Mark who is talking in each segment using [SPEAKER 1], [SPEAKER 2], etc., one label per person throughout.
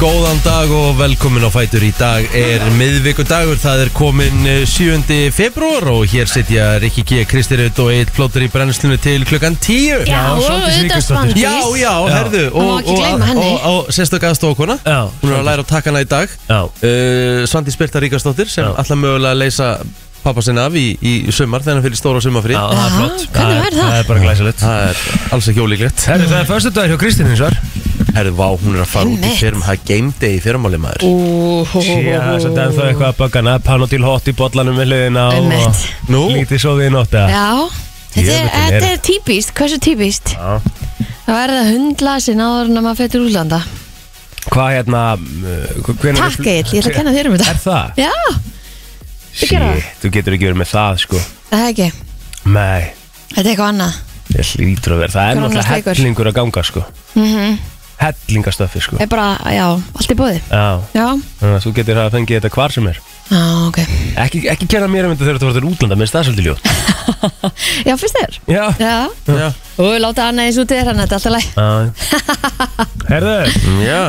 [SPEAKER 1] Góðan dag og velkomin á Fætur Í dag er miðvikudagur, það er komin eh, 7. februar og hér sitja Rikki G, Kristi Rutt og Eitt Plóttur í brennslunni til klukkan 10
[SPEAKER 2] Já,
[SPEAKER 3] og
[SPEAKER 2] Sóldís
[SPEAKER 3] auðvitað
[SPEAKER 2] Vigfúsdóttir.
[SPEAKER 3] Svandís
[SPEAKER 1] Já, já, herðu
[SPEAKER 3] Má ekki gleyma
[SPEAKER 1] og,
[SPEAKER 3] henni.
[SPEAKER 1] og, og sérstök aðstofakona
[SPEAKER 2] Já.
[SPEAKER 1] Hún er að læra að taka hana í dag
[SPEAKER 2] Já.
[SPEAKER 1] uh, Svandi Spyrta Ríkastóttir sem
[SPEAKER 2] Já.
[SPEAKER 1] alltaf mögulega að leysa pappa sinna af í, í sumar þegar hann fyrir stóra sumarfrí
[SPEAKER 2] Já, það er
[SPEAKER 3] Já,
[SPEAKER 2] flott er-
[SPEAKER 3] hvernig væri það?
[SPEAKER 2] Það er bara glæsilegt
[SPEAKER 1] Það er alls ekki ólíklegt
[SPEAKER 2] Herri, það er förstu dagur hjá Kristín hins var
[SPEAKER 1] Herðu, vá, hún er að fara út í
[SPEAKER 3] Einmitt.
[SPEAKER 1] fyrrum, það er game day í fyrrumáli maður
[SPEAKER 2] Já,
[SPEAKER 3] Já,
[SPEAKER 2] það er það eitthvað að bögga hana Pann og til hot í bollanum með hliðina og-
[SPEAKER 3] Einmitt.
[SPEAKER 1] Nú?
[SPEAKER 2] og Lítið sóði í nótt eða?
[SPEAKER 3] Já, þetta er,
[SPEAKER 2] Jöfullinn er-
[SPEAKER 3] þetta er típist, hversu típist?
[SPEAKER 2] Já.
[SPEAKER 3] Það verða hundlasin áður en að maður fyrir útlanda
[SPEAKER 2] Hvað hérna uh, hv- hvenær er
[SPEAKER 3] Takk
[SPEAKER 2] fl-
[SPEAKER 3] Egil, ég ætla að kenna þér um þetta
[SPEAKER 2] Er það?
[SPEAKER 3] Já, gera það?
[SPEAKER 2] Shit, Þú getur ekki verið með það sko
[SPEAKER 3] það er ekki,
[SPEAKER 2] Nei,
[SPEAKER 3] þetta er eitthvað annað
[SPEAKER 2] ég hlýtur að vera Það er
[SPEAKER 3] Hvað er annars
[SPEAKER 2] náttúrulega
[SPEAKER 3] leikur?
[SPEAKER 2] hellingur að ganga sko
[SPEAKER 3] Mhm.
[SPEAKER 2] Hellingastöfi sko
[SPEAKER 3] Er bara, já, allt í bóði
[SPEAKER 2] Já,
[SPEAKER 3] Já,
[SPEAKER 2] þannig að þú getur að fengið þetta hvar sem er
[SPEAKER 3] já, ok
[SPEAKER 2] Ekki, ekki kenna mér um þetta þegar þú verður útlanda Mér staðsaldi ljótt
[SPEAKER 3] Já, fyrst þér
[SPEAKER 2] Já,
[SPEAKER 3] Já,
[SPEAKER 1] Já,
[SPEAKER 3] og láta annað eins út í þér hann, þetta er alltaf læg
[SPEAKER 2] Já. Herðu
[SPEAKER 1] já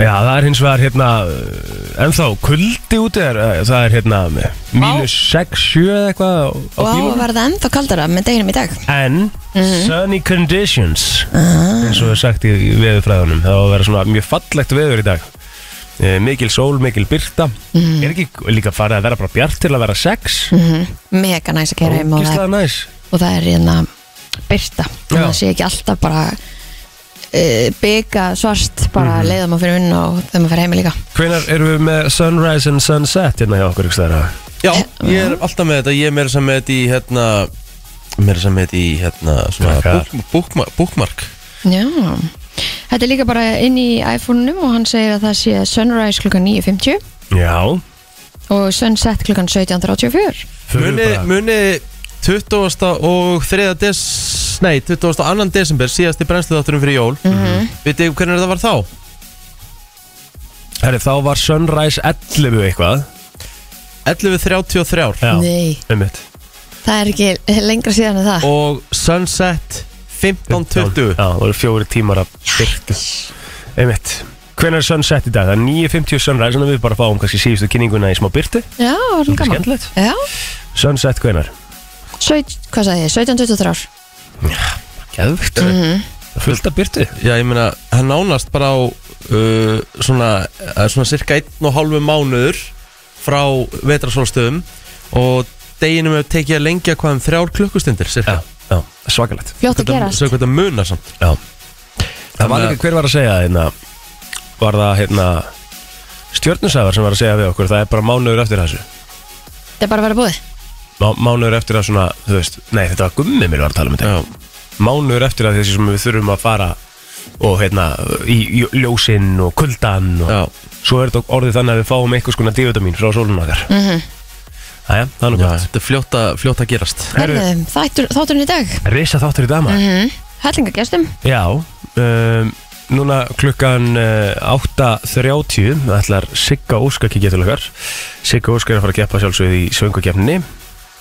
[SPEAKER 2] Já, það er hins vegar hérna uh, ennþá kuldi úti er, uh, það er hérna uh, mínus 6, 7 eða eitthvað á, á
[SPEAKER 3] Og á að
[SPEAKER 2] bílunum
[SPEAKER 3] verða ennþá kaldara með deginum í dag
[SPEAKER 2] en sunny conditions eins og er sagt í veðurfræðunum það á að vera svona mjög fallegt veður í dag uh, mikil sól, mikil byrta er ekki líka farið að vera bara bjart til að vera 6 mm -hmm.
[SPEAKER 3] Mhm. Mega næs að kæra heim og það,
[SPEAKER 2] ógislega næs
[SPEAKER 3] og það er hérna byrta Þannig
[SPEAKER 2] Já.
[SPEAKER 3] að sé ekki alltaf bara e, byggja svart bara mm -hmm. leiða maður fyrir vinn og þegar maður fyrir heimi líka
[SPEAKER 2] hvenar erum við með sunrise and sunset hérna hjá okkur ykkur stæðra
[SPEAKER 1] Já, ég er alltaf með þetta, ég er meira sem með þetta í hérna meira sem með þetta í hérna svona
[SPEAKER 2] Krakkar.
[SPEAKER 1] búk- búkma- búkmark
[SPEAKER 3] Já Þetta er líka bara inn í iPhone-num og hann segir að það sé sunrise klukkan 9.50
[SPEAKER 2] já
[SPEAKER 3] og sunset klukkan 17.34
[SPEAKER 1] muni,
[SPEAKER 2] bara-
[SPEAKER 1] muni 20. og 3. des nei, 22. desember síðast í brennsluðátturum fyrir jól mm -hmm. Vitið þið hvernig það var þá?
[SPEAKER 2] Herri, þá var sunrise 11 eitthvað
[SPEAKER 1] 11.33
[SPEAKER 2] Já,
[SPEAKER 3] Nei,
[SPEAKER 2] einmitt
[SPEAKER 3] það er ekki lengra síðan en það
[SPEAKER 1] og sunset 15.20
[SPEAKER 2] Já, það voru fjóri tímar að byrta Einmitt Hvernig er sunset í dag? Það er 9.50 sunrise Þannig að við bara fáum kannski síðustu kynninguna í smá byrti
[SPEAKER 3] Já, það er gaman
[SPEAKER 2] Skemmtilegt
[SPEAKER 3] Já,
[SPEAKER 2] Sunset hvernig?
[SPEAKER 3] Sveit, hvað sagði ég, 17.23
[SPEAKER 2] Gæðvikt
[SPEAKER 3] Mhm.
[SPEAKER 2] Fullt af byrtu
[SPEAKER 1] Já, ég meina, hann nánast bara á uh, svona, eh, svona cirka einn og hálfu mánuður frá vetrasólstöðum og deginum hefur tekið að lengja hvað um þrjár klukkustundir cirka.
[SPEAKER 2] Já, já Svakalegt
[SPEAKER 3] Fljótt að gerast
[SPEAKER 1] Svo hvað það munar samt.
[SPEAKER 2] Já Það var líka hver var að segja það hérna Var það hérna Stjörnusæðar sem var að segja við okkur Það er bara mánuður eftir þessu
[SPEAKER 3] Þetta er bara að vera búið
[SPEAKER 2] Má, Mánuður eftir að svona Þú veist Nei, þetta var gummið mér var að tala um þetta
[SPEAKER 1] Já.
[SPEAKER 2] mánuður eftir að þessi sem við þurfum að fara og hérna í, í ljósinn og kuldan og
[SPEAKER 1] Já.
[SPEAKER 2] svo er þetta orðið þannig að við fáum einhvers konar divitamin frá sólunum okkar mm -hmm. Æja, það er nú
[SPEAKER 1] Já,
[SPEAKER 2] gott
[SPEAKER 1] þetta er fljótt að, fljótt að gerast.
[SPEAKER 2] Herru.
[SPEAKER 3] Herðu, þáttur, þátturinn í dag
[SPEAKER 2] Risa þáttur í dama
[SPEAKER 3] mm. Hellingagestum
[SPEAKER 2] Já, um, núna klukkan uh, 8.30 það ætlar Sigga Óska kikið til okkar Sigga Óska er að fara að keppa sjálfsögð í söngukefninni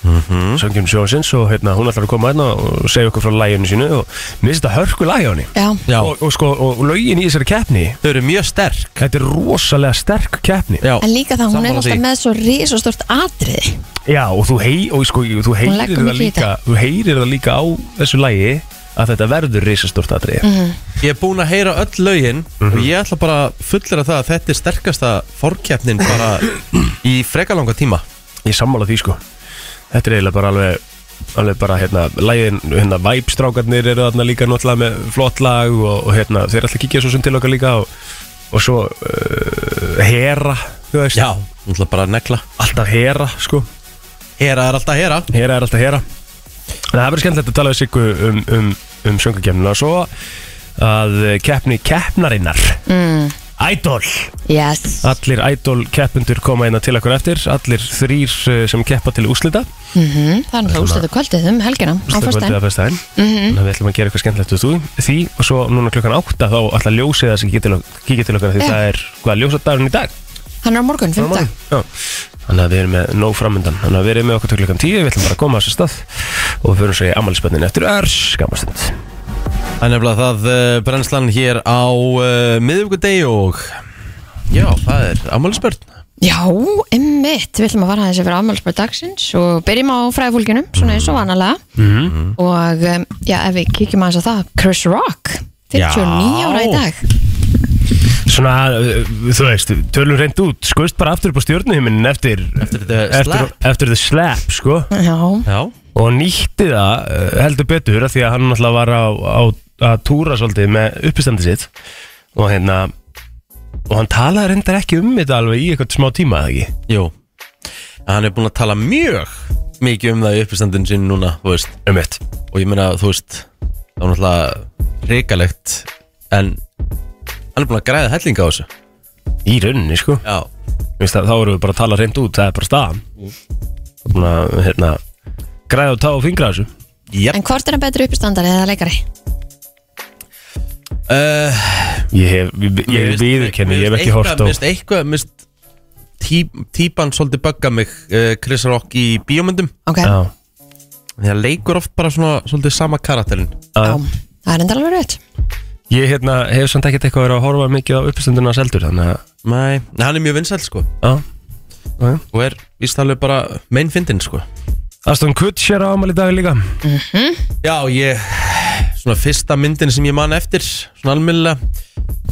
[SPEAKER 1] Mhm.
[SPEAKER 2] mm. söngjum sjónsins og hérna, hún ætlar að koma hérna og segja okkur frá læginu sínu og mér finnst þetta hörku lægi á henni
[SPEAKER 3] Já,
[SPEAKER 1] Já,
[SPEAKER 2] og, og sko, og lögin í þessari keppni
[SPEAKER 1] þau eru mjög sterk.
[SPEAKER 2] Þetta er rosalega sterk keppni
[SPEAKER 1] Já,
[SPEAKER 3] en líka það hún er
[SPEAKER 1] sammála
[SPEAKER 3] alltaf
[SPEAKER 1] því.
[SPEAKER 3] með svo risastort atriði
[SPEAKER 2] Já, og þú, hei, og, sko, þú heyrir
[SPEAKER 3] leggur
[SPEAKER 2] það
[SPEAKER 3] mikið í
[SPEAKER 2] líka Þú heyrir það líka á þessu lægi að þetta verður risastort atrið
[SPEAKER 3] Mhm.
[SPEAKER 1] Ég er búin að heyra öll lögin
[SPEAKER 2] Mhm.
[SPEAKER 1] og ég ætla bara að fullera það að þetta er sterkasta fórkeppnin bara í frekalanga tíma.
[SPEAKER 2] Ég sammála því sko Þetta er eiginlega bara alveg alveg bara hérna, lægin, hérna, væpstrákarnir eru þarna líka náttúrulega með flott lag og, og hérna, þeir er alltaf að kíkja svo sem til okkar líka og, og svo uh, hera, þú veist
[SPEAKER 1] Já, náttúrulega bara að negla.
[SPEAKER 2] alltaf hera, sko
[SPEAKER 1] Hera er alltaf hera.
[SPEAKER 2] Hera er alltaf hera En það verður skemmtilegt að tala við Siggu um, um, um söngakefnina Svo að keppni keppnarinnar
[SPEAKER 3] mm.
[SPEAKER 2] Idol
[SPEAKER 3] Yes
[SPEAKER 2] Allir Idol keppendur koma inn til okkur eftir Allir þrýr eh, sem keppa til úslita
[SPEAKER 3] mm Það er náttúrulega ústöðu kvöldið um helgina á Mhm. fyrstæn
[SPEAKER 2] fyrstæðin Þannig að við ætlum að gera eitthvað skemmtilegt úr því- því Og svo núna klukkan átta þá ætla ljósið að sem kíkja til, ok- kíkja til okkar Því
[SPEAKER 3] Já.
[SPEAKER 2] það er hvað ljósadagurinn í dag
[SPEAKER 3] Hann er á morgun, fimmtag
[SPEAKER 2] Já. Þannig að við erum með nóg framundan Þannig að við erum með okkur til klukkan 10 Við ætlum bara að koma á þessu stað Og við förum svo í ammælisbönnin eftir örs Skammastund
[SPEAKER 1] eh, Það er nefnilega það uh, brennslan hér á uh, miðvíkudegi eh, og Já, það er ammælisbörn
[SPEAKER 3] Já, emmitt, við ætlum að fara aðeins yfir afmálspöð dagsins og byrjum á fræðfólkinum, svona eins og vanalega
[SPEAKER 2] Mhm.
[SPEAKER 3] og um, já, ef við kíkjum aðeins á það, Chris Rock, 59
[SPEAKER 1] Já.
[SPEAKER 3] ára í dag
[SPEAKER 2] Svona, uh, þú veist, tölum reynd út Skoist bara aftur upp á stjórnuhiminin eftir
[SPEAKER 1] Eftir þetta
[SPEAKER 2] eftir,
[SPEAKER 1] slap
[SPEAKER 2] eftir the slap, sko
[SPEAKER 3] Já,
[SPEAKER 1] Já,
[SPEAKER 2] Og nýtti það uh, heldur betur af Því að hann náttúrulega var á, á að túra svolítið með uppistandi sitt Og hérna Og hann talaði reyndar ekki um þetta alveg í eitthvað smá tíma, eða ekki?
[SPEAKER 1] jú Hann er búin að tala mjög mikið um það í uppistandin sinn núna, þú veist
[SPEAKER 2] Um eitt
[SPEAKER 1] Og ég meina, þú veist, það var náttúrulega reikalegt En hann er búin að græða hellinga á þessu
[SPEAKER 2] Í rauninni, sko
[SPEAKER 1] Já,
[SPEAKER 2] Vist, Þá erum við bara að tala reynd út, það er bara staðan Það er búin að, hérna Græða og tá og fingra þessu
[SPEAKER 1] jæpp
[SPEAKER 3] en hvort er hann betri uppistandari eða leikari?
[SPEAKER 1] uh,
[SPEAKER 2] Ég hef, ég, ég viðurkenni, ég hef ekki hort á
[SPEAKER 1] Mér finnst eitthvað, mér finnst tí, típan svolítið bugga mig uh, Chris Rock í bíómyndum
[SPEAKER 3] Ok, já,
[SPEAKER 2] Já,
[SPEAKER 1] Því hann leikur oft bara svona svolítið sama karakterinn
[SPEAKER 2] já.
[SPEAKER 3] það er enda alveg rétt
[SPEAKER 2] Ég hérna, hef samt ekkert eitthvað verið að horfa mikið á uppstunduna seldur þannig að
[SPEAKER 1] Nei, en hann er mjög vinsæl sko
[SPEAKER 2] já. Já, já.
[SPEAKER 1] og er víst alveg bara meinfindin sko
[SPEAKER 2] Aston Kutcher á ámali dag líka
[SPEAKER 4] Mm-hmm.
[SPEAKER 1] Já, ég svona fyrsta myndin sem ég man eftir svona almennilega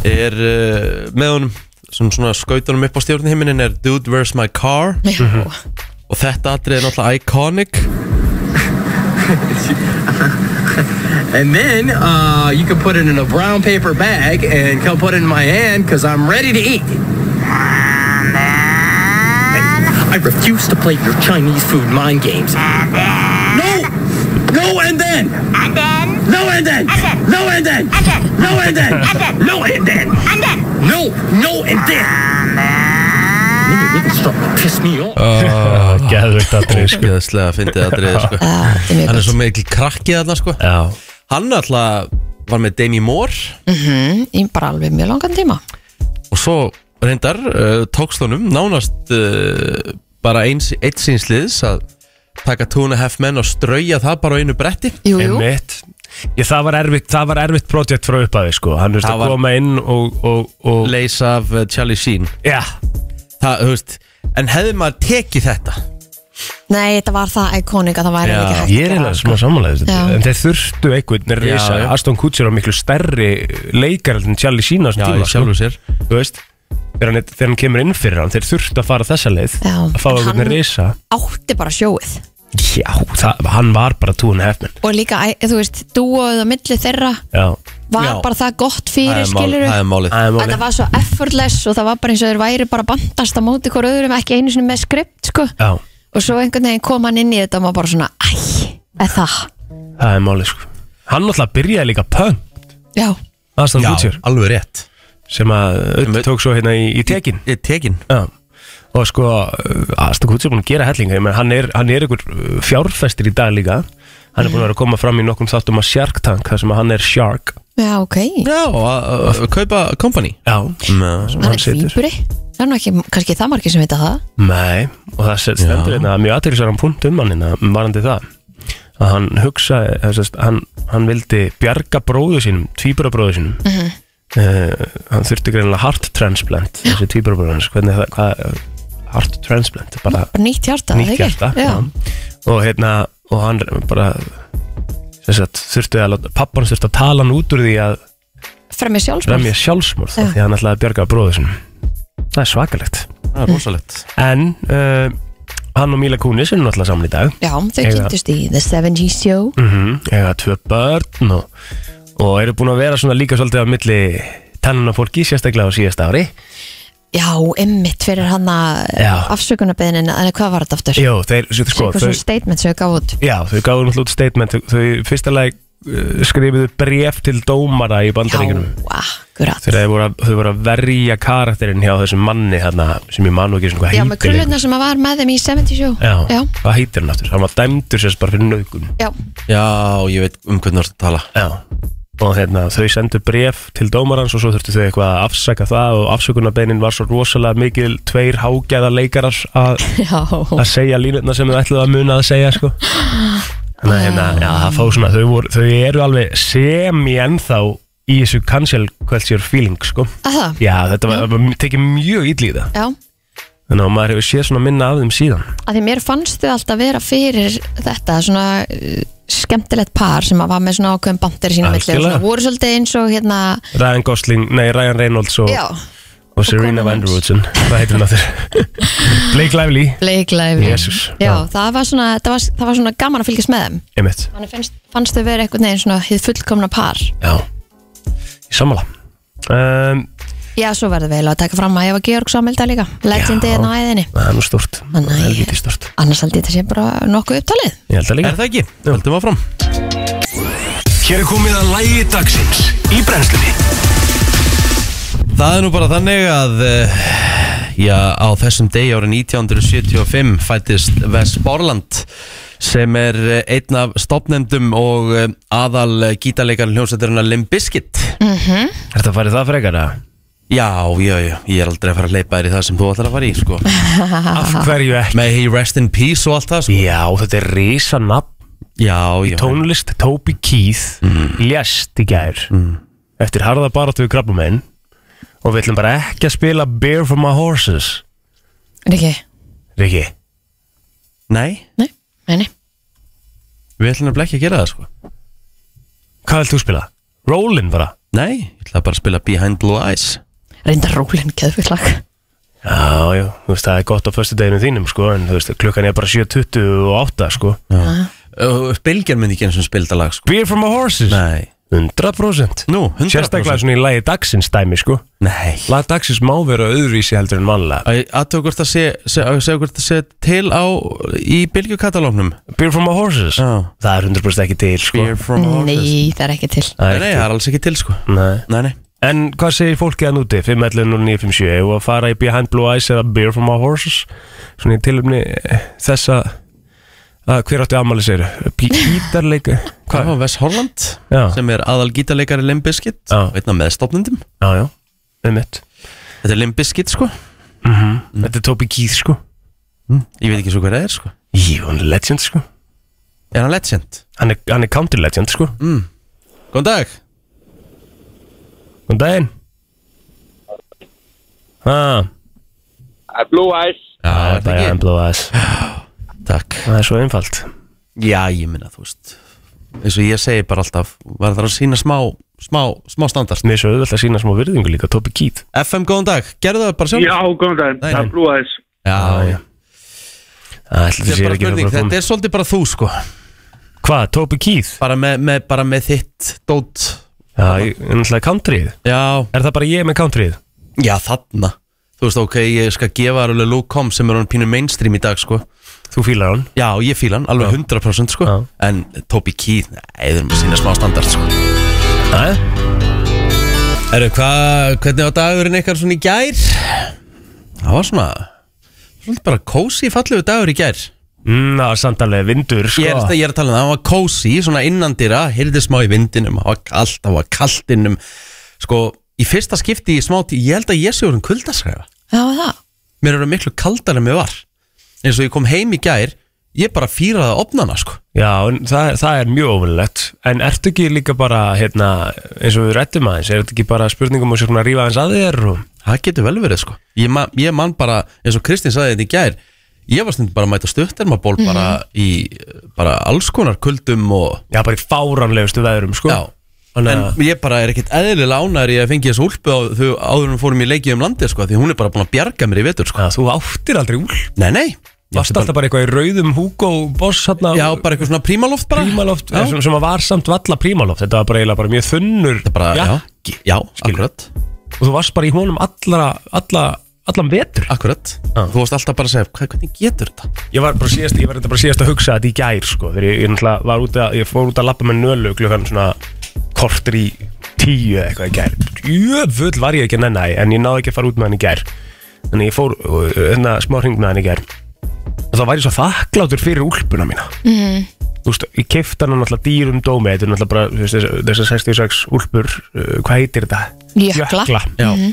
[SPEAKER 1] er uh, með honum sem svona skautunum upp á stjórnhiminin er Dude, where's my car? Mhm.
[SPEAKER 3] Já,
[SPEAKER 1] og þetta atrið er náttúrulega iconic
[SPEAKER 4] And then uh, you can put it in a brown paper bag and come put it in my hand because I'm ready to eat. I refuse to play your Chinese food mind games. No! No and then!
[SPEAKER 5] And then,
[SPEAKER 4] No and then! No and then! No and then! No and then!
[SPEAKER 5] and then.
[SPEAKER 4] No! No and then! Man, you're really starting to piss me off.
[SPEAKER 2] Geðvögt aðrið sko
[SPEAKER 1] Ah, Ógeðslega fyndið atrið sko
[SPEAKER 3] það er mjög
[SPEAKER 1] Hann er
[SPEAKER 3] gott
[SPEAKER 1] svo mikil krakkið þarna sko
[SPEAKER 2] Já,
[SPEAKER 1] Hann alltaf var með Demi Moore
[SPEAKER 3] Mhm, Í bara alveg mjög langan tíma
[SPEAKER 1] og svo reyndar uh, tókst honum nánast uh, bara eins, eitt sínsliðs að taka two and a half menn og strauja það bara á einu bretti
[SPEAKER 3] Jú, jú,
[SPEAKER 2] einmitt Ég, það var erfitt, það var erfitt projekt frá uppaði sko Hann veist
[SPEAKER 1] Það
[SPEAKER 2] að
[SPEAKER 1] var-
[SPEAKER 2] koma inn og, og, og
[SPEAKER 1] leys af uh, Charlie Sheen
[SPEAKER 2] Já,
[SPEAKER 1] það, þú veist, en hefði maður tekið þetta
[SPEAKER 3] nei, þetta var það iconic að það væri
[SPEAKER 1] Já,
[SPEAKER 3] ekki hægt
[SPEAKER 2] ég er eiginlega smá sammálaðið
[SPEAKER 3] Já.
[SPEAKER 2] En þeir þurftu einhvern risa
[SPEAKER 1] já.
[SPEAKER 2] Aston Kutcher á miklu stærri leikar en Charlie Sheen á þessum tíma sko.
[SPEAKER 1] sér
[SPEAKER 2] Þú veist, þegar hann, þegar hann kemur inn fyrir hann Þeir þurftu að fara þessa leið
[SPEAKER 3] Já,
[SPEAKER 2] Að fá
[SPEAKER 3] en
[SPEAKER 2] einhvern
[SPEAKER 3] hann-
[SPEAKER 2] risa
[SPEAKER 3] Átti bara sjóið
[SPEAKER 2] Já, það, hann var bara two and a half men
[SPEAKER 3] og líka, æ, þú veist, dúoð á milli þeirra
[SPEAKER 2] Já,
[SPEAKER 3] var
[SPEAKER 1] Já.
[SPEAKER 3] bara það gott
[SPEAKER 1] það
[SPEAKER 3] fyrir
[SPEAKER 1] er, mál,
[SPEAKER 3] skiluru
[SPEAKER 1] það er málið
[SPEAKER 2] það er
[SPEAKER 3] Þetta
[SPEAKER 2] málið
[SPEAKER 3] var svo effortless og það var bara eins og þeir væri bara bandast á móti hver öðrum, ekki einu sinni með skript sko.
[SPEAKER 2] Já,
[SPEAKER 3] og svo einhvern veginn kom hann inn í þetta og maður bara svona, æ, eða það
[SPEAKER 2] það er málið sko Hann náttúrulega byrjaði líka punk
[SPEAKER 3] Já,
[SPEAKER 2] Aston Kutcher
[SPEAKER 1] alveg rétt
[SPEAKER 2] Sem að
[SPEAKER 1] Sem-
[SPEAKER 2] auðvitað tók svo hérna í, í tekin
[SPEAKER 1] Ég er tekin
[SPEAKER 2] Já Og sko, uh, Aston Kutcher er búin að gera hellinga Ég menn, hann er, hann er einhver uh, fjárfestir í dag líka Hann er búin að vera að koma fram í nokkrum þáttum að Shark Tank Þar sem að hann er Shark
[SPEAKER 3] já, ok
[SPEAKER 1] Já, og að- að að kaupa company
[SPEAKER 2] Já
[SPEAKER 1] Ná,
[SPEAKER 2] hann
[SPEAKER 3] Hann er
[SPEAKER 2] situr.
[SPEAKER 3] fýburi, það er nú ekki kannski það margir sem vita það
[SPEAKER 2] Nei, og það set- stendur
[SPEAKER 1] Já.
[SPEAKER 2] hérna mjög aðtýrlisverðan punkt um hann hérna, varandi það að hann hugsaði, eða sem sagt, hann, hann vildi bjarga bróðu sínum, tvíburabróðu sínum mm
[SPEAKER 3] Mhm.
[SPEAKER 2] -hmm. hann þurfti greinilega heart transplant, þessi tvíburabróðu hans hvernig það, hvað, heart transplant bara
[SPEAKER 3] bara nýtt hjarta,
[SPEAKER 2] nýtt
[SPEAKER 3] eða ekki?
[SPEAKER 2] hjarta
[SPEAKER 3] já.
[SPEAKER 2] já. og hérna, og hann bara sem sagt, þurfti að láta, pappan þurfti að tala hann út úr því að
[SPEAKER 3] fremja sjálfsmál
[SPEAKER 2] fremja sjálfsmorð,
[SPEAKER 3] Já.
[SPEAKER 2] af því að hann ætlaði að bjarga bróðu sínum það er svakalegt
[SPEAKER 1] Það er rosalegt
[SPEAKER 2] En uh, hann og Mila Kunis er náttúrulega saman í dag
[SPEAKER 3] Já, þau
[SPEAKER 2] Eiga-
[SPEAKER 3] kynntust í The 70s Show
[SPEAKER 2] mm -hmm. Ega tvö börn og, og eru búin að vera svona líka svolítið á milli tannan á fólki, sérstaklega á síðasta ári
[SPEAKER 3] Já, emmitt fyrir hann að
[SPEAKER 2] Já.
[SPEAKER 3] afsökunarbeðinin, en hvað var þetta aftur?
[SPEAKER 2] Jó, þeir, svo- sko,
[SPEAKER 3] Eitthvað
[SPEAKER 2] þau,
[SPEAKER 3] svona statement sem þau gaf út
[SPEAKER 2] já, þau gáðu náttúrulega út statement þau, þau fyrsta lag uh, skrifuðu bref til dómara í
[SPEAKER 3] Já,
[SPEAKER 2] bandaríkunum
[SPEAKER 3] akkurat
[SPEAKER 2] þegar þau voru, að, þau voru að verja karakterinn hjá þessum manni hana, sem ég man nú ekki svona hvað
[SPEAKER 3] Já, með
[SPEAKER 2] heitir
[SPEAKER 3] krullurna sem að var með þeim í 70 Show
[SPEAKER 2] Já,
[SPEAKER 3] já,
[SPEAKER 2] hvað heitir hann aftur? Hann var dæmdur sérst bara fyrir nögun
[SPEAKER 3] já.
[SPEAKER 1] Já, ég veit um hvernig þú ert að tala
[SPEAKER 2] Já og hérna, þau sendu bref til dómarans og svo þurftu þau eitthvað að afsaka það og afsökunarbeinin var svo rosalega mikil tveir hágæða leikarar að
[SPEAKER 3] já.
[SPEAKER 2] að segja línutna sem þau ætluðu að muna að segja sko. þannig að hérna, já, það fá svona þau, voru, þau eru alveg semi ennþá í þessu cancel culture feeling sko.
[SPEAKER 3] Að það?
[SPEAKER 2] Já, þetta var, var tekið mjög ítli í það
[SPEAKER 3] Já,
[SPEAKER 2] Þannig að maður hefur séð svona minna af þeim síðan
[SPEAKER 3] að því mér fannst þau alltaf vera fyrir þetta svona uh, skemmtilegt par sem að var með svona ákveðum bandir sína milli og
[SPEAKER 2] Algjörlega.
[SPEAKER 3] svona voru svolítið eins og hérna
[SPEAKER 2] Ryan Gosling, nei Ryan Reynolds og,
[SPEAKER 3] já,
[SPEAKER 2] og Serena
[SPEAKER 3] konan
[SPEAKER 2] Van
[SPEAKER 3] hans.
[SPEAKER 2] Der Woodsen Hvað heitir hún aftur? Blake Lively
[SPEAKER 3] leiklæfi
[SPEAKER 2] Jesus.
[SPEAKER 3] já,
[SPEAKER 2] Já.
[SPEAKER 3] það var svona, það var, það var svona gaman að fylgjast með þeim
[SPEAKER 2] Einmitt
[SPEAKER 3] þannig fannst, fannst þau vera eitthvað neginn svona hið fullkomna par
[SPEAKER 2] Já, í sammála um,
[SPEAKER 3] já, svo verður við eiginlega að taka fram að ég var Georg Samhilda líka legendi
[SPEAKER 2] Já.
[SPEAKER 3] hérna á æðinni
[SPEAKER 2] Það er nú stort
[SPEAKER 3] Hann er-
[SPEAKER 2] Helviti stort
[SPEAKER 3] annars held ég þetta sé bara nokkuð upptalið
[SPEAKER 2] Ég held það líka
[SPEAKER 1] Er það ekki? Haldum áfram
[SPEAKER 5] Hér er komið að lægi dagsins í brennslunni
[SPEAKER 1] Það er nú bara þannig að eh, já, á þessum degi árið 1975 fættist Wes Borland sem er eh, einn af stopnendum og eh, aðal gítarleikarn hljómsætturinn Limp Bizkit
[SPEAKER 2] Er þetta farið það frekar að
[SPEAKER 1] Já, já, já, ég er aldrei að fara að leipa þér í það sem þú ætlar að fara í, sko
[SPEAKER 2] Af hverju ekki?
[SPEAKER 1] May he rest in peace og allt það, sko
[SPEAKER 2] Já, þetta er risa nafn
[SPEAKER 1] Já, já,
[SPEAKER 2] Tónlist Toby Keith
[SPEAKER 5] Mm.
[SPEAKER 2] Lést í gær Eftir harða baráttu við krabbumenn Og við ætlum bara ekki að spila Bear for my horses
[SPEAKER 3] Riki,
[SPEAKER 2] Riki,
[SPEAKER 1] nei,
[SPEAKER 3] nei, nei, nei
[SPEAKER 1] við ætlum nefnilega ekki að gera það, sko
[SPEAKER 2] hvað vilt þú spila? Rollin bara
[SPEAKER 1] Nei, ég ætla bara að spila Behind Blue Eyes
[SPEAKER 3] reyndar rólinn keðfuglag
[SPEAKER 2] Já, já, þú veist, það er gott á föstu deginu þínum, sko, en þú veist, klukkan er bara 7.28, sko.
[SPEAKER 1] uh, Belgjar myndi ekki eins og spilda lag, sko
[SPEAKER 2] Beer from a horses?
[SPEAKER 1] Nei,
[SPEAKER 2] 100%.
[SPEAKER 1] nú, 100%
[SPEAKER 2] Sérstaklega svona í lagi dagsins dæmi, sko.
[SPEAKER 1] Nei
[SPEAKER 2] Lag dagsins má vera öðruvísi heldur en vanlega.
[SPEAKER 1] Aðtöku hvort það sé, sé, sé, hvort það sé til á í bylgjukatalóknum
[SPEAKER 2] Beer from a horses?
[SPEAKER 1] Já.
[SPEAKER 2] Það er 100% ekki til, sko.
[SPEAKER 1] from
[SPEAKER 3] nei, það er ekki til
[SPEAKER 1] Nei, nei, það er alls ekki til, sko
[SPEAKER 2] Nei.
[SPEAKER 1] Nei, nei
[SPEAKER 2] En hvað segir fólkið að núti? 5.11.09.57 og að fara í Behind Blue Eyes eða Beer from a horses? Svona í tilumni þessa, að hver átti afmæli sér? Gítarleika?
[SPEAKER 1] Það
[SPEAKER 2] Hvað?
[SPEAKER 1] var Wes Holland
[SPEAKER 2] Já.
[SPEAKER 1] sem er aðal gítarleikari Limp Bizkit
[SPEAKER 2] Já.
[SPEAKER 1] og einn af meðstofnendum
[SPEAKER 2] Já, já, um
[SPEAKER 1] Þetta er Limp Bizkit sko
[SPEAKER 2] Mhm. Þetta er Toby Keith, sko.
[SPEAKER 1] Ég veit ekki svo hver það er sko
[SPEAKER 2] Jú, hann er legend sko
[SPEAKER 1] Er hann legend? Mm.
[SPEAKER 2] Hann er, hann er country legend sko
[SPEAKER 1] Góðan dag
[SPEAKER 2] Góðan daginn ah,
[SPEAKER 6] Uh, Blue Eyes.
[SPEAKER 1] Já,
[SPEAKER 2] Það er bara enn blóð aðeins
[SPEAKER 1] Takk
[SPEAKER 2] Það er svo einfalt
[SPEAKER 1] Já, ég minna þú veist eins og ég segi bara alltaf var það að sína smá, smá, smá standart
[SPEAKER 2] Mér er svo auðvitað að sína smá virðingu líka Tobi Keith
[SPEAKER 1] FM, góðan dag, gerðu það bara sjálf
[SPEAKER 6] Já, góðan daginn.
[SPEAKER 1] Nei,
[SPEAKER 6] Það
[SPEAKER 1] nei.
[SPEAKER 6] er Blue Eyes.
[SPEAKER 1] já, já. Þetta
[SPEAKER 2] Þetta
[SPEAKER 1] er bara spurning, þetta er svolítið bara þú sko
[SPEAKER 2] Hvað, Tobi Keith?
[SPEAKER 1] bara með, með, bara með þitt dót
[SPEAKER 2] Já, ég er náttúrulega countryð
[SPEAKER 1] já,
[SPEAKER 2] Er það bara ég með countryð?
[SPEAKER 1] já þarna þú veist ok, ég skal gefa alveg Luke Com sem er hann pínu mainstream í dag sko
[SPEAKER 2] Þú fílar hann
[SPEAKER 1] já, ég fíla hann, alveg 100% sko
[SPEAKER 2] Já.
[SPEAKER 1] en Toby Keith, nei, það er sína smá standart sko
[SPEAKER 2] Æ?
[SPEAKER 1] Erðu, hvað, hvernig á dagurinn eitthvað svona í gær? Það var svona Svona bara kósi fallegu dagur í gær
[SPEAKER 2] Mm, það var samt alveg vindur sko
[SPEAKER 1] Ég er, ég er að tala um það, það var kósi Svona innandýra, heyrði smá í vindinum Það var kallt, það var kallt innum Sko, í fyrsta skipti í smá tí Ég held að ég sé úr um kuldaskræfa
[SPEAKER 3] já, það,
[SPEAKER 1] Mér eru miklu kaldar en mér var Eins og ég kom heim í gær Ég bara fýraði að opna hana, sko
[SPEAKER 2] Já, en það, er- það er mjög ofunlegt En ertu ekki líka bara, hérna, eins og við rættum aðeins Er þetta ekki bara spurningum og sér svona rífa aðeins að þér og...
[SPEAKER 1] Það getur vel verið sko Ég, man, ég man bara, eins og Kristinn sagði þetta í gær Ég var stundum bara að mæta stuttermaból bara í eh, bara alls konar kuldum og
[SPEAKER 2] Mhm. Já, bara í fáranlegustu veðurum, sko
[SPEAKER 1] Já
[SPEAKER 2] Þannig
[SPEAKER 1] En
[SPEAKER 2] að-
[SPEAKER 1] ég bara er ekkert eðlilega ánæður ég að fengi þessu úlpu á þau áður en við fórum í leikið um landið sko því hún er bara búin að bjarga mér í vetur sko
[SPEAKER 2] Já, þú áttir aldrei úl
[SPEAKER 1] Nei, nei
[SPEAKER 2] Varst alltaf bara eitthvað í rauðum Hugo Boss hérna
[SPEAKER 1] Já, bara eitthvað svona prímaloft bara
[SPEAKER 2] Prímaloft,
[SPEAKER 1] Já,
[SPEAKER 2] sem, sem að var samt valla prímaloft Þetta var bara eiginlega bara mjög þunnur
[SPEAKER 1] Þetta bara, já, já, akkurat
[SPEAKER 2] Og þú varst bara í honum allra, alla, allan vetur
[SPEAKER 1] Akkurat Þú varst alltaf bara að segja, hvað, hvernig getur þetta?
[SPEAKER 2] Ég var bara síðast, ég var þetta bara síðast að hugsa þetta í gær sko Þegar ég, ég náttúrulega var út að, ég fór út að lappa með nölu klukkan svona kortur í tíu eða eitthvað í gær Jöfull var ég ekki að nenni, því, en ég náði ekki að fara út með hann í gær Þannig ég fór uh, hérna smá hring með hann í gær Og þá var ég svo þakklátur fyrir úlpuna mína mm. Þú veist, ég keifti hann náttúrulega dýrum dómi Þetta er náttúrulega bara þú veist, þess- þessar 66 úlpur, uh, hvað heitir þetta?
[SPEAKER 3] Jökla.
[SPEAKER 1] Já,
[SPEAKER 3] Mhm.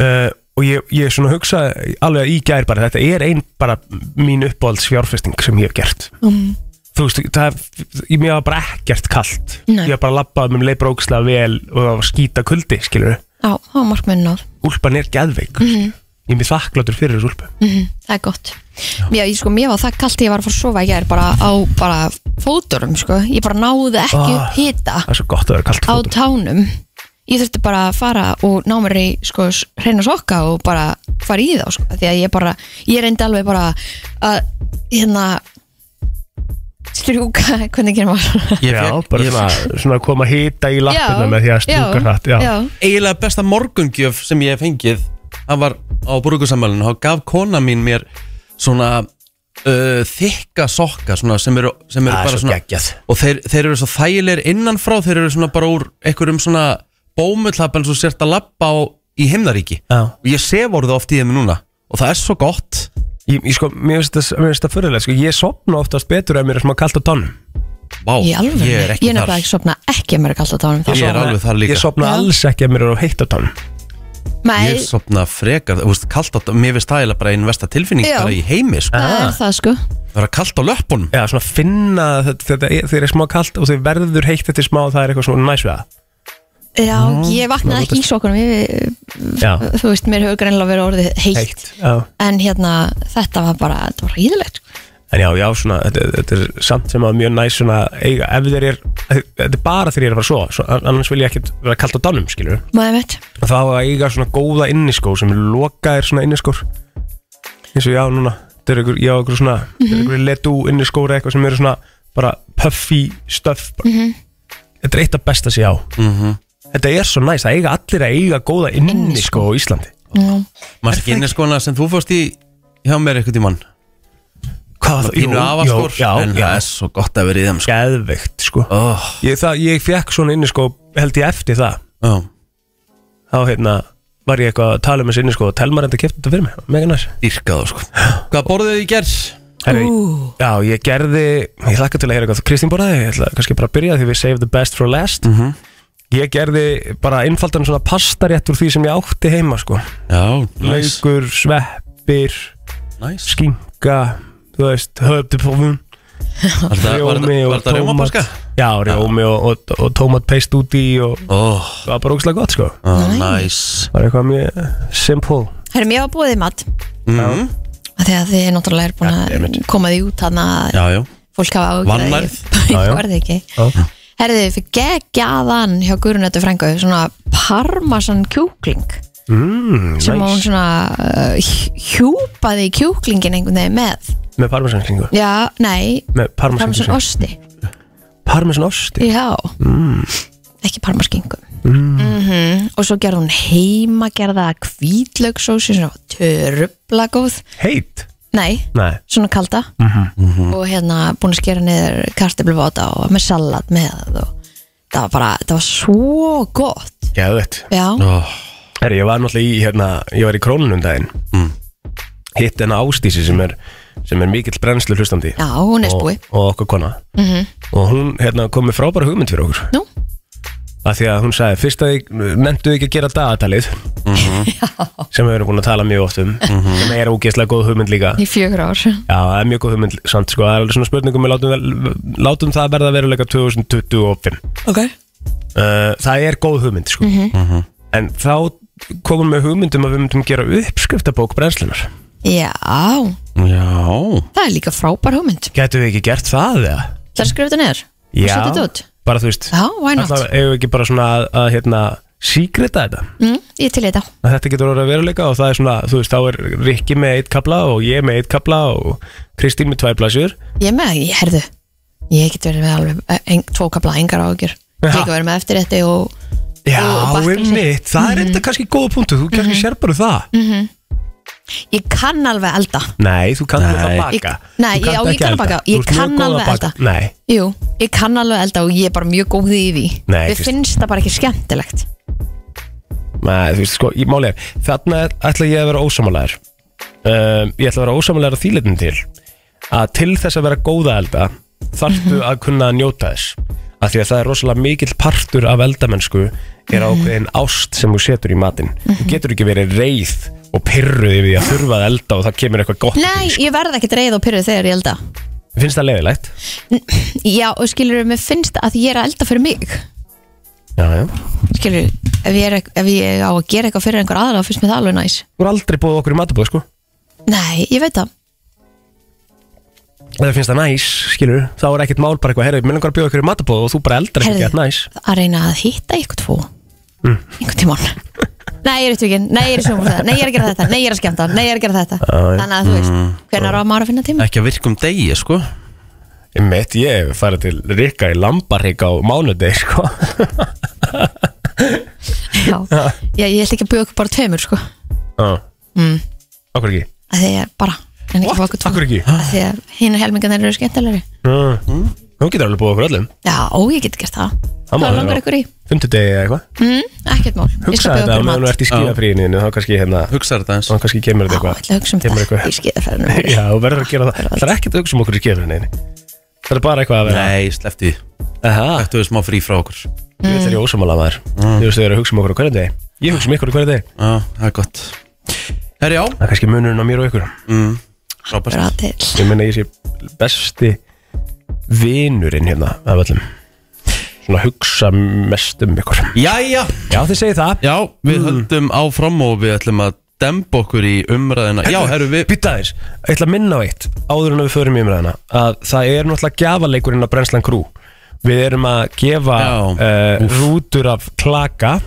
[SPEAKER 2] Uh, og ég, ég svona hugsa alveg í gær bara þetta er einn bara mín uppáhalds fjárfesting sem ég hef gert
[SPEAKER 3] um,
[SPEAKER 2] þú veist, það, ég mér var bara ekkert kalt
[SPEAKER 3] Nei.
[SPEAKER 2] Ég var bara að labbaði með leið brókslega vel og það var skýta kuldi, skilur
[SPEAKER 3] Já, þá var markmiðin náð
[SPEAKER 2] Úlpan er geðveik
[SPEAKER 3] Mhm.
[SPEAKER 2] mm -hmm. Ég er mér þakkláttur fyrir þessu úlpu
[SPEAKER 3] Það er gott Já, ég sko, mér var það kalt þegar ég var að fara að sofa Ég er bara á bara fóturum, sko Ég bara náði ekki
[SPEAKER 2] Ah.
[SPEAKER 3] upp hita
[SPEAKER 2] Það er svo gott að vera kalt
[SPEAKER 3] á
[SPEAKER 2] fótum
[SPEAKER 3] tánum Ég þurfti bara að fara og ná mér í sko, s- hreina sokka og bara fara í þá sko. Því að ég bara, ég reyndi alveg bara að, hérna strjúka, hvernig gerum maður
[SPEAKER 1] Ég
[SPEAKER 2] Já,
[SPEAKER 1] fékk-
[SPEAKER 2] bara
[SPEAKER 1] ég-
[SPEAKER 2] svona, svona að koma að hita í lappina með því að stúka hratt
[SPEAKER 3] já,
[SPEAKER 2] já.
[SPEAKER 3] já,
[SPEAKER 1] eiginlega besta morgungjöf sem ég hef fengið hann var á brúkusamælinu þá gaf kona mín mér svona uh, þykka sokka svona, sem eru, sem eru
[SPEAKER 2] Það er
[SPEAKER 1] bara
[SPEAKER 2] svo
[SPEAKER 1] svona
[SPEAKER 2] geggjað.
[SPEAKER 1] og þeir, þeir eru svo þægilegir innanfrá þeir eru svona bara úr einhverjum svona bómullhapp en svo sért að labba á í himnaríki
[SPEAKER 2] Já.
[SPEAKER 1] og ég sef orðið oft í þeim núna og það er svo gott
[SPEAKER 2] Ég, ég sko, mér finnst það, mér finnst það fyrirlega sko, Ég sopna oftast betur ef mér er smá kalt á tánum
[SPEAKER 1] Vá,
[SPEAKER 3] í alveg
[SPEAKER 1] ég er ekki
[SPEAKER 3] Ég nefnilega
[SPEAKER 1] þar
[SPEAKER 3] ekki sopna ekki að mér er kalt á tánum
[SPEAKER 1] Ég er
[SPEAKER 2] Sofna-
[SPEAKER 1] alveg þar líka.
[SPEAKER 2] Ég sopna
[SPEAKER 3] Já.
[SPEAKER 2] alls ekki ef mér er á heitt á tánum
[SPEAKER 3] Nei,
[SPEAKER 1] Ég sopna frekar, þú veist, kalt á Mér finnst það eiginlega bara einn versta tilfinning
[SPEAKER 3] Já.
[SPEAKER 1] bara í heimi sko.
[SPEAKER 3] það er það sko
[SPEAKER 1] Það er kalt á löppunum
[SPEAKER 2] Já, svona finna að þetta, þetta er- þegar er smá kalt og þegar verður heitt eftir smá það er eitthvað svona næs við það
[SPEAKER 3] Já, ég vaknaði ekki í sokkunum ég,
[SPEAKER 2] Já,
[SPEAKER 3] Þú veist, mér hefur greinlega verið orðið heitt,
[SPEAKER 2] heitt já.
[SPEAKER 3] En hérna, þetta var bara, þetta var sko, hýðilegt
[SPEAKER 2] En já, já, svona, þetta, þetta er samt sem að mjög næs svona, eiga, ef þeir er þetta er bara þegar ég er að fara að sofa svo, annars vil ég ekkert vera kalt á dánum, skilur
[SPEAKER 3] Maður mitt
[SPEAKER 2] og þá að eiga svona góða inniskó sem er lokaðir svona inniskór eins og já, núna, þetta er ykkur, já, ykkur svona mm -hmm. ykkur letu inniskóri eitthvað sem eru svona bara puffy stuff bara. þetta er eitt af best að sé á
[SPEAKER 1] Mhm.
[SPEAKER 2] þetta er svo næs, það eiga allir að eiga góða inniskó á Íslandi
[SPEAKER 3] Mhm.
[SPEAKER 1] Mæst ekki inniskona sem þú fórst í hjá mér eitthvað í mann
[SPEAKER 2] Hvað,
[SPEAKER 1] Pínu afaskor
[SPEAKER 2] já,
[SPEAKER 1] En
[SPEAKER 2] já,
[SPEAKER 1] það er svo gott að vera í þeim sko.
[SPEAKER 2] geðveikt sko
[SPEAKER 1] oh,
[SPEAKER 2] ég, það, ég fekk svona inni sko held ég eftir það
[SPEAKER 1] já.
[SPEAKER 2] þá hérna var ég eitthvað að tala um þessi inni sko og telmar enda kefti þetta fyrir mig, mega næs
[SPEAKER 1] Dýrkaðu sko Hvað borðuðu þið í gerð?
[SPEAKER 2] Herri, já, ég gerði, ég hlakka til að heyra hvað Kristín borðaði, ég ætla kannski bara að byrja því við save the best for last
[SPEAKER 1] Mhm.
[SPEAKER 2] ég gerði bara einfaldan svona pastarétt úr því sem ég átti heima sko
[SPEAKER 1] Já, næs
[SPEAKER 2] laukur, sveppir,
[SPEAKER 1] Næs
[SPEAKER 2] skinka þú veist, höfdupofum
[SPEAKER 1] Var það- var
[SPEAKER 2] rjómi
[SPEAKER 1] það-
[SPEAKER 2] og
[SPEAKER 1] var það rjómapaska?
[SPEAKER 2] já, rjómi og, og, og tómatpeist út í og
[SPEAKER 1] Ó,
[SPEAKER 2] það var bara ógislega gott sko
[SPEAKER 1] ó, næs
[SPEAKER 2] var eitthvað mjög simple
[SPEAKER 3] Herri, mér var búið í mat
[SPEAKER 1] Mm.
[SPEAKER 3] af Því að þið náttúrulega er búin
[SPEAKER 2] Ja,
[SPEAKER 3] að
[SPEAKER 2] einmitt.
[SPEAKER 3] koma því út Þannig að
[SPEAKER 1] Já, já
[SPEAKER 3] fólk hafa ágjörð
[SPEAKER 1] Vannærð.
[SPEAKER 2] Já, já.
[SPEAKER 3] Ég varði ekki Herri, við geggjaðan hjá Gurunötu frængu Svona parmasan kjúkling
[SPEAKER 2] mm,
[SPEAKER 3] Sem
[SPEAKER 2] nice.
[SPEAKER 3] hún svona uh, hjúpaði í kjúklingin einhvern veginn með
[SPEAKER 2] með parmesankringu
[SPEAKER 3] Já, nei,
[SPEAKER 2] með
[SPEAKER 3] parmasan
[SPEAKER 2] parmesankringu
[SPEAKER 3] osti
[SPEAKER 2] parmesanosti
[SPEAKER 3] Já
[SPEAKER 2] Mm.
[SPEAKER 3] Ekki parmaskingu mm. Og svo gerði hún heimagerða hvítlaugsósi Svona törubla góð
[SPEAKER 2] heit
[SPEAKER 3] Nei,
[SPEAKER 2] nei Mm.
[SPEAKER 3] svona kalda
[SPEAKER 2] Mhm.
[SPEAKER 1] Mhm.
[SPEAKER 3] Og hérna búin að skera niður kartöflubáta Og með salat með og Það var bara, það var svo gott
[SPEAKER 2] geðvett
[SPEAKER 3] Já,
[SPEAKER 1] Ó,
[SPEAKER 2] herri ég var náttúrulega í hérna ég var í krónunum daginn
[SPEAKER 1] Mm.
[SPEAKER 2] hitt en ástísi sem er sem er mikill brennslu hlustandi
[SPEAKER 3] já hún er
[SPEAKER 2] og,
[SPEAKER 3] spúi
[SPEAKER 2] og okkur kona
[SPEAKER 3] Mhm.
[SPEAKER 2] -hmm. og hún hérna kom með frábæra hugmynd fyrir okkur
[SPEAKER 3] Nú?
[SPEAKER 2] að því að hún sagði fyrst að nefndu ekki að gera dagatalið sem við erum búin að tala mjög oft um
[SPEAKER 1] Mhm.
[SPEAKER 2] sem er ógeðslega góð hugmynd líka
[SPEAKER 3] Í fjögur ár
[SPEAKER 2] Já, það er mjög góð hugmynd samt sko, það er alveg svona spurningum við látum, vel- látum það verða veruleika 2025
[SPEAKER 3] Ok Mhm.
[SPEAKER 2] uh, Það er góð hugmynd sko En þá komum við hugmyndum að við myndum gera uppskriftabók brennslunar
[SPEAKER 3] Já,
[SPEAKER 1] Já
[SPEAKER 3] það er líka frábær hugmynd
[SPEAKER 2] Gætu við ekki gert það eða?
[SPEAKER 3] Það er skrifað niður og setja þetta út
[SPEAKER 2] bara þú veist
[SPEAKER 3] Já, why not?
[SPEAKER 2] Alltaf eigum við ekki bara svona að, að hérna síkrita þetta
[SPEAKER 3] mm, Ég er til í þetta
[SPEAKER 2] að þetta getur orðið að veruleika og það er svona, þú veist, þá er Rikki með eitt kapla og ég með eitt kapla og Kristín með tvær blæsjur
[SPEAKER 3] Ég er með, ég herðu Ég get verið með alveg en, tvo kapla engar ágjur
[SPEAKER 2] Já.
[SPEAKER 3] Líka verið með eftir þetta og
[SPEAKER 2] Já,
[SPEAKER 3] Og bakkelsi.
[SPEAKER 2] einmitt, það er þetta kannski góða punktu, þú kannski sér bara það
[SPEAKER 3] Ég kann alveg elda
[SPEAKER 2] Nei, þú kannt ekki að
[SPEAKER 1] Nei.
[SPEAKER 2] baka
[SPEAKER 3] Ég- nei,
[SPEAKER 2] Þú kannt
[SPEAKER 3] já, ég
[SPEAKER 2] ekki
[SPEAKER 3] kann að
[SPEAKER 2] elda.
[SPEAKER 3] baka.
[SPEAKER 2] Þú
[SPEAKER 3] Ég
[SPEAKER 2] ert mjög
[SPEAKER 3] kann
[SPEAKER 2] góð að
[SPEAKER 3] alveg
[SPEAKER 2] baka.
[SPEAKER 3] elda.
[SPEAKER 2] Nei,
[SPEAKER 3] Jú, ég kann alveg elda og ég er bara mjög góð í því
[SPEAKER 2] Nei,
[SPEAKER 3] Mér
[SPEAKER 2] Kristín.
[SPEAKER 3] finnst það bara ekki skemmtilegt
[SPEAKER 2] Nei, þú veist, sko, ég máli er Þarna er- ætla ég að vera ósamalæður um, Ég ætla að vera ósamalæður að þýleitin til að til þess að vera góða að elda þarftu
[SPEAKER 3] Mhm.
[SPEAKER 2] að kunna að njóta þess af því að það er rosalega mikill partur af eldamennsku er
[SPEAKER 3] Mhm.
[SPEAKER 2] ákveðin ást sem þú setur í matinn þú getur ekki verið reið og pyrruð yfir því að þurfa að elda og það kemur eitthvað gott
[SPEAKER 3] Nei, ég verð ekki dreið og pyrruð þegar ég elda
[SPEAKER 2] Finnst það leiðilegt?
[SPEAKER 3] Já, og skilur, mér finnst að ég er að elda fyrir mig
[SPEAKER 2] Já, já
[SPEAKER 3] Skilur, ef ég, er, ek- ef ég á að gera eitthvað fyrir einhver aðra, finnst mér það alveg næs
[SPEAKER 2] Þú er aldrei búið okkur í matabóð, sko
[SPEAKER 3] Nei, ég veit það
[SPEAKER 2] Ef það finnst það næs, skilur Þá er ekkert mál bara eitthvað Herri, mér langar að bjóða okkur í matabóð og þú bara eldar
[SPEAKER 3] Heyrðu,
[SPEAKER 2] eitthvað gett næs Mm.
[SPEAKER 3] Að reyna að hitta ykkur tvo Einhvern tímann Nei, ég er upptökin, nei, ég er í sjónvarpsþætti, nei, ég er að gera þetta Nei, ég er að skemmta, nei, ég er að gera þetta Þannig að þú veist,
[SPEAKER 2] Mm,
[SPEAKER 3] hvenær á maður að finna tíma?
[SPEAKER 1] Mm, Ekki að virkum degi, sko
[SPEAKER 2] Mitt, ég farið til Rikka í Lambarík á mánudeg, sko
[SPEAKER 3] Já, Já ég ætla ekki að bjóða ykkur bara tveimur, sko Mm.
[SPEAKER 2] Akkur ekki?
[SPEAKER 3] að því ég bara en ekki fokkut
[SPEAKER 2] Akkur ekki?
[SPEAKER 3] að því að hinn og helmingarnir eru skemmtilegri
[SPEAKER 2] Mm. Þú getur alveg búið okkur öllum
[SPEAKER 3] já, ó, ég get gert það
[SPEAKER 2] Það má
[SPEAKER 3] það
[SPEAKER 2] vera.
[SPEAKER 3] langar ykkur í
[SPEAKER 2] Fymtudegi eða eitthvað
[SPEAKER 3] mm, ekkert mál, ég
[SPEAKER 2] Hugsa
[SPEAKER 3] skal
[SPEAKER 2] þetta á
[SPEAKER 3] bjóða okkur í
[SPEAKER 2] meðan þú
[SPEAKER 3] mat
[SPEAKER 2] ert í skíðafríðinu Þá kannski hérna
[SPEAKER 1] Hugsaðu þetta eins
[SPEAKER 2] Þá kannski kemur
[SPEAKER 3] já,
[SPEAKER 2] þetta
[SPEAKER 3] ætla að hugsa um
[SPEAKER 2] Kemur
[SPEAKER 3] það
[SPEAKER 2] eitthvað.
[SPEAKER 3] í skiðafræðinu
[SPEAKER 2] eitthvað Já, þú verður að gera það Það er ekkert að hugsa um okkur í skíðafríðinu Það er bara eitthvað að vera
[SPEAKER 1] Nei, sleppti því
[SPEAKER 2] Aha,
[SPEAKER 1] Ættu við smá frí frá okkur
[SPEAKER 2] Ég
[SPEAKER 3] Mm.
[SPEAKER 2] veit það er ég ósamála maður Þú veist þau eru að hugsa um okkur á hverjum degi Ég hugsa um ykkur á hverjum degi
[SPEAKER 1] Já, Ah. það er gott Herri, já
[SPEAKER 2] Það er kannski munurinn á mér og ykkur
[SPEAKER 1] mm. Frábært
[SPEAKER 3] bra til
[SPEAKER 2] Ég meina ég sé besti vinurinn hérna af öllum Svona hugsa mest um ykkur
[SPEAKER 1] Jæja,
[SPEAKER 2] Já þið segir það Mm.
[SPEAKER 1] já, við höldum áfram og við ætlum að demba okkur í umræðina Já, herru, við
[SPEAKER 2] Býta aðeins, ég ætla að minna á eitt áður en við förum í umræðina að það er náttúrulega gjafaleikurinn að brennslan krú við erum að gefa
[SPEAKER 1] Já,
[SPEAKER 2] uh, rútur af klaka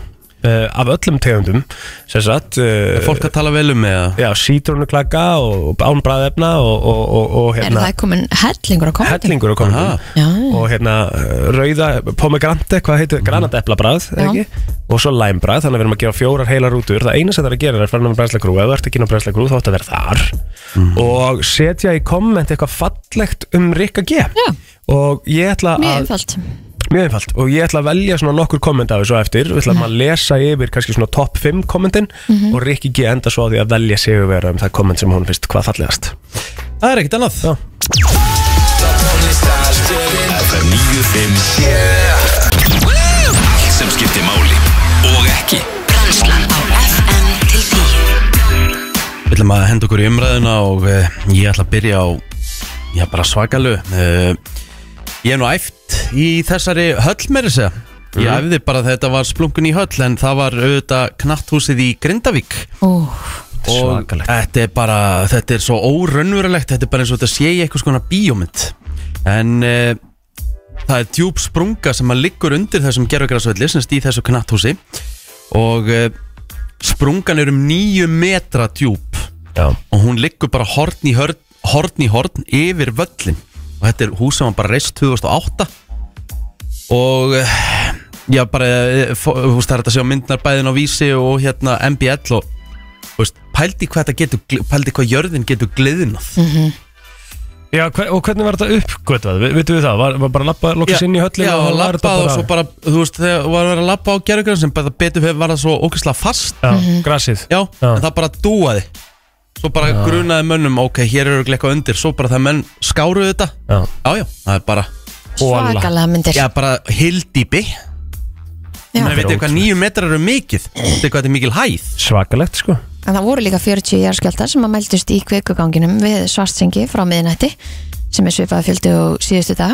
[SPEAKER 2] uh, af öllum tegundum sem sagt uh,
[SPEAKER 1] Fólk að tala vel um með það
[SPEAKER 2] já, sítrónuklaka og ánbræðefna og, og, og, og
[SPEAKER 3] er
[SPEAKER 2] hérna,
[SPEAKER 3] það komin hellingur á komandi?
[SPEAKER 2] hellingur og komum
[SPEAKER 1] Aha.
[SPEAKER 3] já,
[SPEAKER 2] og hérna uh, rauða pomegranate, hvað heitir, granateplabræð
[SPEAKER 3] Já.
[SPEAKER 2] ekki, og svo læmbræð, þannig að við erum að gera fjórar heilar rútur, það eina sem það er að gera er að fara með brenslegrú, ef þú ert ekki inn á brenslegrú þá ætti að vera þar Mm. og setja í komment eitthvað fallegt um Rikka G
[SPEAKER 3] Já.
[SPEAKER 2] og ég ætla
[SPEAKER 3] mjög
[SPEAKER 2] að
[SPEAKER 3] einfalt
[SPEAKER 2] Mjög einfalt og ég ætla að velja svona nokkur komment af þessu á eftir Við ætlum
[SPEAKER 3] Mhm.
[SPEAKER 2] að lesa yfir kannski svona top 5 kommentin og Rikki G enda svo á því að velja sigurvera um það komment sem hún finnst hvað fallegast
[SPEAKER 1] Það er ekkert annað
[SPEAKER 2] Já.
[SPEAKER 5] FM 957 Allt sem skiptir máli og ekki
[SPEAKER 7] Brennslan á FM til 10
[SPEAKER 1] Við ætlum að henda okkur í umræðina og uh, ég ætla að byrja á Já, bara svakalu uh, Ég hef nú æft í þessari höll meira að segja Ég æfði bara að þetta var splunkun í höll en það var auðvitað knatthúsið í Grindavík
[SPEAKER 3] Ú,
[SPEAKER 1] og
[SPEAKER 2] Svakalegt.
[SPEAKER 1] þetta er bara þetta er svo óraunverulegt, þetta er bara eins og þetta sé í eitthvað skona bíómynd en uh, það er djúb sprunga sem að liggur undir þessum gerfugrasvelli sem stýð þessu knatthúsi og uh, sprungan er um nýju metra djúb
[SPEAKER 2] Já.
[SPEAKER 1] og hún liggur bara horn í horn, horn í horn yfir völlin og þetta er hús sem var bara reist 2008 og eh, já bara eh, fó- þú veist það er þetta að sjá myndnar bæðin á vísi og hérna MBL og þú veist, pældi hvað þetta getur gl- pældi hvað jörðin getur gliðnað
[SPEAKER 2] Mhm. Já, hver, og hvernig var þetta uppgötvað? Ve- Veitum við það? Var, var bara labbað lokast inn í höllinu?
[SPEAKER 1] já,
[SPEAKER 2] og var þetta
[SPEAKER 1] labbað og svo bara þú veist þegar var að vera að labba á gerðugrann sem bara betur hefur var það svo ókvæslega fast
[SPEAKER 2] Já,
[SPEAKER 3] Mhm.
[SPEAKER 2] grasið
[SPEAKER 1] já,
[SPEAKER 2] Já.
[SPEAKER 1] en það bara dúaði svo bara grunaði mönnum ok, hér eru örugglega eitthvað undir svo bara það menn skáruðu þetta
[SPEAKER 2] Já.
[SPEAKER 1] já, já, það er bara
[SPEAKER 2] Hola.
[SPEAKER 3] svakalega myndir
[SPEAKER 1] Já, bara hildýpi
[SPEAKER 3] Já.
[SPEAKER 1] Menni, veitu hvað nýju metrar eru mikið Veitu hvað þetta er mikil hæð
[SPEAKER 2] Svakalegt sko
[SPEAKER 3] En það voru líka 40 jarðskjáltar sem að meldust í kvikuganginum við svartsengi frá miðinætti sem er svipaði fjöldi og síðustu dag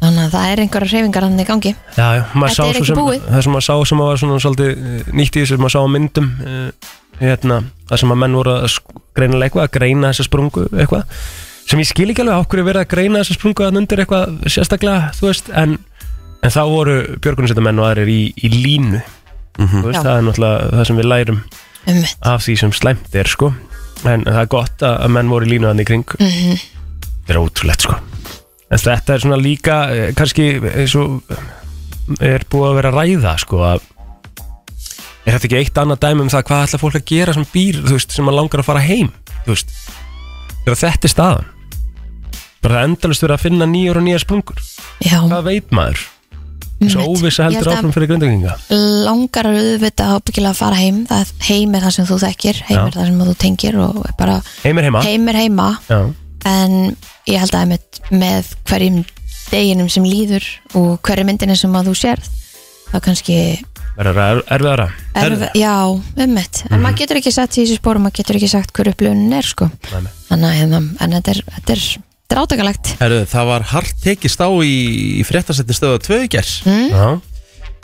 [SPEAKER 3] þannig að það er einhverja hreyfingar hann í gangi
[SPEAKER 2] Já, já, maður
[SPEAKER 3] Þetta
[SPEAKER 2] sá
[SPEAKER 3] er
[SPEAKER 2] svo
[SPEAKER 3] ekki
[SPEAKER 2] sem
[SPEAKER 3] búið.
[SPEAKER 2] Það sem maður sá sem maður var svona svolítið eh, nýtt í þessu maður sá á myndum eh, hérna, það sem að menn voru að sk- greinilega eitthvað að greina þessa sprungu eitthvað sem ég skil ekki alveg á hverju er verið að greina þessa sprungu að undir eitthvað sérstaklega þú veist, en, en þá voru björgunarsættamenn og aðrir í, í línu þú veist,
[SPEAKER 3] Já.
[SPEAKER 2] það er náttúrulega það sem við lærum
[SPEAKER 3] um
[SPEAKER 2] af því sem slæmt er sko en það er gott að, að menn voru í línu hann í kring
[SPEAKER 3] Mhm.
[SPEAKER 2] þetta er ótrúlegt sko en þetta er svona líka eh, kannski eins og eh, er búið að vera að ræða sko að er þetta ekki eitt annað dæmi um það hvað ætla fólk að gera sem býr þú veist, sem að langar að fara heim þú veist, þegar þetta er staðan bara það endalist verið að finna nýjar og nýjar sprungur
[SPEAKER 3] Já,
[SPEAKER 2] hvað veit maður eins og
[SPEAKER 3] einmitt.
[SPEAKER 2] óvissa
[SPEAKER 3] Ég held
[SPEAKER 2] heldur
[SPEAKER 3] að
[SPEAKER 2] áfram fyrir grindagringa
[SPEAKER 3] langar að auðvita ábyggilega að fara heim það heim er það sem þú þekkir, heim
[SPEAKER 2] Já.
[SPEAKER 3] er það sem þú tengir og er bara
[SPEAKER 2] heim er heima
[SPEAKER 3] heim er heima
[SPEAKER 2] Já.
[SPEAKER 3] en ég held að einmitt með hverjum deginum sem líður og hverju myndinu sem að þú sérð þá kannski
[SPEAKER 2] verður að erfiðara Mhm.
[SPEAKER 3] erf, já, ummitt en maður getur ekki sett í þessu spórum, maður getur ekki sagt hver upplöfunin er sko
[SPEAKER 2] Nei, nei.
[SPEAKER 3] þannig að hérna, en þetta er, þetta er, þetta þetta er átakalegt
[SPEAKER 1] Herru, það var hart tekist á í, í fréttasetti stöða 2 í gær mm.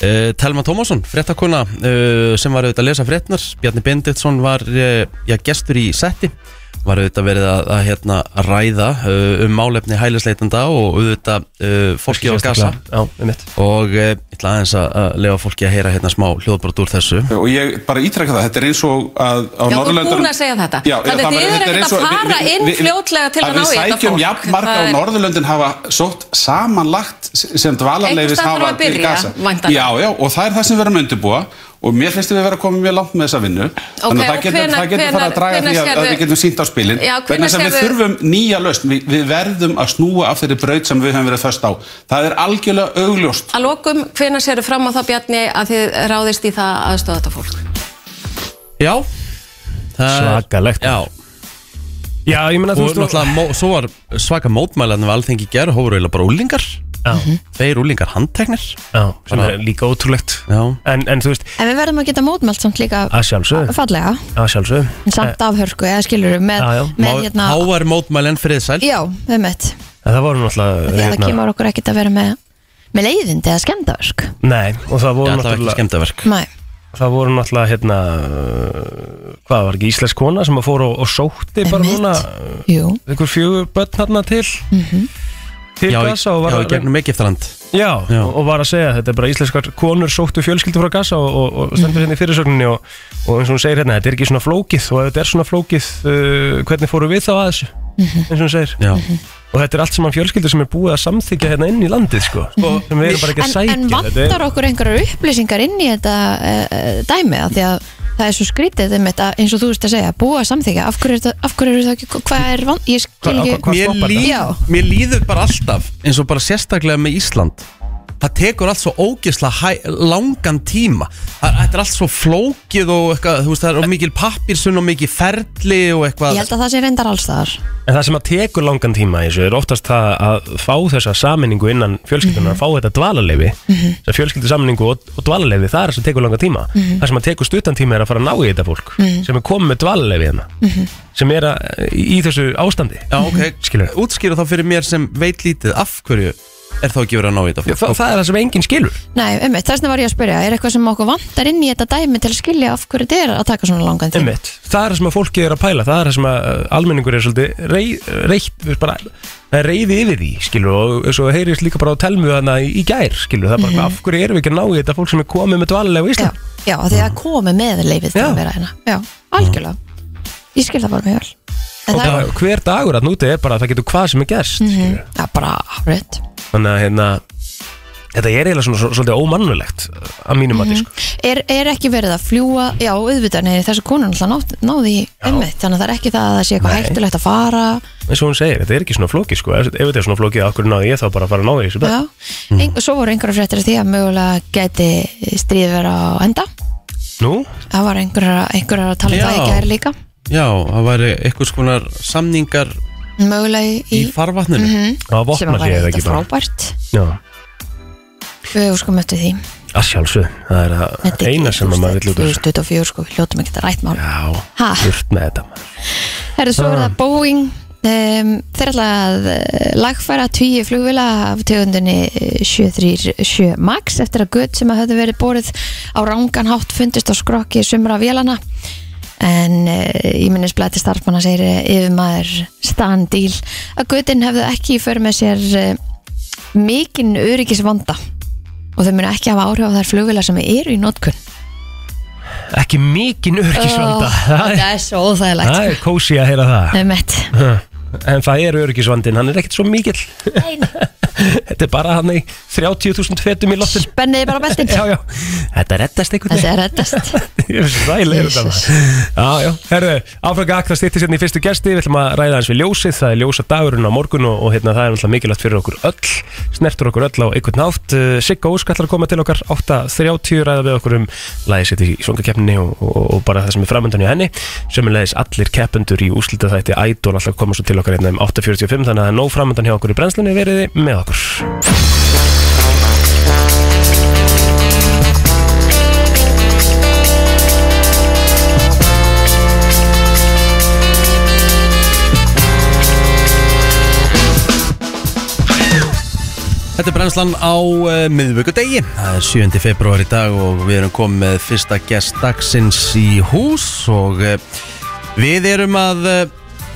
[SPEAKER 1] Telma Tómasson, fréttakona uh, sem var auðvitað að lesa fréttnar Bjarni Benditsson var uh, já, gestur í setti var auðvitað verið að, að hérna, ræða uh, um málefni hælisleitenda og auðvitað uh, fólki á gasa
[SPEAKER 2] Já, einmitt
[SPEAKER 1] og uh, ég ætla aðeins að, að lefa fólki að heyra hérna smá hljóðbrot úr þessu
[SPEAKER 8] Og ég bara ítrekka það, þetta er eins og að á
[SPEAKER 9] Já, þú ert
[SPEAKER 8] Norðurlöndunum
[SPEAKER 9] búin að segja þetta.
[SPEAKER 8] Já,
[SPEAKER 9] Þannig
[SPEAKER 8] það
[SPEAKER 9] þið
[SPEAKER 8] var-
[SPEAKER 9] eru
[SPEAKER 8] þetta er
[SPEAKER 9] ekkert
[SPEAKER 8] eins og-
[SPEAKER 9] að fara
[SPEAKER 8] við- við-
[SPEAKER 9] inn
[SPEAKER 8] við-
[SPEAKER 9] fljótlega til að ná í
[SPEAKER 8] Að
[SPEAKER 9] þetta
[SPEAKER 8] við sækjum
[SPEAKER 9] fólk.
[SPEAKER 8] jafn marga
[SPEAKER 9] Það
[SPEAKER 8] á
[SPEAKER 9] er-
[SPEAKER 8] Norðurlöndin hafa sótt samanlagt sem
[SPEAKER 9] Einhvers
[SPEAKER 8] dvalarleifis
[SPEAKER 9] staðar
[SPEAKER 8] hafa
[SPEAKER 9] þarf að byrja, væntanlega.
[SPEAKER 8] Já, já, og það er það sem við erum að undirbúa og mér finnst við vera að koma mjög langt með þessa vinnu þannig að
[SPEAKER 9] og
[SPEAKER 8] það getur,
[SPEAKER 9] hvenær-
[SPEAKER 8] það getur fara að
[SPEAKER 9] hvenær-
[SPEAKER 8] draga því
[SPEAKER 9] hvenær
[SPEAKER 8] að, að
[SPEAKER 9] sérðu-
[SPEAKER 8] við getum sínt á spilin
[SPEAKER 9] Já,
[SPEAKER 8] vegna
[SPEAKER 9] hvenær
[SPEAKER 8] þess að við
[SPEAKER 9] sérðu-
[SPEAKER 8] þurfum nýja lausn við, við verðum að snúa af þeirri braut sem við höfum verið föst á það er algjörlega augljóst
[SPEAKER 9] Að lokum, hvenær séru fram á það Bjarni að þið ráðist í það aðstöða þetta fólk?
[SPEAKER 1] Já það er-
[SPEAKER 2] Svakalegt.
[SPEAKER 1] Já,
[SPEAKER 2] Já, ég meina þú
[SPEAKER 1] og
[SPEAKER 2] veist þú-
[SPEAKER 1] náttúrulega mó- svo var svaka mótmælan við alþengi í gær og hófur eiginlega bara úlingar
[SPEAKER 2] Já,
[SPEAKER 1] Tveir úlingar handteknir
[SPEAKER 2] já, sem er líka ótrúlegt
[SPEAKER 1] Já.
[SPEAKER 2] En, en þú veist,
[SPEAKER 3] En við verðum að geta mótmælt samt líka
[SPEAKER 2] að sjálfsögðu
[SPEAKER 3] fallega,
[SPEAKER 2] Að sjálfsögðu Eh,
[SPEAKER 3] en samt af hörku eða skilur með,
[SPEAKER 2] Já, já.
[SPEAKER 3] með hérna
[SPEAKER 1] Háar mótmælan friðsæl
[SPEAKER 3] Já, við mitt
[SPEAKER 2] En það voru náttúrulega hérna,
[SPEAKER 3] Því að það kemur okkur ekkert að vera með með leiðindi eða skemmdaverk
[SPEAKER 2] Nei, og
[SPEAKER 1] Já,
[SPEAKER 2] það voru
[SPEAKER 1] það var ekki
[SPEAKER 2] náttúrulega
[SPEAKER 1] skemmtaverk
[SPEAKER 3] Nei,
[SPEAKER 2] Það voru náttúrulega, hérna uh, Hvað var ekki, íslensk kona sem að fór og, og sótti bara
[SPEAKER 3] Einmitt.
[SPEAKER 2] núna
[SPEAKER 3] jú,
[SPEAKER 2] einhver fjögur börn hérna til
[SPEAKER 3] Mhm.
[SPEAKER 2] Til
[SPEAKER 1] Já,
[SPEAKER 2] Gaza og var
[SPEAKER 1] já, í
[SPEAKER 2] að
[SPEAKER 1] gegnum Egyptaland
[SPEAKER 2] Já,
[SPEAKER 1] Já.
[SPEAKER 2] og og var að segja þetta er bara íslenskar konur sóttu fjölskyldu frá Gaza og, og, og
[SPEAKER 3] Mhm.
[SPEAKER 2] stendur hérna í fyrirsögninni og, og eins og hún segir hérna, þetta er ekki svona flókið og ef þetta er svona flókið, uh, hvernig fóru við þá að þessu,
[SPEAKER 3] Mhm.
[SPEAKER 2] eins og hún segir
[SPEAKER 1] Já,
[SPEAKER 2] og þetta er allt saman fjölskyldu sem er búið að samþykja hérna inn í landið, sko, sem við erum bara ekki að
[SPEAKER 3] Mhm. en,
[SPEAKER 2] sækja
[SPEAKER 3] en
[SPEAKER 2] þetta er,
[SPEAKER 3] vantar okkur einhverjar upplýsingar inn í þetta uh, dæmi af því að það er svo skrítið um þetta eins og þú veist að segja, búa að samþykja af hverju, er það- af hverju eru það ekki, hvað er vant ég
[SPEAKER 2] Hva-
[SPEAKER 3] skil
[SPEAKER 2] á
[SPEAKER 3] ekki,
[SPEAKER 2] hva- hvað
[SPEAKER 1] mér,
[SPEAKER 2] stoppar
[SPEAKER 1] líð,
[SPEAKER 3] það?
[SPEAKER 1] mér líður bara alltaf eins og bara sérstaklega með Ísland það tekur allt svo ógisla hæ, langan tíma það, þetta er allt svo flókið og eitthvað, þú veist, það er of mikil pappirsun og mikil ferli og eitthvað
[SPEAKER 3] ég held að það sé reyndar alls þar
[SPEAKER 2] en það sem að tekur langan tíma í þessu er oftast það að fá þessa saminningu innan
[SPEAKER 3] Mhm.
[SPEAKER 2] fjölskyldunar, að fá þetta dvalarleifi þessa fjölskyldu saminningu og, og dvalarleifi það er það sem tekur langan tíma,
[SPEAKER 3] Mhm.
[SPEAKER 2] það sem að tekur stuttan tíma er að fara að ná í þetta fólk sem er komið með dvalarleifi hérna
[SPEAKER 3] Mhm.
[SPEAKER 2] sem er að, í, í þessu ástandi Mm-hmm.
[SPEAKER 1] Já, ok,
[SPEAKER 2] Skilurðu.
[SPEAKER 1] útskýra þá fyrir mér sem veit lítið af hverju er þá ekki verið að ná í þetta
[SPEAKER 2] Þa,
[SPEAKER 1] fólk
[SPEAKER 2] það er það sem enginn skilur
[SPEAKER 3] Nei, einmitt, þess vegna var ég að spyrja, er eitthvað sem okkur vantar inn í þetta dæmi til að skilja af hverju þetta er að taka svona langan tíma?
[SPEAKER 2] Einmitt. Það er það sem að fólki er að pæla Það er það sem að uh, almenningur er svolítið rey, reykt, bara, það er reyði yfir því skilur, og svo heyrist líka bara á telmu þarna í, í gær skilur, það er
[SPEAKER 3] Mhm.
[SPEAKER 2] bara af hverju erum við ekki að ná í þetta fólk sem er komið með dvalega á
[SPEAKER 3] Já,
[SPEAKER 2] Ísland
[SPEAKER 3] já, af því að komi með leifið til
[SPEAKER 2] Já.
[SPEAKER 3] að vera hérna, já, algjörlega ég skil það bara mjög vel en
[SPEAKER 2] og
[SPEAKER 3] það
[SPEAKER 2] bara,
[SPEAKER 3] er Mhm.
[SPEAKER 2] hver dagur að núti er bara að það getur hvað sem er gerst skilur.
[SPEAKER 3] ja, bara hárið
[SPEAKER 2] þannig að hérna Þetta er eiginlega svona svo- svolítið ómannulegt að mínum mm
[SPEAKER 3] Mhm.
[SPEAKER 2] -hmm. sko.
[SPEAKER 3] er, er ekki verið að fljúa, já, auðvitað nei, þessi konan alltaf nátt, náði í einmitt þannig að það er ekki það að það sé eitthvað
[SPEAKER 2] Nei.
[SPEAKER 3] hættulegt að fara
[SPEAKER 2] eins og hún segir, þetta er ekki svona flókið sko. ef, ef þetta er svona flókið, af hverju náði ég þá bara að fara að ná í þessu börn?
[SPEAKER 3] já,
[SPEAKER 2] Mm.
[SPEAKER 3] Ein, svo voru einhverjar fréttir af því að mögulega geti stríð vera á enda
[SPEAKER 2] Nú,
[SPEAKER 3] það var einhverjar, einhverjar að tala um það í
[SPEAKER 1] Já.
[SPEAKER 3] gær líka
[SPEAKER 1] Já, það væri einhvers konar samningar
[SPEAKER 3] mögulega í, Mhm.
[SPEAKER 1] í farvatninu
[SPEAKER 2] það
[SPEAKER 3] sem
[SPEAKER 2] vopna
[SPEAKER 3] að
[SPEAKER 2] sér
[SPEAKER 3] væri
[SPEAKER 2] ekki
[SPEAKER 3] þetta
[SPEAKER 2] bara
[SPEAKER 3] frábært
[SPEAKER 2] Já.
[SPEAKER 3] við skum eftir því
[SPEAKER 2] Að sjálfsögð, það er að
[SPEAKER 3] Þetta er
[SPEAKER 2] eina sem að maður vil út úr þessu.
[SPEAKER 3] 2024 sko, við hljótum ekki að rætt mál
[SPEAKER 2] Já,
[SPEAKER 3] Ha.
[SPEAKER 2] burt með þetta maður.
[SPEAKER 3] Herðu, svo er það Boeing um, Þeir ætla að eh, lagfæra tvíu flugvila af tegundinni eh, 737 MAX eftir að gutt sem að höfðu verið borið á rángan hátt fundist á skrokki sumra vélana en uh, í minnisblæti starfmanna segir eh, yfirmaður Stan Díl að guttin hefðu ekki í för með sér uh, mikinn öryggisvanda og þau munu ekki hafa áhrif á þær flugvila sem eru í notkun
[SPEAKER 2] Ekki mikinn öryggisvanda
[SPEAKER 3] Ó,
[SPEAKER 2] Það er-
[SPEAKER 3] Þetta er svo óþægilegt
[SPEAKER 2] það er kósi að heyra það
[SPEAKER 3] Einmitt.
[SPEAKER 2] En það er öryggisvandin, hann er ekkert svo mikill Þetta er bara hann í 30.000 fetum í loftin
[SPEAKER 3] Spenniði bara beltin
[SPEAKER 2] Já, já, þetta reddast einhvern
[SPEAKER 3] Þetta
[SPEAKER 2] veginn
[SPEAKER 3] er reddast
[SPEAKER 2] Ég finnst það sælir um þetta maður. Já, já, herðu, áfraka akk, það stýttir sérna í fyrstu gesti Við ætlum að ræða hans við ljósið, það er ljósa dagurinn á morgun og, og hérna, það er alltaf mikilvægt fyrir okkur öll Snertur okkur öll á einhvern nátt Sigga Ósk ætlar að koma til okkar 8.30 ræða við okkur um læðið sitt í svongakeppninni og, og, og bara það sem er framöndan í henni Sömmulegis allir keppendur í úslita þætti Ædol alltaf koma svo til okkar hérna um 8.45 Þannig að það er nóg framöndan hjá okkur í brennslunni veriði með okkur
[SPEAKER 1] Þetta er brennslan á uh, miðvíkudegi Það er 7. februar í dag og við erum komið með fyrsta gest dagsins í hús og uh, við erum að uh,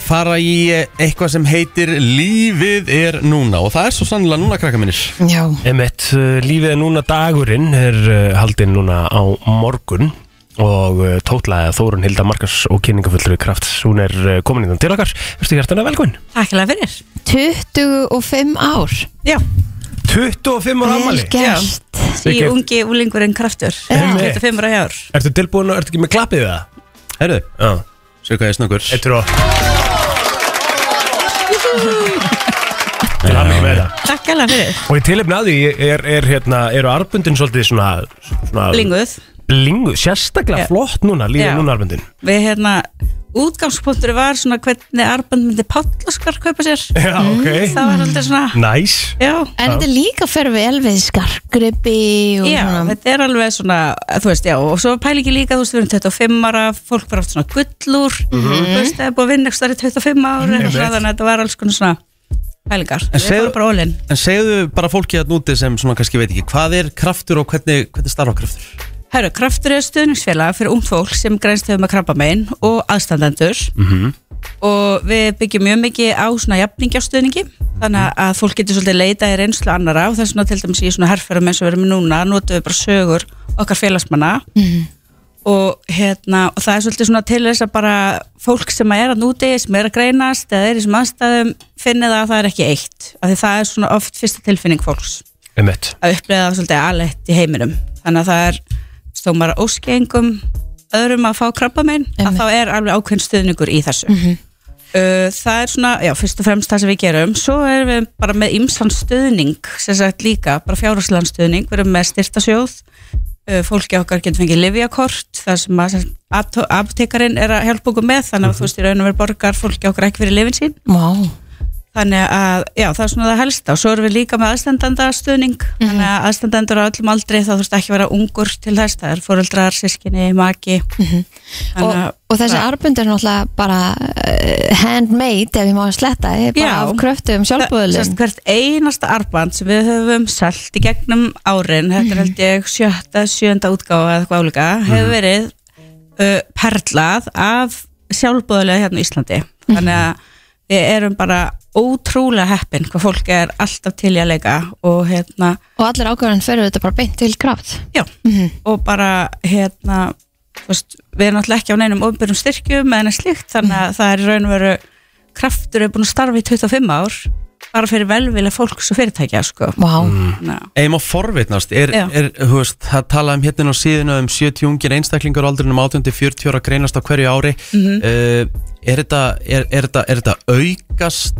[SPEAKER 1] fara í uh, eitthvað sem heitir Lífið er núna og það er svo sannlega núna krakka minnir
[SPEAKER 3] Já,
[SPEAKER 2] Emmett, uh, lífið er núna dagurinn er uh, haldinn núna á morgun og uh, tótlaði að Þórun Hilda Markars og kynningafullur krafts, hún er uh, komin innan til okkar Verstu hjartana velkomin
[SPEAKER 10] Takkilega fyrir
[SPEAKER 3] 25 ár
[SPEAKER 2] 25 ára
[SPEAKER 3] Vel
[SPEAKER 2] ammali
[SPEAKER 3] gert
[SPEAKER 10] Í
[SPEAKER 2] Mikið-
[SPEAKER 10] ungi úlingur en kraftur
[SPEAKER 2] Einmitt.
[SPEAKER 10] 25 ára hjár
[SPEAKER 2] Ertu tilbúin og ertu ekki með klappið það?
[SPEAKER 1] Herðu,
[SPEAKER 2] Já,
[SPEAKER 1] séu hvað ég snöggur
[SPEAKER 2] eittur og Til hann með það
[SPEAKER 10] Takkilega fyrir
[SPEAKER 2] Og í tilefni að því er, er, hérna, eru arbundin svolítið svona, svona
[SPEAKER 10] Blinguð
[SPEAKER 2] blinguð, sérstaklega
[SPEAKER 10] Já.
[SPEAKER 2] flott núna, lífið
[SPEAKER 10] Já.
[SPEAKER 2] núna arbundin
[SPEAKER 10] Við hérna Útgangspunktur var svona hvernig arband myndi Pállaskar kaupa sér
[SPEAKER 2] Já, ok, Mm.
[SPEAKER 10] Það var svolítið svona
[SPEAKER 2] næs
[SPEAKER 10] Já
[SPEAKER 3] En þetta er líka fer vel við skargripi og
[SPEAKER 10] Já,
[SPEAKER 3] svona
[SPEAKER 10] þetta er alveg svona, þú veist, já, og svo pælingi líka, þú veist, við erum 25 ára, fólk var oft svona gullur, þú veist, það er búið að vinna ekki starf í 25 ára, mm -hmm. þannig að þetta var alls konar svona pælingar. Við
[SPEAKER 1] segðu-
[SPEAKER 10] vorum bara ólinn.
[SPEAKER 1] En segðu bara fólki að núti sem svona kannski veit ekki hvað er kraftur og hvernig, hvernig starfa kraftur
[SPEAKER 10] Herru, kraftur er stuðningsfélag fyrir ungd fólk sem grænst hefur með krabbamein og aðstandendur og við byggjum mjög mikið á svona jafningjastuðningi þannig að fólk getur svolítið leitað í reynslu annara og þess vegna til dæmis í svona herrferðum eins og við erum í núna notum við bara sögur okkar félagsmanna
[SPEAKER 3] Mhm.
[SPEAKER 10] og hérna og það er svolítið svona til þess að bara fólk sem er að núti, sem er að greinast eða er í þessum aðstæðum finni það að það er ekki eitt af því það er svona oft fyrsta tilfinning fólks
[SPEAKER 2] Emmett
[SPEAKER 10] að upplega það svolítið alett í heiminum þannig að það er stómar óskengum öðrum að fá krabba minn að
[SPEAKER 3] Einmitt.
[SPEAKER 10] þá er alveg ákveðin stuðningur í þessu uh, það er svona, já, fyrst og fremst það sem við gerum svo erum við bara með ymsan stuðning sem sagt líka, bara fjárhagslegan stuðning við erum með styrtasjóð uh, fólki okkar getur fengið livjakort það sem að sem sagt, aptó- aptekarinn er að hjálpa okkur með þannig að þú veist, í raun og verið borgar fólki okkar ekki fyrir lifin sín
[SPEAKER 3] Vá,
[SPEAKER 10] þannig að, já, það er svona það helsta og svo erum við líka með aðstandanda stuðning
[SPEAKER 3] Mhm.
[SPEAKER 10] þannig að aðstandendur á öllum aldri þá þú veist ekki að vera ungur til þess, það er fóreldrar sískinni, maki
[SPEAKER 3] Mhm. og, og þessi arbund er náttúrulega bara uh, handmade ef ég má sletta þið,
[SPEAKER 10] Já.
[SPEAKER 3] bara af kröftum sjálfbúðulum
[SPEAKER 10] hvert einasta arband sem við höfum selt í gegnum árin þetta
[SPEAKER 3] Mhm.
[SPEAKER 10] er held ég sjötta, sjönda útgáfa eða eitthvað álíka, hefur verið uh, perlað af sjálfbúðulega hérna í Íslandi
[SPEAKER 3] Mhm.
[SPEAKER 10] þannig að við erum bara ótrúlega heppin hvað fólk er alltaf til í að leika og hérna
[SPEAKER 3] og allir ákvæðan fyrir þetta bara beint til kraft
[SPEAKER 10] Já, og bara hérna, þú veist, við erum náttúrulega ekki á neinum ofnbjörnum styrkjum eða neitt slíkt þannig að það er í raun og veru kraftur er búin að starfa í 25 ár bara fyrir velvilja fólks og fyrirtækja sko.
[SPEAKER 3] Vá,
[SPEAKER 10] Ná,
[SPEAKER 1] Eða má forvitnast, er,
[SPEAKER 10] Já.
[SPEAKER 1] er, þú veist, það talaði um hérna á síðuna um 70 ungir einstaklingar á aldrinum um 18-40 ára greinast á hverju ári
[SPEAKER 10] Mhm.
[SPEAKER 1] uh, er, þetta, er, er, þetta, er þetta aukast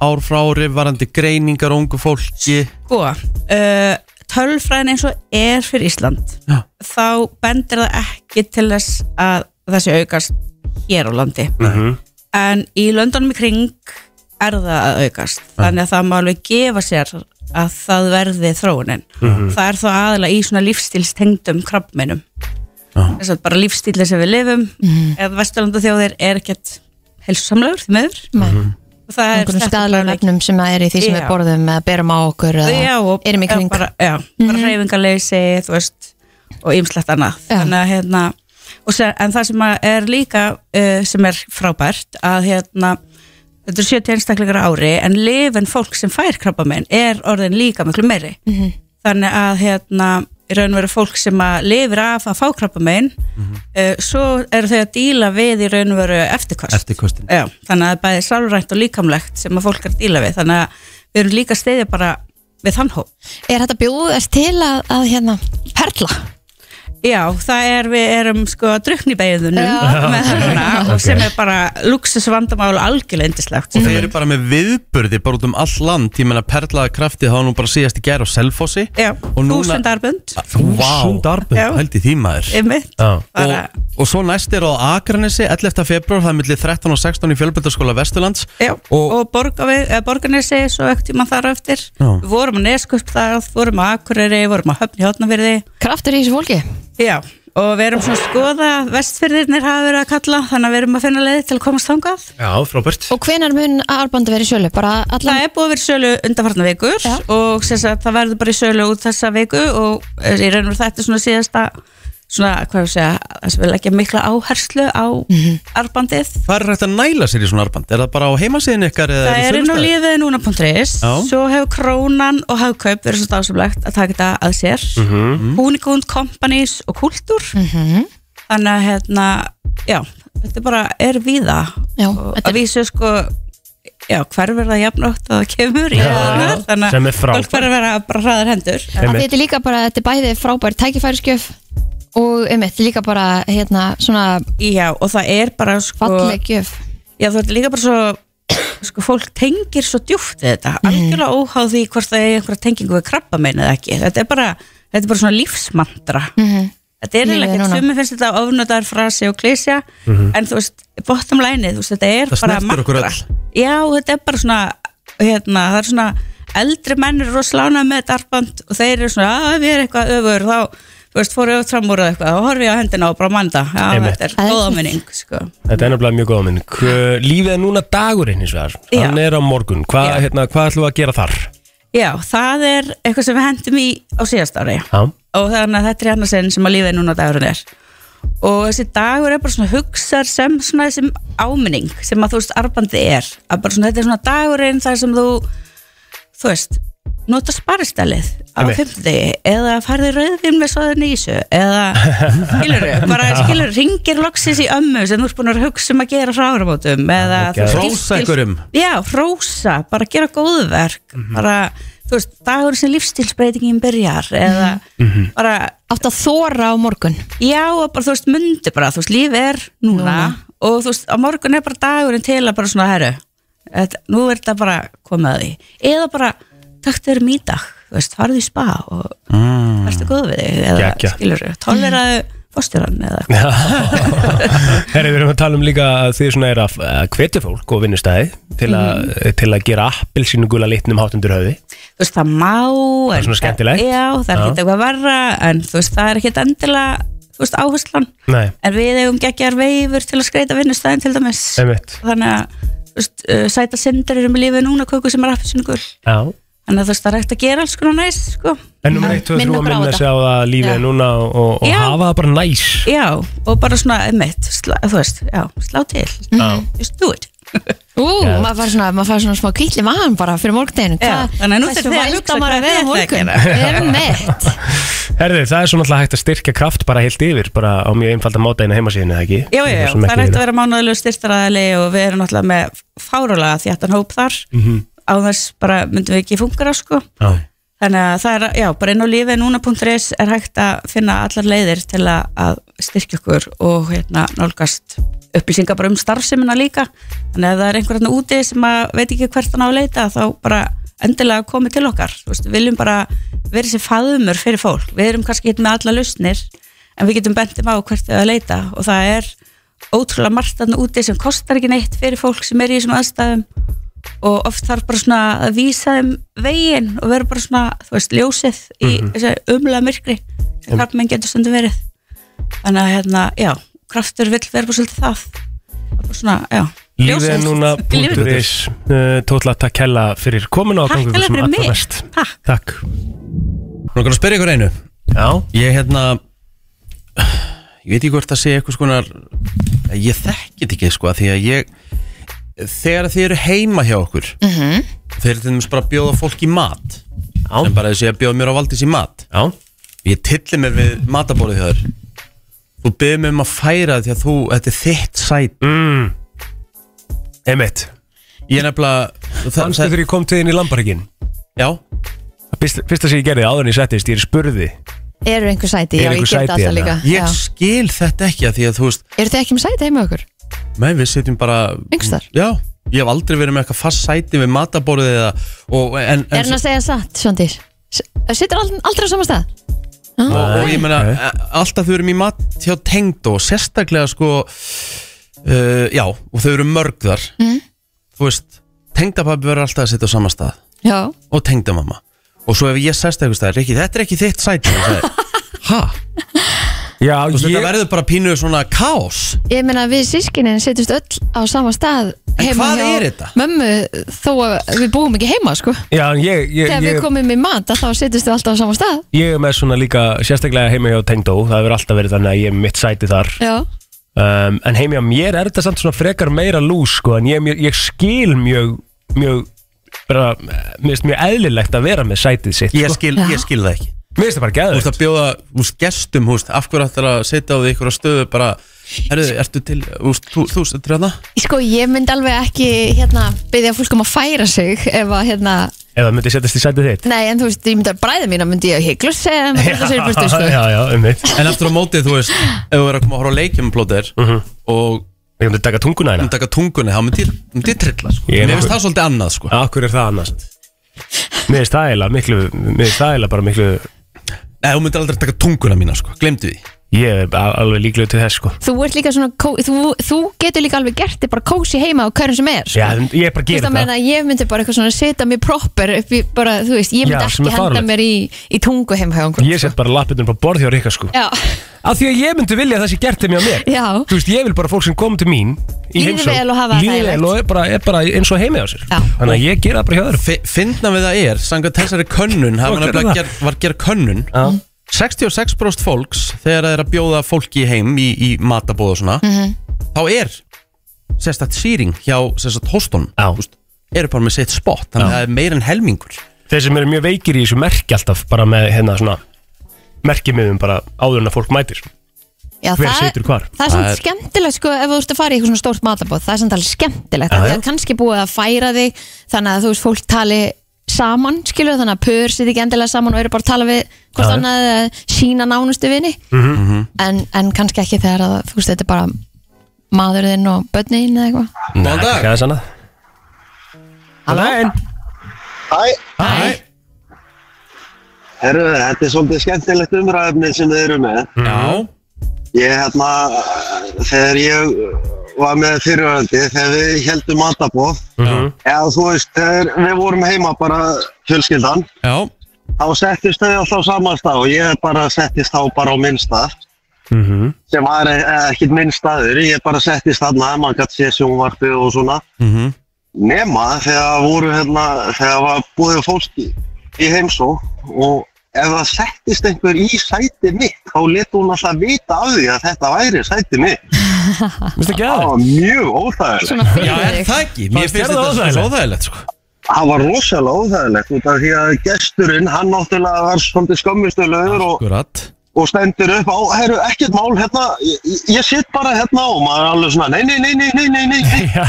[SPEAKER 1] ár frá ári varandi greiningar á ungu fólki
[SPEAKER 10] sko, uh, tölfræðin eins og er fyrir Ísland
[SPEAKER 1] Já.
[SPEAKER 10] þá bendir það ekki til þess að það sé aukast hér á landi en í löndunum í kring er það að aukast þannig að það má alveg gefa sér að það verði þróunin það er þá aðalega í svona lífstílstengdum krabbmeinum þess að bara lífstíli sem við lifum eða vesturlanda þjóðir er ekkert helsusamlegur því meður
[SPEAKER 3] Mhm.
[SPEAKER 2] Mhm.
[SPEAKER 10] og það er
[SPEAKER 3] einhvern
[SPEAKER 10] þetta bara
[SPEAKER 3] staðlega
[SPEAKER 10] ekki-
[SPEAKER 3] nefnum sem að er í því sem
[SPEAKER 10] Já.
[SPEAKER 3] við borðum eða berum á okkur eða
[SPEAKER 10] já, og,
[SPEAKER 3] erum í
[SPEAKER 10] eða
[SPEAKER 3] kring Mhm.
[SPEAKER 10] bara, já, bara hreyfingarleysi, þú veist og ýmslegt annað
[SPEAKER 3] Já.
[SPEAKER 10] Þannig að, hérna, og sér, en það sem að er líka uh, sem er frábært að hérna þetta er 70 einstaklingar á ári en lifin fólk sem fær krabbamein er orðin líka miklu meiri
[SPEAKER 3] Mhm.
[SPEAKER 10] þannig að hérna í raun og veru fólk sem að lifir af að fá krabbamein uh, svo eru þau að díla við í raun og veru eftirkost
[SPEAKER 1] eftir kostin?
[SPEAKER 10] Já, þannig að það er bæði sálrænt og líkamlegt sem að fólk er að díla við þannig að við erum líka að stiðja bara við þann hóp
[SPEAKER 3] er þetta bjóðast til að, að hérna, perla
[SPEAKER 10] Já, það er við erum sko að drukna í
[SPEAKER 3] Já.
[SPEAKER 10] beigðunum með þarna og sem er bara luxusvandamál algjörlega indislegt
[SPEAKER 1] Þeir eru bara með viðburði bara út um all land ég menna perlaða kraftið þá nú bara síðast í gær á Selfossi
[SPEAKER 10] Já,
[SPEAKER 1] og núna-
[SPEAKER 10] þúsundarbund
[SPEAKER 2] Þúsund arbund.
[SPEAKER 10] Já.
[SPEAKER 1] held í því maður
[SPEAKER 10] einmitt
[SPEAKER 2] Já.
[SPEAKER 1] og,
[SPEAKER 10] bara,
[SPEAKER 1] og svo næst er á Akranesi 11. februar, það er millir 13 og 16 í fjölbjöldarskóla Vesturlands
[SPEAKER 10] Já,
[SPEAKER 1] og-
[SPEAKER 10] og, og borga við, eða borgarnesi svo ekkert tíma þar á eftir
[SPEAKER 1] Já.
[SPEAKER 10] Við vorum að neskup þar, vorum að Akureyri, vorum að Höfni Hjótnafyrði
[SPEAKER 3] kraftur í þessu fólki
[SPEAKER 10] Já, og við erum svona að skoða vestfyrðirnir hafa verið að kalla þannig að við erum að finna leið til að komast þangað
[SPEAKER 2] Já, frábært
[SPEAKER 3] Og hvenar mun árbandi verið sjölu? Bara allan...
[SPEAKER 10] Það er búið að vera í sölu undanfarnar vikur og sem sagt, það verður bara í sölu út þessa viku og eh, í raun og veru þetta er svona síðasta svona, hvað ég að segja, þess að við leggja mikla áherslu á
[SPEAKER 3] Mhm.
[SPEAKER 10] arbandið
[SPEAKER 1] Hvað er hægt að næla sér í svona arband? Er það bara á heimasíðin ykkar? eða
[SPEAKER 10] Það
[SPEAKER 1] í
[SPEAKER 10] er inn á
[SPEAKER 1] sölustaði?
[SPEAKER 10] lífið núna.is
[SPEAKER 1] Já.
[SPEAKER 10] Svo hefur krónan og hagkaup verið svo dásamlegt að taka þetta að sér mm
[SPEAKER 1] Mhm.
[SPEAKER 2] Mhm.
[SPEAKER 10] -hmm. Húnikund, kompanies og kultúr Þannig að hérna, já, þetta bara er víða
[SPEAKER 3] Já,
[SPEAKER 10] og
[SPEAKER 3] þetta
[SPEAKER 10] að
[SPEAKER 3] er-
[SPEAKER 10] vísu sko já, hver verða jafnótt að það kemur í
[SPEAKER 2] Já,
[SPEAKER 10] hraðnar,
[SPEAKER 2] já,
[SPEAKER 10] þannig
[SPEAKER 2] sem er
[SPEAKER 10] að
[SPEAKER 2] frábært.
[SPEAKER 10] fólk verður að vera bara hraðar hendur
[SPEAKER 3] Af því Þetta er líka bara, þetta er bæði frábær tækifæriskjöf og einmitt líka bara hérna svona
[SPEAKER 10] já, og það er bara sko
[SPEAKER 3] fallegjöf
[SPEAKER 10] já, það er líka bara svo sko, fólk tengir svo djúpt við þetta
[SPEAKER 3] Mhm.
[SPEAKER 10] algjörlega óháð því hvort það er einhverja tengingu við krabba eða ekki, þetta er bara þetta er bara svona lífsmantra þetta er
[SPEAKER 3] Mhm. Lífið
[SPEAKER 10] eiginlega ekkert,
[SPEAKER 3] núna.
[SPEAKER 10] sumi finnst þetta ofnotaðar frasi og klísja en þú veist, bottom line þú veist, þetta er
[SPEAKER 1] Mhm. Það
[SPEAKER 10] bara
[SPEAKER 1] snertir okkur öll.
[SPEAKER 10] já, þetta er bara svona hérna, það er svona eldri menn eru rosalána með þetta arband og þeir eru svona, "Ah, að við erum eitthvað öfur þá, þú veist, fóru öfut fram úr eða eitthvað og horfi á hendina og bara manda já,
[SPEAKER 2] Einmitt.
[SPEAKER 10] þetta er góðaminning, sko
[SPEAKER 2] Þetta er nefnilega mjög góða minn Lífið er núna dagurinn hins vegar
[SPEAKER 10] Já.
[SPEAKER 2] Hann er á morgun Hva,
[SPEAKER 10] Já.
[SPEAKER 2] hérna, Hvað ætlum við að gera þar?
[SPEAKER 10] Já, það er eitthvað sem við hendum í á síðast ári
[SPEAKER 2] Já,
[SPEAKER 10] og þannig að þetta er annars enn sem að lífið er núna dagurinn er og þessi dagur er bara svona hugsar sem svona þessum áminning sem að þú veist arbandið er að bara svona þetta er svona dagurinn þar sem þú þú veist, nota sparistælið á
[SPEAKER 2] Einmitt.
[SPEAKER 10] fimmtudegi eða farði rauðvinn með svoðin ísu eða skilur bara skilur ringir loksins í ömmu sem þú ert búin að hugsa um að gera frá áramótum eða þú veist,
[SPEAKER 1] Hrósa
[SPEAKER 10] lífstíl-
[SPEAKER 1] einhverjum.
[SPEAKER 10] já, hrósa, bara gera góðverk bara, þú veist, dagur sem lífstilsbreytingin byrjar eða
[SPEAKER 2] Mhm.
[SPEAKER 10] bara,
[SPEAKER 3] átt að þóra á morgun
[SPEAKER 10] já, og bara þú veist, myndi bara, þú veist, líf er núna, og þú veist, á morgun er bara dagurinn til að bara svona, herru þetta, nú er þetta bara komið að því eða bara, takk þér mýdag þú veist, farðu í spa og mm. ertu góð við þig, eða
[SPEAKER 2] Geggjað.
[SPEAKER 10] skilur við tólveraðu fórstjóran eða eitthvað.
[SPEAKER 2] Herri, við erum að tala um líka að þið svona er að að hvetja fólk og vinnustæði til, að
[SPEAKER 10] Mhm.
[SPEAKER 2] til að gera appelsínu gula litnum hátundur höfði
[SPEAKER 10] þú veist, það má Það
[SPEAKER 2] er svona skemmtilegt.
[SPEAKER 10] Já, það er
[SPEAKER 2] Já.
[SPEAKER 10] ekkert eitthvað verra en þú veist, það er ekkert endilega þú veist, áherslan
[SPEAKER 2] Nei,
[SPEAKER 10] en við eigum geggjar veifur til að skreita vinnustæðin til dæmis
[SPEAKER 2] einmitt
[SPEAKER 10] þannig að þú veist, uh, sæta sindur erum í lífið núna köku sem er appelsínugul
[SPEAKER 2] Já.
[SPEAKER 10] þannig að þú veist, það er ekkert að gera alls konar næs sko.
[SPEAKER 2] En nummer 1, 2, 3
[SPEAKER 3] minna
[SPEAKER 2] að
[SPEAKER 3] bara á
[SPEAKER 2] minna
[SPEAKER 3] þetta.
[SPEAKER 2] sig á að lífið er núna og, og
[SPEAKER 10] Já.
[SPEAKER 2] hafa það bara næs
[SPEAKER 10] já, og bara svona emitt, slá, þú veist, já, slá til just do it
[SPEAKER 3] Ú, maður fær svona, maður fær svona smá kvítli maðan bara fyrir morgundeginu
[SPEAKER 10] Já, þannig að nú þurfið þið að hugsa
[SPEAKER 3] maður að
[SPEAKER 10] hvað
[SPEAKER 3] vera á
[SPEAKER 10] þið ætlið
[SPEAKER 3] morgun
[SPEAKER 10] að
[SPEAKER 3] Emmett
[SPEAKER 2] Herði, það er svona alltaf hægt að styrkja kraft bara heilt yfir bara á mjög einfalda móta einu heimasíðinu, eða ekki?
[SPEAKER 10] já, já, já, það er hægt að vera mánuðilegu styrstaræðili og við erum náttúrulega með fárulega þjáttan hóp þar á þess bara myndum við ekki fungur á sko
[SPEAKER 2] Já,
[SPEAKER 10] þannig að það er, já, bara inn á lífið núna.is er hægt að finna allar leiðir til að, að styrkja okkur og hérna nálgast upplýsingar bara um starfsemina líka þannig að ef það er einhver hérna úti sem að veit ekki hvert hann á að leita þá bara endilega komið til okkar Þú veist, við viljum bara vera sér faðumur fyrir fólk við erum kannski hérna með alla lausnir en við getum bentum á hvert þau að leita og það er ótrúlega margt þarna úti sem kostar ekki neitt fyrir fólk sem er í þessum aðstæðum og oft þarf bara svona að vísa þeim veginn og vera bara svona, þú veist, ljósið í
[SPEAKER 2] Mhm.
[SPEAKER 10] þessu umlega myrkri sem krabbmenn getur stundum verið þannig að hérna, já, kraftur vill vera bara svolítið það Það er bara svona, já,
[SPEAKER 2] Lífið er núna
[SPEAKER 10] Lífið er-
[SPEAKER 2] punktur is uh, Tótla takk hella fyrir komuna og
[SPEAKER 10] Takk
[SPEAKER 2] gangi ykkur
[SPEAKER 10] hella
[SPEAKER 2] sem
[SPEAKER 10] fyrir
[SPEAKER 2] allra
[SPEAKER 10] mig.
[SPEAKER 2] best.
[SPEAKER 10] Takk.
[SPEAKER 2] Takk
[SPEAKER 1] Nú erum að spyrja ykkur einu
[SPEAKER 2] Já,
[SPEAKER 1] Ég hérna Ég veit ekki hvort það sé eitthvað skonar Ég þekki þetta ekki sko af Því að ég Þegar þið eru heima hjá okkur mm -hmm. Þeir eru til dæmis bara að bjóða fólk í mat
[SPEAKER 2] Já.
[SPEAKER 1] Sem bara þessi að bjóða mér á valdís í mat
[SPEAKER 2] já,
[SPEAKER 1] Ég tilli mig við matabórið hjá þér Þú byrðir mig um að færa því að þú Þetta er þitt sæt
[SPEAKER 2] Mm. emitt
[SPEAKER 1] Ég er nefnilega það,
[SPEAKER 2] Manstu
[SPEAKER 1] það,
[SPEAKER 2] þegar ég kom til þín í Lambaríkin
[SPEAKER 1] Já,
[SPEAKER 2] Fyrsta fyrsta sem ég gerði áður en ég settist, ég er spurði
[SPEAKER 3] Eru einhver sæti, já,
[SPEAKER 2] Eru
[SPEAKER 3] ég
[SPEAKER 2] einhver
[SPEAKER 3] get
[SPEAKER 2] sæti
[SPEAKER 3] alltaf
[SPEAKER 2] hérna?
[SPEAKER 3] líka
[SPEAKER 1] ég
[SPEAKER 3] já.
[SPEAKER 1] skil þetta ekki að Því að þú veist
[SPEAKER 3] Eru þið ekki með sæti heima hjá okkur?
[SPEAKER 1] Nei, við sitjum bara
[SPEAKER 3] Einhvers staðar.
[SPEAKER 1] Já, ég hef aldrei verið með eitthvað fast sæti við matabórið eða og, en,
[SPEAKER 3] Er
[SPEAKER 1] en,
[SPEAKER 3] hann að segja satt, Svandís? Sittur ald- aldrei á sama stað?
[SPEAKER 1] og, og ég meina,
[SPEAKER 2] Nei.
[SPEAKER 1] a- alltaf þau eru mér mat hjá tengd og sérstaklega sko uh, Já, og þau eru mörg þar mm. Þú veist, tengdapabbi verður alltaf að sitja á sama stað
[SPEAKER 3] Já,
[SPEAKER 1] og tengdamamma og svo ef ég sest eitthvað stað, Rikki, þetta er ekki þitt sæti og það er, ha?
[SPEAKER 2] Já,
[SPEAKER 1] Þú veist,
[SPEAKER 2] ég-
[SPEAKER 1] þetta verður bara pínu svona kaos
[SPEAKER 3] Ég meina við sískinin setjumst öll á sama stað
[SPEAKER 1] En
[SPEAKER 3] heima
[SPEAKER 1] hvað
[SPEAKER 3] hjá
[SPEAKER 1] er þetta?
[SPEAKER 3] Mömmu þó að við búum ekki heima sko
[SPEAKER 2] Já, en ég, ég,
[SPEAKER 3] Þegar
[SPEAKER 2] ég,
[SPEAKER 3] við komum í mat þá setjumst við alltaf á sama stað
[SPEAKER 2] ég er með svona líka sérstaklega heima hjá Tengdó, það hefur alltaf verið þannig að ég er mitt sæti þar
[SPEAKER 3] Já,
[SPEAKER 2] um, en heima hjá mér er þetta samt svona frekar meira lús sko, en ég, er mjög- ég skil mjög mjög bara, mér finnst mjög eðlilegt að vera með sætið sitt
[SPEAKER 1] Ég
[SPEAKER 2] sko.
[SPEAKER 1] skil, ég skil það ekki
[SPEAKER 2] Mér finnst það bara
[SPEAKER 1] Þú veist
[SPEAKER 2] gæður
[SPEAKER 1] að bjóða úst, gestum, húst, af hverju ættir að setja á því einhverja stöðu bara Herðu, ertu til, úst, þú, þú setur hérna
[SPEAKER 3] sko ég myndi alveg ekki hérna byggja fólk um að færa sig ef að hérna,
[SPEAKER 2] Ef það myndi setjast í sætið þitt
[SPEAKER 3] nei en þú veist ég myndi að bræða mína myndi ég að hygglust segja þeim að þetta sér burtu sko
[SPEAKER 2] já, já, um mitt
[SPEAKER 1] En aftur á mótið, þú veist, ef þú er að koma að horfa á leikjum plóter
[SPEAKER 2] Mhm.
[SPEAKER 1] og
[SPEAKER 2] Ég myndi taka tunguna hérna
[SPEAKER 1] umtaka tungunni, þá myndi ég- myndi ég trilla, sko
[SPEAKER 2] Ég er
[SPEAKER 1] Mér finnst
[SPEAKER 2] nokkuð-
[SPEAKER 1] það svolítið annað, sko
[SPEAKER 2] Akkur er það annars Mér finnst það eiginlega miklu Mér finnst það eiginlega bara miklu
[SPEAKER 1] Nei, þú myndir aldrei taka tunguna mína, sko, glemdu því
[SPEAKER 2] Ég er al- alveg líklega til þess sko
[SPEAKER 3] Þú ert líka svona, kó- þú, þú getur líka alveg gert þig bara kósi heima á hverjum sem er sko.
[SPEAKER 2] Já, en ég bara
[SPEAKER 3] Þú veist
[SPEAKER 2] gerir
[SPEAKER 3] að meina
[SPEAKER 2] það
[SPEAKER 3] að ég myndi bara eitthvað svona setja mér proper upp í bara, þú veist, ég
[SPEAKER 2] Já,
[SPEAKER 3] myndi
[SPEAKER 2] sem er
[SPEAKER 3] ekki henda
[SPEAKER 2] fáránlegt.
[SPEAKER 3] mér í, í tungu heim hjá einhverjum
[SPEAKER 2] Ég set bara lappinum bara borð hjá Rikka sko
[SPEAKER 3] Já,
[SPEAKER 2] Af því að ég myndi vilja að það sé gert til mér á mér
[SPEAKER 3] já,
[SPEAKER 2] Þú veist, ég vil bara fólk sem kom til mín í
[SPEAKER 3] Líði
[SPEAKER 2] heimsókn,
[SPEAKER 3] vel og hafa það
[SPEAKER 2] Líði vel
[SPEAKER 3] þægilegt.
[SPEAKER 2] og er bara, er bara eins og heimi á sér
[SPEAKER 3] Já.
[SPEAKER 2] Þannig að ég gera það bara hjá öðrum
[SPEAKER 1] Fi- Fyndna við það er, samkvæmt þessari könnun hafa
[SPEAKER 2] Þú
[SPEAKER 1] hann
[SPEAKER 2] gerðir
[SPEAKER 1] nefnilega
[SPEAKER 2] það.
[SPEAKER 1] ger, var gerð könnun
[SPEAKER 2] Já.
[SPEAKER 1] 66% fólks þegar það er að bjóða fólki heim í, í matabóð og svona þá er sérstætt sýring hjá sérstætt hóstunum
[SPEAKER 2] Já.
[SPEAKER 1] eru bara með sitt spott þannig að það er meir en helmingur
[SPEAKER 2] Þeir sem eru mjög veikir í þessu merki alltaf bara með hérna svona merkimiðum bara áður en að fólk mætir sko.
[SPEAKER 3] já
[SPEAKER 2] Hver situr hvar?
[SPEAKER 3] Það er
[SPEAKER 1] Það
[SPEAKER 3] svona
[SPEAKER 1] er-
[SPEAKER 3] skemmtilegt sko ef þú ert að fara í eitthvað svona stórt matabóð Það er samt alveg skemmtilegt
[SPEAKER 2] Já,
[SPEAKER 3] Það
[SPEAKER 2] já.
[SPEAKER 3] er kannski búið að færa þig Þannig að þú veist, fólk tali saman skilur þannig að pör sitt ekki endilega saman og eru bara að tala við hvort
[SPEAKER 2] Já, já.
[SPEAKER 3] annað eða sína nánustu vini
[SPEAKER 2] Mhm.
[SPEAKER 3] en, en kannski ekki þegar að, þú veist, þetta er bara maðurinn og börnin eða eitthvað
[SPEAKER 1] Góðan dag.
[SPEAKER 2] Það er sannað Halló
[SPEAKER 11] Hæ,
[SPEAKER 1] Æ.
[SPEAKER 11] herru, þetta er svolítið skemmtilegt umræðefni sem þið eru með.
[SPEAKER 3] Mhm.
[SPEAKER 1] Já,
[SPEAKER 11] Ég, hérna, þegar ég var með fyriröndi, þegar við heldum matabóð, eða þú veist, þegar við vorum heima bara fjölskyldan,
[SPEAKER 1] já,
[SPEAKER 11] þá settist þau alltaf á sama stað og ég bara settist þá bara á minn stað,
[SPEAKER 2] Mhm.
[SPEAKER 11] sem var e- e- ekkit minn staður, ég bara settist þarna, maður gætt sé sjónvarpið og svona,
[SPEAKER 1] mhm,
[SPEAKER 11] nema þegar voru hérna, þegar var búið fólki í heimsó og ef það settist einhver í sæti mitt þá leti hún alltaf vita af því að þetta væri sæti mitt
[SPEAKER 2] Mér finnst
[SPEAKER 11] það
[SPEAKER 2] það gæður
[SPEAKER 11] var mjög óþægilegt
[SPEAKER 3] Svona fyrir
[SPEAKER 1] já, er
[SPEAKER 3] þig
[SPEAKER 1] það ekki? Mér
[SPEAKER 2] Fannst
[SPEAKER 1] finnst
[SPEAKER 2] þér það
[SPEAKER 1] þetta svo
[SPEAKER 2] óþægilegt?
[SPEAKER 1] óþægilegt sko.
[SPEAKER 11] það var rosalega óþægilegt út af því að gesturinn hann náttúrulega var svolítið skömmistöluður og,
[SPEAKER 1] Akkurat
[SPEAKER 11] og stendur upp á, herru, ekkert mál hérna, ég, ég sitt bara hérna og maður er alveg svona, nei, nei, nei, nei, nei, nei, nei
[SPEAKER 2] Já,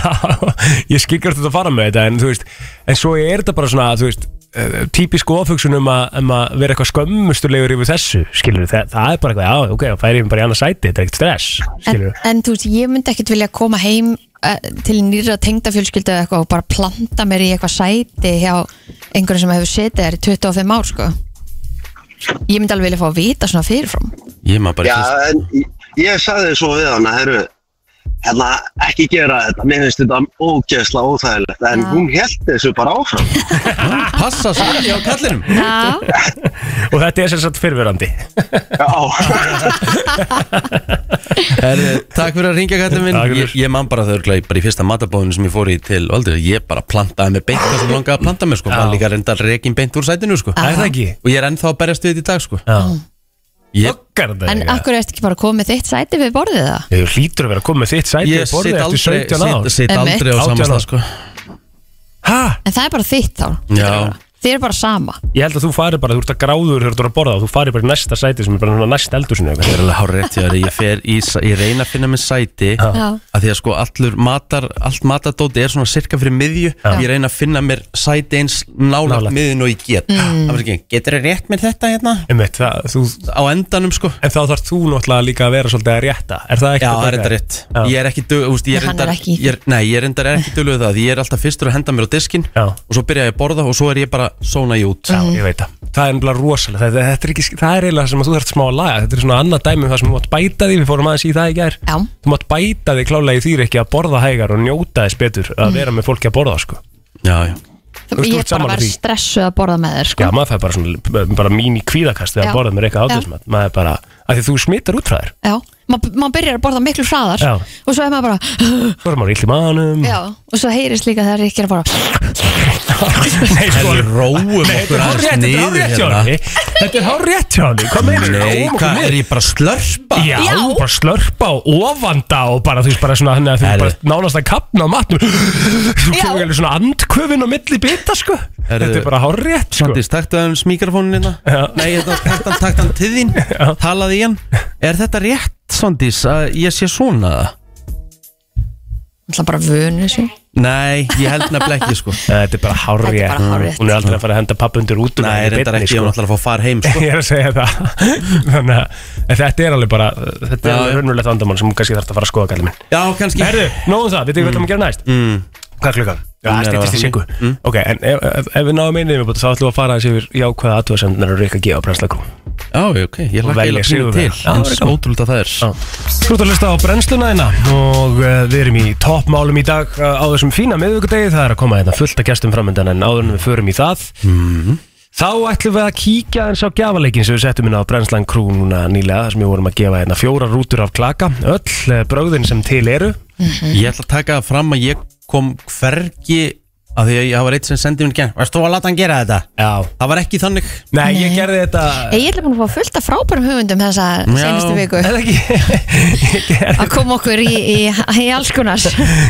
[SPEAKER 2] ég skil hvert þetta að fara með þetta en þú veist, en svo er þetta bara svona þú veist, eh, típisk ofugsun um að, um að vera eitthvað skömmustulegur yfir þessu skilur, það, það er bara eitthvað, já, ok, þá færi ég bara í annað sæti, þetta er ekkert stress
[SPEAKER 3] en,
[SPEAKER 2] skilur,
[SPEAKER 3] en þú veist, ég myndi ekkert vilja koma heim uh, til nýra tengdafjölskyldu eða eitthvað og bara planta mér í eitthvað sæti hjá einhverjum sem hefur setið þær í 25 ár sko. ég myndi alveg vilja fá að vita svona fyrirfram
[SPEAKER 1] Ég maður bara
[SPEAKER 11] Já,
[SPEAKER 1] ekki
[SPEAKER 11] en ég- ég sagði svo við hana, herru, hérna, ekki gera þetta, mér finnst þetta ógeðsla óþægilegt, en
[SPEAKER 3] Já.
[SPEAKER 11] hún held þessu bara áfram.
[SPEAKER 1] Passa sæti á kallinum
[SPEAKER 3] Já,
[SPEAKER 2] og þetta er sem sagt fyrirverandi
[SPEAKER 11] Já,
[SPEAKER 1] Herri, Takk fyrir að ringja kallið minn
[SPEAKER 2] Takk fyrir.
[SPEAKER 1] Ég, ég man bara þau bara í fyrsta matabóðinu sem ég fór í til Valdur, ég bara plantaði með beint það sem ég langaði að planta með sko, maður líka reyndar rekin beint úr sætinu sko
[SPEAKER 2] það er það ekki
[SPEAKER 1] og ég er ennþá að berjast við þetta í dag sko
[SPEAKER 2] Já.
[SPEAKER 1] Ég,
[SPEAKER 2] Fokkar þetta
[SPEAKER 3] en
[SPEAKER 2] ekki, eða?
[SPEAKER 3] akkur ertu ekki bara að koma með þitt sæti við borðið það
[SPEAKER 2] Þú hlýtur að vera að koma með þitt sæti
[SPEAKER 1] ég
[SPEAKER 2] og
[SPEAKER 1] sitt
[SPEAKER 2] borðið
[SPEAKER 1] aldrei,
[SPEAKER 2] eftir
[SPEAKER 1] sit,
[SPEAKER 2] 17 ára
[SPEAKER 1] sit
[SPEAKER 3] Einmitt.
[SPEAKER 1] aldrei á
[SPEAKER 2] 18
[SPEAKER 1] samasta
[SPEAKER 2] ára.
[SPEAKER 1] sko
[SPEAKER 2] Hæ?
[SPEAKER 3] en það er bara þitt þá
[SPEAKER 1] Já.
[SPEAKER 3] þið eru bara sama
[SPEAKER 2] Ég held að þú farir bara, þú ert að gráður þegar þú ert að borða og þú farir bara í næsta sæti sem er bara næst eldur sinni
[SPEAKER 1] Það er alveg hár rétt hjá þér, ég fer í, sa- ég reyna að finna mér sæti
[SPEAKER 3] Já.
[SPEAKER 1] að því að sko allur matar, allt matadóti er svona sirka fyrir miðju ég reyna að finna mér sæti eins nálægt
[SPEAKER 2] Nálægt.
[SPEAKER 1] miðjun og ég get mm. ekki, getur þið rétt mér þetta hérna
[SPEAKER 2] Einmitt, það, þú,
[SPEAKER 1] á endanum sko
[SPEAKER 2] En þá þarf þú náttúrulega líka að vera svolítið að rétta Er það ekki
[SPEAKER 1] Já,
[SPEAKER 2] að
[SPEAKER 1] það er
[SPEAKER 2] taka
[SPEAKER 1] enda rétt
[SPEAKER 2] Já.
[SPEAKER 1] Ég er ekki dög, úst, ég
[SPEAKER 3] Nei, hann er
[SPEAKER 1] reyndar-
[SPEAKER 3] ekki í því.
[SPEAKER 1] ég er- Nei, ég reyndar er ekki döluð það Því ég er alltaf fyrstur að henda mér á diskin
[SPEAKER 2] Já.
[SPEAKER 1] Og svo byrja ég að borða og svo er ég bara Sóna ég út
[SPEAKER 2] Já, ég veit það Það er nefnilega rosalega það, þetta er ekki, það er eiginlega sem að þú þarft smá að laga Þetta er svona annað dæmi um það sem þú mátt bæta því Við fórum aðeins í það í gær
[SPEAKER 3] Já.
[SPEAKER 2] Þú mátt bæta því klálega í því ekki að borða hægar og njóta þess betur Að vera með fólki að borða sko
[SPEAKER 1] Já, já
[SPEAKER 2] Þú veist, þú
[SPEAKER 3] Mm.
[SPEAKER 2] ert
[SPEAKER 3] ég bara
[SPEAKER 2] sammála
[SPEAKER 3] var
[SPEAKER 2] því.
[SPEAKER 3] stressuð að borða með þér sko.
[SPEAKER 2] Já, maður fær bara svona, bara mín í kvíðakast
[SPEAKER 3] Já.
[SPEAKER 2] þegar borðað mér eitthvað
[SPEAKER 3] Já.
[SPEAKER 2] átíðismat, maður bara, af því þú smittar út frá þér
[SPEAKER 3] Já, Ma- maður byrjar að borða miklu hraðar
[SPEAKER 2] Já.
[SPEAKER 3] og svo er maður bara
[SPEAKER 2] Svo er maður illt í maðanum
[SPEAKER 3] Já, og svo heyrist líka þegar ekki er að borða
[SPEAKER 2] Nei, sko
[SPEAKER 1] En róum okkur aðeins niður hérna.
[SPEAKER 2] Þetta er hár rétt hjá henni Hvað meður
[SPEAKER 1] Nei, hvað, er ég bara að slörpa?
[SPEAKER 2] Já, bara slörpa og ofanda og bara þú veist bara svona þannig að þú bara nánast að kapna á matnum Þú kemur alveg svona andkvöfin á milli bita sko Þetta er bara hár rétt sko
[SPEAKER 1] Svandís, taktu aðeins mikrofónin hérna Nei, hérna, taktu hann, taktu hann til þín Talaði í hann Er þetta rétt, Svandís, að ég sé svona það?
[SPEAKER 3] Það bara vönu sér
[SPEAKER 1] Nei, ég held nefnilega ekki, sko
[SPEAKER 2] Þetta er bara hár
[SPEAKER 1] Þetta er bara hárrétt.
[SPEAKER 2] Hún er aldrei að fara að henda pappundur út um
[SPEAKER 1] Nei,
[SPEAKER 2] hana í
[SPEAKER 1] reyndar
[SPEAKER 2] beinni,
[SPEAKER 1] ekki, ég
[SPEAKER 2] sko.
[SPEAKER 1] var náttúrulega að fá far heim, sko
[SPEAKER 2] Ég er að segja það Þannig að en þetta er alveg bara Þetta er
[SPEAKER 1] Já,
[SPEAKER 2] alveg
[SPEAKER 1] já.
[SPEAKER 2] raunverulegt vandamál sem kannski þarf að fara að skoða gæli minn
[SPEAKER 1] Já, kannski
[SPEAKER 2] Herðu, nóðum það, veitum við hvað það maður gera næst
[SPEAKER 1] mm.
[SPEAKER 2] Hvað er klukkan? Já,
[SPEAKER 1] Hún
[SPEAKER 2] það
[SPEAKER 1] er
[SPEAKER 2] stýttist í
[SPEAKER 1] að- Mm.
[SPEAKER 2] syngu Ok, en ef, ef, ef við náðum einnig við þá ætlum við að fara aðeins yfir jákvæða aðtöðasendunar og reyka að gefa brennslagrú
[SPEAKER 1] Já, ok, ég hlakka eiginlega pínu til, en ótrúlegt að það er
[SPEAKER 2] Þú ert að hlusta á brennsluna þína og uh, við erum í toppmálum í dag uh, á þessum fína miðvíkudegi, það er að koma hérna fullt að gestum framöndan en áður en við förum í það
[SPEAKER 1] Mm.
[SPEAKER 2] Þá ætlum við að kíkja eins á gjafaleikin sem við settum inn á brennslan krú núna nýlega þar sem við vorum að gefa hérna fjóra rútur af klaka öll eh, brögðin sem til eru
[SPEAKER 1] Ég ætla að taka það fram að ég kom hvergi að því að ég það var eitt sem sendi mér gæn Varst þú að láta hann gera þetta?
[SPEAKER 2] Já
[SPEAKER 1] Það var ekki þannig
[SPEAKER 2] Nei, ég gerði þetta
[SPEAKER 3] Ég er búin að fá fullt af frábærum hugmyndum þessa
[SPEAKER 1] Já,
[SPEAKER 3] senustu viku
[SPEAKER 2] er
[SPEAKER 3] Að koma okkur í, í, í alls konar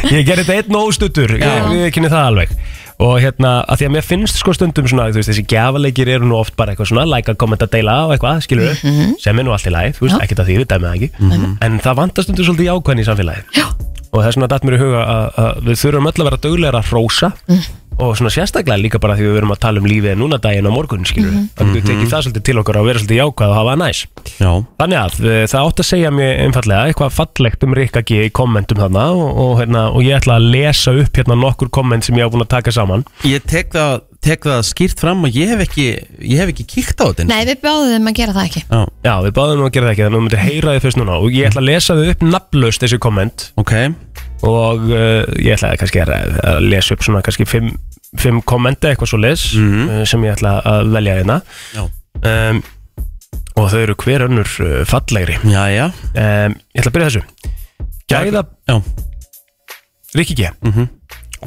[SPEAKER 2] Ég gerði þetta einn óstuttur, ég
[SPEAKER 3] Já.
[SPEAKER 2] við kynni það alveg Og hérna, að því að mér finnst sko stundum svona, þú veist, þessi gjafaleikir eru nú oft bara eitthvað svona, like að kommenta, deila og eitthvað, skilur við, sem er nú allt í lagi, þú veist, ekkert að því við dæmið það ekki, en það vandast stundum svolítið jákvæðin í samfélagi. Já. Og það er svona datt mér í huga að, að við þurfum öll að vera dögulegar að hrósa og svona sérstaklega líka bara því við verum að tala um lífið núna daginn á morgun, skilur við, þannig við tekið það svolítið til okkar að vera svolítið jákvæð og hafa það næs.
[SPEAKER 1] Mhm. Já.
[SPEAKER 2] Þannig að eh, það átt að segja mér einfallega eitthvað fallegt um Rikka G í kommentum þarna og, og, hérna, og ég ætla að lesa upp hérna nokkur komment sem ég á búin að taka saman
[SPEAKER 1] Ég tek það, tek það skýrt fram og ég hef ekki, ég hef ekki kíkt á þetta
[SPEAKER 3] Nei, við báðum að gera það ekki
[SPEAKER 1] Já.
[SPEAKER 2] við báðum nú að gera það ekki þannig að þú myndir heyra þið fyrst núna og ég ætla að lesa þið upp nafnlaust þessi komment
[SPEAKER 1] okay.
[SPEAKER 2] og uh, ég ætla kannski að, að lesa upp svona kannski fimm, fimm kommenta eitthvað svo les
[SPEAKER 1] Mhm.
[SPEAKER 2] uh, sem ég ætla að velja hérna um, og þau eru hver önnur uh, fallegri
[SPEAKER 1] já, já.
[SPEAKER 2] Um, ég ætla að byrja þessu Gæða
[SPEAKER 1] já.
[SPEAKER 2] Rikki G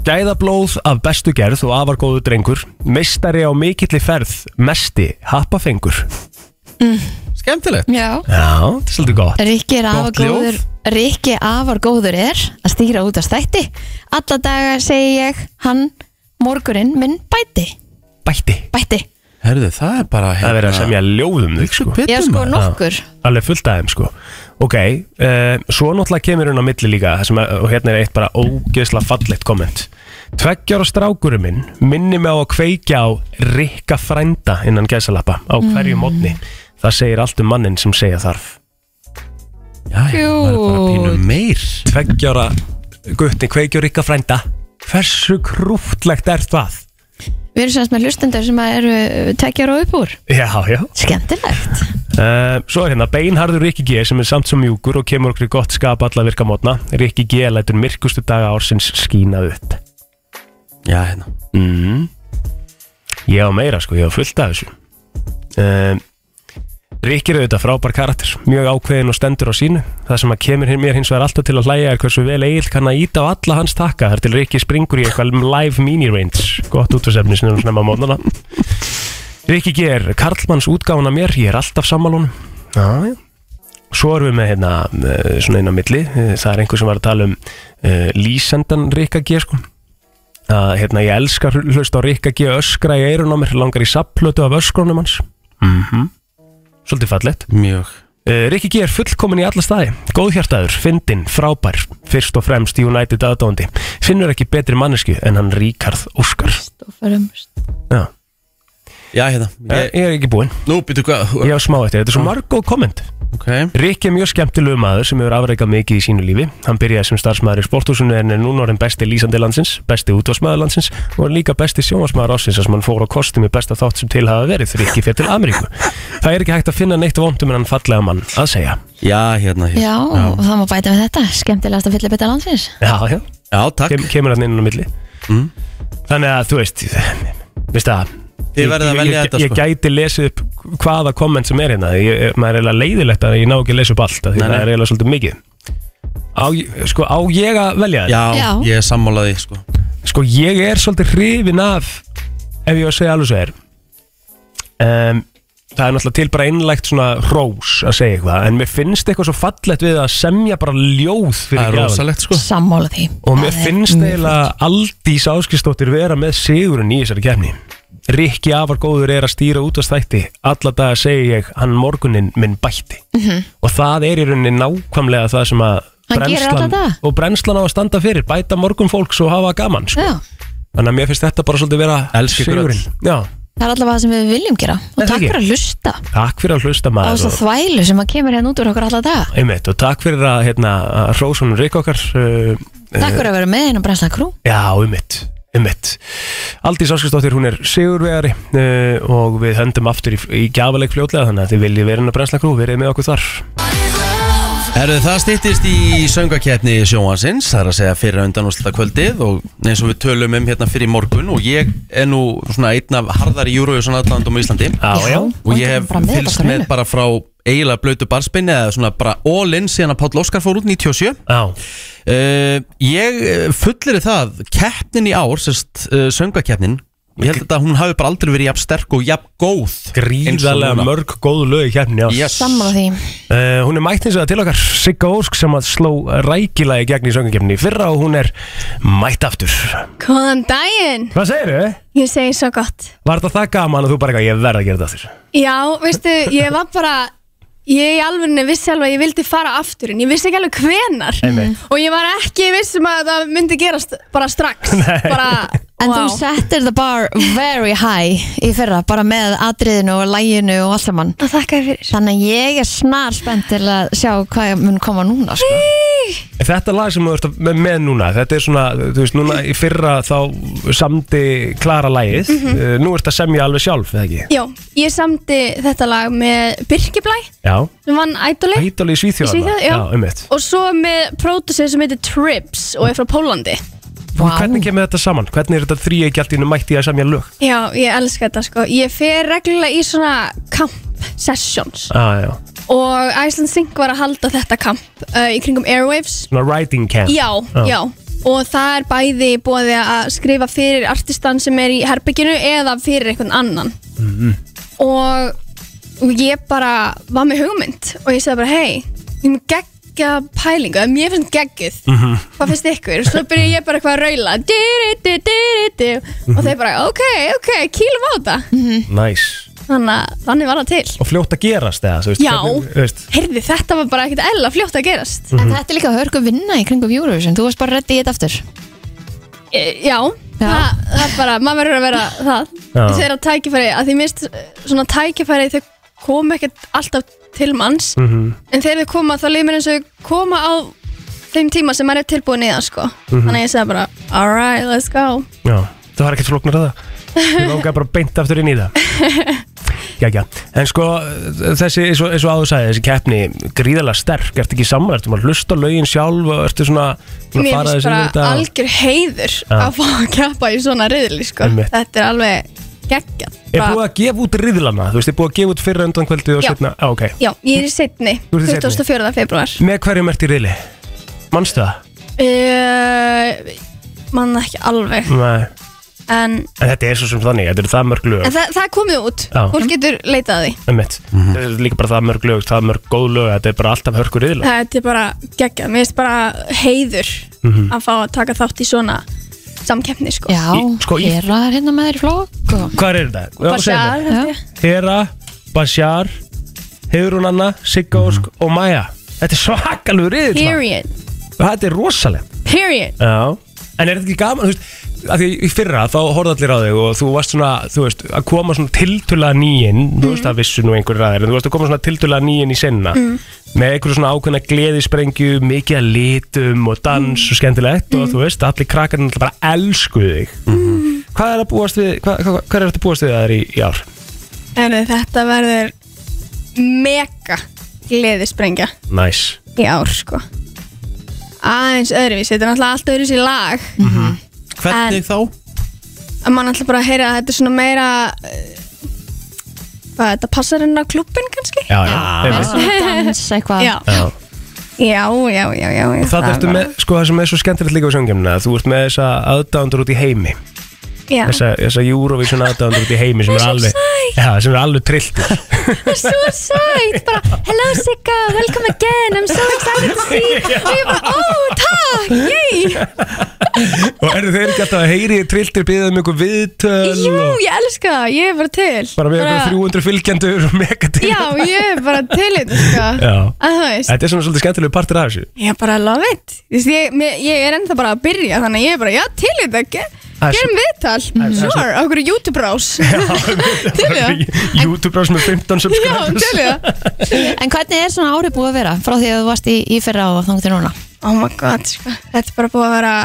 [SPEAKER 2] Gæðablóð af bestu gerð og afar góðu drengur Meistari á mikilli ferð Mesti happafengur
[SPEAKER 3] mm.
[SPEAKER 1] Skemmtilegt
[SPEAKER 3] Já
[SPEAKER 2] Já, þetta er svolítið gott
[SPEAKER 3] Rikki er afar
[SPEAKER 2] Gott ljóð.
[SPEAKER 3] góður Rikki afar góður er að stýra út af stætti Alla daga segi ég hann morgurinn minn bæti
[SPEAKER 2] Bæti?
[SPEAKER 3] Bæti
[SPEAKER 1] Herðu, það er bara hérna,
[SPEAKER 2] Það er verið að semja ljóðum þig sko
[SPEAKER 3] Já, sko, nokkur.
[SPEAKER 2] Já, Alveg fullt aðeim sko Ok, uh, svo náttúrulega kemur hún á milli líka þar sem að, og hérna er eitt bara ógeðslega fallegt komment Tveggjára strákurum minn minni mig á að kveikja á Rikka frænda innan gæsalappa á hverju
[SPEAKER 3] Mm.
[SPEAKER 2] mótni Það segir allt um mannin sem segja þarf
[SPEAKER 3] Jú
[SPEAKER 1] meir
[SPEAKER 2] Tveggjára gutti kveikjur ykkar frænda Hversu krúftlegt er það?
[SPEAKER 3] Við erum semst með hlustendur sem að eru tekjar og upp úr
[SPEAKER 2] Já, já
[SPEAKER 3] Skemmtilegt
[SPEAKER 2] uh, Svo er hérna beinharður Rikki G sem er samt svo mjúkur og kemur okkur í gott skap alla virka mótna Rikki G lætur myrkustu daga ársins skína upp
[SPEAKER 1] Já, hérna
[SPEAKER 2] mm. Ég á meira sko, ég á fullt af þessu uh, Rikki er auðvitað frábær karakter Mjög ákveðin og stendur á sínu Það sem að kemur hin- mér hins vegar alltaf til að hlæja er hversu vel Egil kann að íta á alla hans takka Þar til Rikki springur í eitthvað live mini-range Gott útvarsefni sem er snemma á mótnana Rikki G er Karlmanns útgáfuna mér, ég er alltaf sammálun Já, já Svo erum við með hérna, eh, svona inn á milli eh, Það er einhver sem var að tala um uh, Lýsendan Rikka G sko að hérna ég elska hl- hlusta á Rikka G öskra í eirun á mér, langar í sapplötu af öskronum hans mm -hmm. Svolítið fallegt
[SPEAKER 1] Mjög
[SPEAKER 2] Uh, Rikki G er fullkomin í alla staði Góðhjartaður, fyndinn, frábær Fyrst og fremst United aðdóndi Finnur ekki betri mannesku en hann Ríkarð Óskar Já,
[SPEAKER 1] já hérna
[SPEAKER 2] ég, ég er ekki búinn
[SPEAKER 1] Nú, býtu hvað Ah.
[SPEAKER 2] Ég á smá eftir, þetta er svo marg góð komment
[SPEAKER 1] okay.
[SPEAKER 2] Rikki er mjög skemmtilegu maður sem hefur afreikað mikið í sínu lífi Hann byrjaði sem starfsmaður í sporthúsinu en er núna orðin besti lýsandi landsins, besti útvarsmaður landsins og er líka besti sjónvarsmaður ásins sem hann fór á kostum í besta þátt sem til hafa verið Rikki fyrir til Ameríku Það er ekki hægt að finna neitt vondum en hann fallega mann að segja
[SPEAKER 1] Já, hérna
[SPEAKER 3] Já, og það má bæta með þetta Skemmtilegast að fylla betra landsins
[SPEAKER 2] Já, já,
[SPEAKER 1] já takk
[SPEAKER 2] Kem, Kemur hann inn á milli mm. Þannig að þú veist Veist það
[SPEAKER 1] Þið
[SPEAKER 2] Ég-
[SPEAKER 1] verðið að
[SPEAKER 2] ég-
[SPEAKER 1] velja
[SPEAKER 2] ég-
[SPEAKER 1] þetta,
[SPEAKER 2] Ég
[SPEAKER 1] sko.
[SPEAKER 2] gæti lesið upp hvaða komment sem er hérna ég, ég- Maður er eiginlega leiðilegt að ég ná ekki að lesa upp allt af Því
[SPEAKER 1] Nei,
[SPEAKER 2] það
[SPEAKER 1] nei.
[SPEAKER 2] er eiginlega svolítið mikið á, ég- Sko, á ég að velja þetta?
[SPEAKER 1] Já, Já. ég er sammálaði sko.
[SPEAKER 2] sko, ég er svolítið hrifin af Ef ég á að segja alveg svo er um, Það er náttúrulega til bara einlægt svona rós að segja eitthvað En mér finnst eitthvað svo fallegt við að semja bara ljóð fyrir
[SPEAKER 1] Það er
[SPEAKER 2] gjafan.
[SPEAKER 1] rosalegt, sko.
[SPEAKER 3] Sammála því
[SPEAKER 2] Og mér
[SPEAKER 3] Það er
[SPEAKER 2] finnst
[SPEAKER 3] mjög
[SPEAKER 2] eiginlega Aldís Áskistóttir vera með sigurinn í þessari kefni Rikki afar góður er að stýra útastætti Alla daga segi ég hann morgunin minn bætti
[SPEAKER 3] Mhm.
[SPEAKER 2] Og það er í rauninni nákvæmlega það sem að
[SPEAKER 3] Hann gerir alla daga.
[SPEAKER 2] Og brennslan á að standa fyrir Bæta morgun fólks og hafa gaman sko.
[SPEAKER 3] Já.
[SPEAKER 2] Þannig að mér finnst þetta bara svolítið vera
[SPEAKER 1] Elski ykkur öll.
[SPEAKER 2] sigurinn Já,
[SPEAKER 3] Það er allavega það sem við viljum gera og takk
[SPEAKER 2] ekki.
[SPEAKER 3] fyrir að hlusta á
[SPEAKER 2] takk fyrir að hlusta maður
[SPEAKER 3] þess að þvælu sem að kemur hérna út úr okkur alla dag
[SPEAKER 2] Einmitt, og takk fyrir að, hérna, að Rósun Rik okkar uh,
[SPEAKER 3] Takk fyrir að vera með hérna á Brensla Krú
[SPEAKER 2] Já, ummitt, ummitt Aldís Áskistóttir, hún er sigurvegari uh, og við höndum aftur í, í gjafaleg fljótlega þannig að þið viljið vera hennar brennsla krú, verið með okkur þar
[SPEAKER 1] Herðu, það stýttist í söngakeppni sjóhansins, það er að segja fyrir undan og kvöldið og eins og við tölum um hérna fyrir morgun og ég er nú svona einn af harðari júruvísun allandum á Íslandi
[SPEAKER 2] Já, já.
[SPEAKER 1] og ég hef
[SPEAKER 3] bara með
[SPEAKER 1] fylgst
[SPEAKER 3] okkur
[SPEAKER 1] með
[SPEAKER 3] einu.
[SPEAKER 1] bara frá eiginlega blöytu barspinni eða svona bara all in síðan að Páll Óskar fór út 97
[SPEAKER 2] Já
[SPEAKER 1] Ég fullir það, keppnin í ár, sérst uh, söngakeppnin Ég held að hún hafi bara aldrei verið jafn sterk og jafn góð eins og
[SPEAKER 2] Gríðarlega
[SPEAKER 1] núna.
[SPEAKER 2] mörg góð lög í keppni já.
[SPEAKER 1] Yes.
[SPEAKER 3] Sammála því
[SPEAKER 2] Uh, hún er mætt eins og það til okkar Sigga Ósk sem að sló rækilega í gegn í söngakeppni í fyrra og hún er mætt aftur
[SPEAKER 12] Góðan daginn!
[SPEAKER 2] Hvað segirðu?
[SPEAKER 12] Ég segi svo gott.
[SPEAKER 2] Var þetta það gaman að þú bara eitthvað, ég verð að gera þetta aftur
[SPEAKER 12] Já, veistu, ég var bara, ég í alvörinu vissi alveg að ég vildi fara aftur en ég vissi ekki alveg hvenar
[SPEAKER 3] Mhm.
[SPEAKER 2] Einmitt.
[SPEAKER 12] og ég var ekki vissum að það myndi gerast bara strax. bara,
[SPEAKER 3] En
[SPEAKER 12] wow.
[SPEAKER 3] þú settir the bar very high í fyrra, bara með atriðinu og læginu og allt saman
[SPEAKER 12] Þakka fyrir
[SPEAKER 3] Þannig að ég er snar spennt til að sjá hvað mun koma núna sko.
[SPEAKER 2] Þetta lag sem þú ert að- með, með núna Þetta er svona, þú veist, núna í fyrra þá samdi Klara lagið mm
[SPEAKER 12] Mhm.
[SPEAKER 2] Nú ert að semja alveg sjálf, eða ekki?
[SPEAKER 12] Já, ég samdi þetta lag með Birkiblæ
[SPEAKER 2] Já
[SPEAKER 12] sem vann Ædoli.
[SPEAKER 2] Ædoli í Svíþjóð
[SPEAKER 12] Í Svíþjóð, já.
[SPEAKER 2] Já, einmitt.
[SPEAKER 12] Og svo með pródusir sem heitir Trips og er frá Pólandi.
[SPEAKER 2] Hvernig kemur þetta saman? Hvernig er þetta þrý ekki allt í einu mætti að semja lög?
[SPEAKER 12] Já, ég elska þetta sko. Ég fer reglulega í svona camp sessions
[SPEAKER 2] Já, Ah, já
[SPEAKER 12] og Iceland Sync var að halda þetta camp uh, í kringum Airwaves.
[SPEAKER 2] Svona writing camp
[SPEAKER 12] Já, já. Og það er bæði bóði að skrifa fyrir artistan sem er í herbygginu eða fyrir einhvern annan.
[SPEAKER 2] Mhm.
[SPEAKER 12] Og, og ég bara var með hugmynd og ég segði bara, hei, ég er með geggja pælingu, eða mér finnst geggjuð
[SPEAKER 2] Mhm.
[SPEAKER 12] hvað finnst ykkur? Svo byrja ég bara eitthvað að raula diri, diri, diri, diri. og þeir bara, ok, ok, kýlum á þetta
[SPEAKER 2] Næs
[SPEAKER 12] þannig að þannig var það til
[SPEAKER 2] Og fljótt að gerast eða, þú veist
[SPEAKER 12] Já.
[SPEAKER 2] hvernig- þú veist.
[SPEAKER 12] heyrði, þetta var bara ekkert ella fljótt að gerast
[SPEAKER 2] Mhm.
[SPEAKER 3] En þetta er líka hörku vinna í kringum Eurovision Þú varst bara reddi í þetta aftur
[SPEAKER 12] e, já, Það, það er bara, maður verður að vera það
[SPEAKER 3] Já.
[SPEAKER 12] þessi er að tækifæri, að því minnst svona tækifæri þau koma ekkert alltaf til manns,
[SPEAKER 2] Mhm.
[SPEAKER 12] en þegar þau koma þá líður mér eins og þau koma á þeim tíma sem maður er tilbúin í það sko
[SPEAKER 2] Mhm.
[SPEAKER 12] þannig að ég segi bara, alright, let's go
[SPEAKER 2] Já, það var ekkert flóknar að það Ég langaði bara beint aftur inn í það Já, já En sko, þessi, eins og, eins og áður sagði, þessi keppni gríðarlega sterk, ertu ekki samar ertu maður að hlusta á lögin sjálf og ertu svona búin að
[SPEAKER 12] Mér
[SPEAKER 2] fara
[SPEAKER 12] finnst
[SPEAKER 2] þessu
[SPEAKER 12] bara
[SPEAKER 2] yfir þetta?
[SPEAKER 12] algjör heiður
[SPEAKER 2] Já.
[SPEAKER 12] að fá að keppa í svona riðli sko.
[SPEAKER 2] Einmitt.
[SPEAKER 12] Þetta er alveg geggjað
[SPEAKER 2] Er
[SPEAKER 12] Bara-
[SPEAKER 2] búið að gefa út riðlana? Þú veist, er búið að gefa út fyrra undan kvöldu og
[SPEAKER 12] Já.
[SPEAKER 2] setna? Já, ok.
[SPEAKER 12] Já, ég er í setni,
[SPEAKER 2] Þú ert í seinni.
[SPEAKER 12] 24. februar
[SPEAKER 2] Með hverjum ert í riðli? Manstu það?
[SPEAKER 12] uh, Mann ekki alveg
[SPEAKER 2] Nei.
[SPEAKER 12] En,
[SPEAKER 2] En þetta er svo sem þannig, þetta eru það mörg lög.
[SPEAKER 12] en það, það er komið út
[SPEAKER 2] Já. Mm.
[SPEAKER 12] Fólk getur leitað að því
[SPEAKER 2] Einmitt. Þetta er líka bara það mörg lög, það mörg góð lög, þetta er bara alltaf hörku riðla.
[SPEAKER 12] Þetta er bara geggjað Mér finnst bara heiður
[SPEAKER 2] Mhm.
[SPEAKER 12] að fá að taka þátt í svona samkeppni sko.
[SPEAKER 3] Já,
[SPEAKER 2] sko, í-
[SPEAKER 3] Hera er hérna með þér í flokk og...
[SPEAKER 2] Hvað er þetta? Já, segðu mér.
[SPEAKER 12] Bashar, held ég.
[SPEAKER 2] Hera, Bashar, Heiðrún Anna, Sigga Ósk og Maja. Þetta er svakalur riðla.
[SPEAKER 12] Period,
[SPEAKER 2] Þetta er rosalegt.
[SPEAKER 12] period
[SPEAKER 2] Já En er þetta ekki gaman, þú veist, að því í fyrra þá horfði allir á þig og þú varst svona, þú veist, að koma svona tiltöla nýinn, þú veist, það vissu nú einhverjir aðeir, en þú varst að koma svona tiltöla nýinn í senna
[SPEAKER 12] Mhm.
[SPEAKER 2] með einhverju svona ákveðna gleðisprengju, mikið að litum og dans og skemmtilegt og þú veist, allir krakkarnir náttúrulega bara elskuðu þig. Hvað er að búast við, hvað, hvað, hvað er þetta búast við að það er í, í ár?
[SPEAKER 12] En þetta verður mega gleðisprengja
[SPEAKER 2] Næs.
[SPEAKER 12] í ár sko aðeins öðruvísi, þetta er náttúrulega allt öðruvísi lag
[SPEAKER 2] Mhm.
[SPEAKER 12] Hvernig
[SPEAKER 1] þá?
[SPEAKER 12] að mann alltaf bara að heyra að þetta er svona meira eh, hvað, þetta passar inn á klubin kannski
[SPEAKER 2] Já, já,
[SPEAKER 12] Ah.
[SPEAKER 2] einmitt.
[SPEAKER 12] dans eitthvað já,
[SPEAKER 2] Ah. Já.
[SPEAKER 12] já, já, já, já, já
[SPEAKER 2] Og það ertu með, sko það sem er svo skemmtilegt líka á söngjumna Þú ert með þessa aðdándur út í heimi
[SPEAKER 12] já.
[SPEAKER 2] Þessa, þessa Eurovision aðdándur út í heimi sem er
[SPEAKER 12] Svo
[SPEAKER 2] alveg
[SPEAKER 12] sæt.
[SPEAKER 2] Já, sem er alveg trillt
[SPEAKER 12] svo sætt, bara hello Sigga, welcome again, I'm so excited to see you og ég bara, ó, takk, yay
[SPEAKER 2] Og eru þeir ekki alltaf að heyri trilltir byggðið um ykkur viðtöl
[SPEAKER 12] jú,
[SPEAKER 2] og
[SPEAKER 12] ég elska það, ég er bara til
[SPEAKER 2] bara með ykkur 300 fylgjendur og mega til
[SPEAKER 12] já, ég er bara til í þetta, sko
[SPEAKER 2] Já.
[SPEAKER 12] að þú veist,
[SPEAKER 2] Þetta er svona svolítið skemmtileg partur af þessu
[SPEAKER 12] ég er bara love it Þú veist, ég, mér- ég er ennþá bara að byrja þannig að ég er bara, já, til í þetta, ge-
[SPEAKER 2] Það er svo-
[SPEAKER 12] gerum viðtal
[SPEAKER 2] er svo-
[SPEAKER 12] sure, okkur YouTube-rás til í það
[SPEAKER 2] YouTube-brás með 15 subscribers
[SPEAKER 3] En hvernig er svona árið búið að vera frá því að þú varst í, í fyrra og þangt til núna?
[SPEAKER 12] Oh my god, sko, þetta er bara búið að vera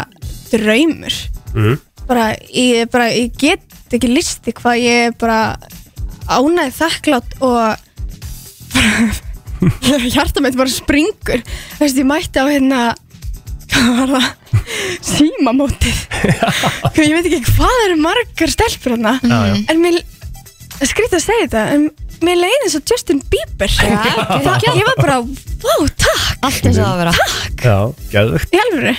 [SPEAKER 12] draumur
[SPEAKER 2] Mhm.
[SPEAKER 12] bara, ég, er bara, ég get ekki listi hvað ég er bara ánæði þakklátt og bara, hjarta mitt bara springur Þú veist, ég mætti á hérna hvað var það símamótið ég veit ekki hvað eru margar stelpur hana
[SPEAKER 13] Já, já.
[SPEAKER 12] en mér skrýtt að segja þetta en mér leiði eins og Justin Bieber já, það, ég var bara, vá, takk
[SPEAKER 3] allt eins og það að vera
[SPEAKER 12] takk
[SPEAKER 2] Já, gæðvögt
[SPEAKER 12] Í alvöru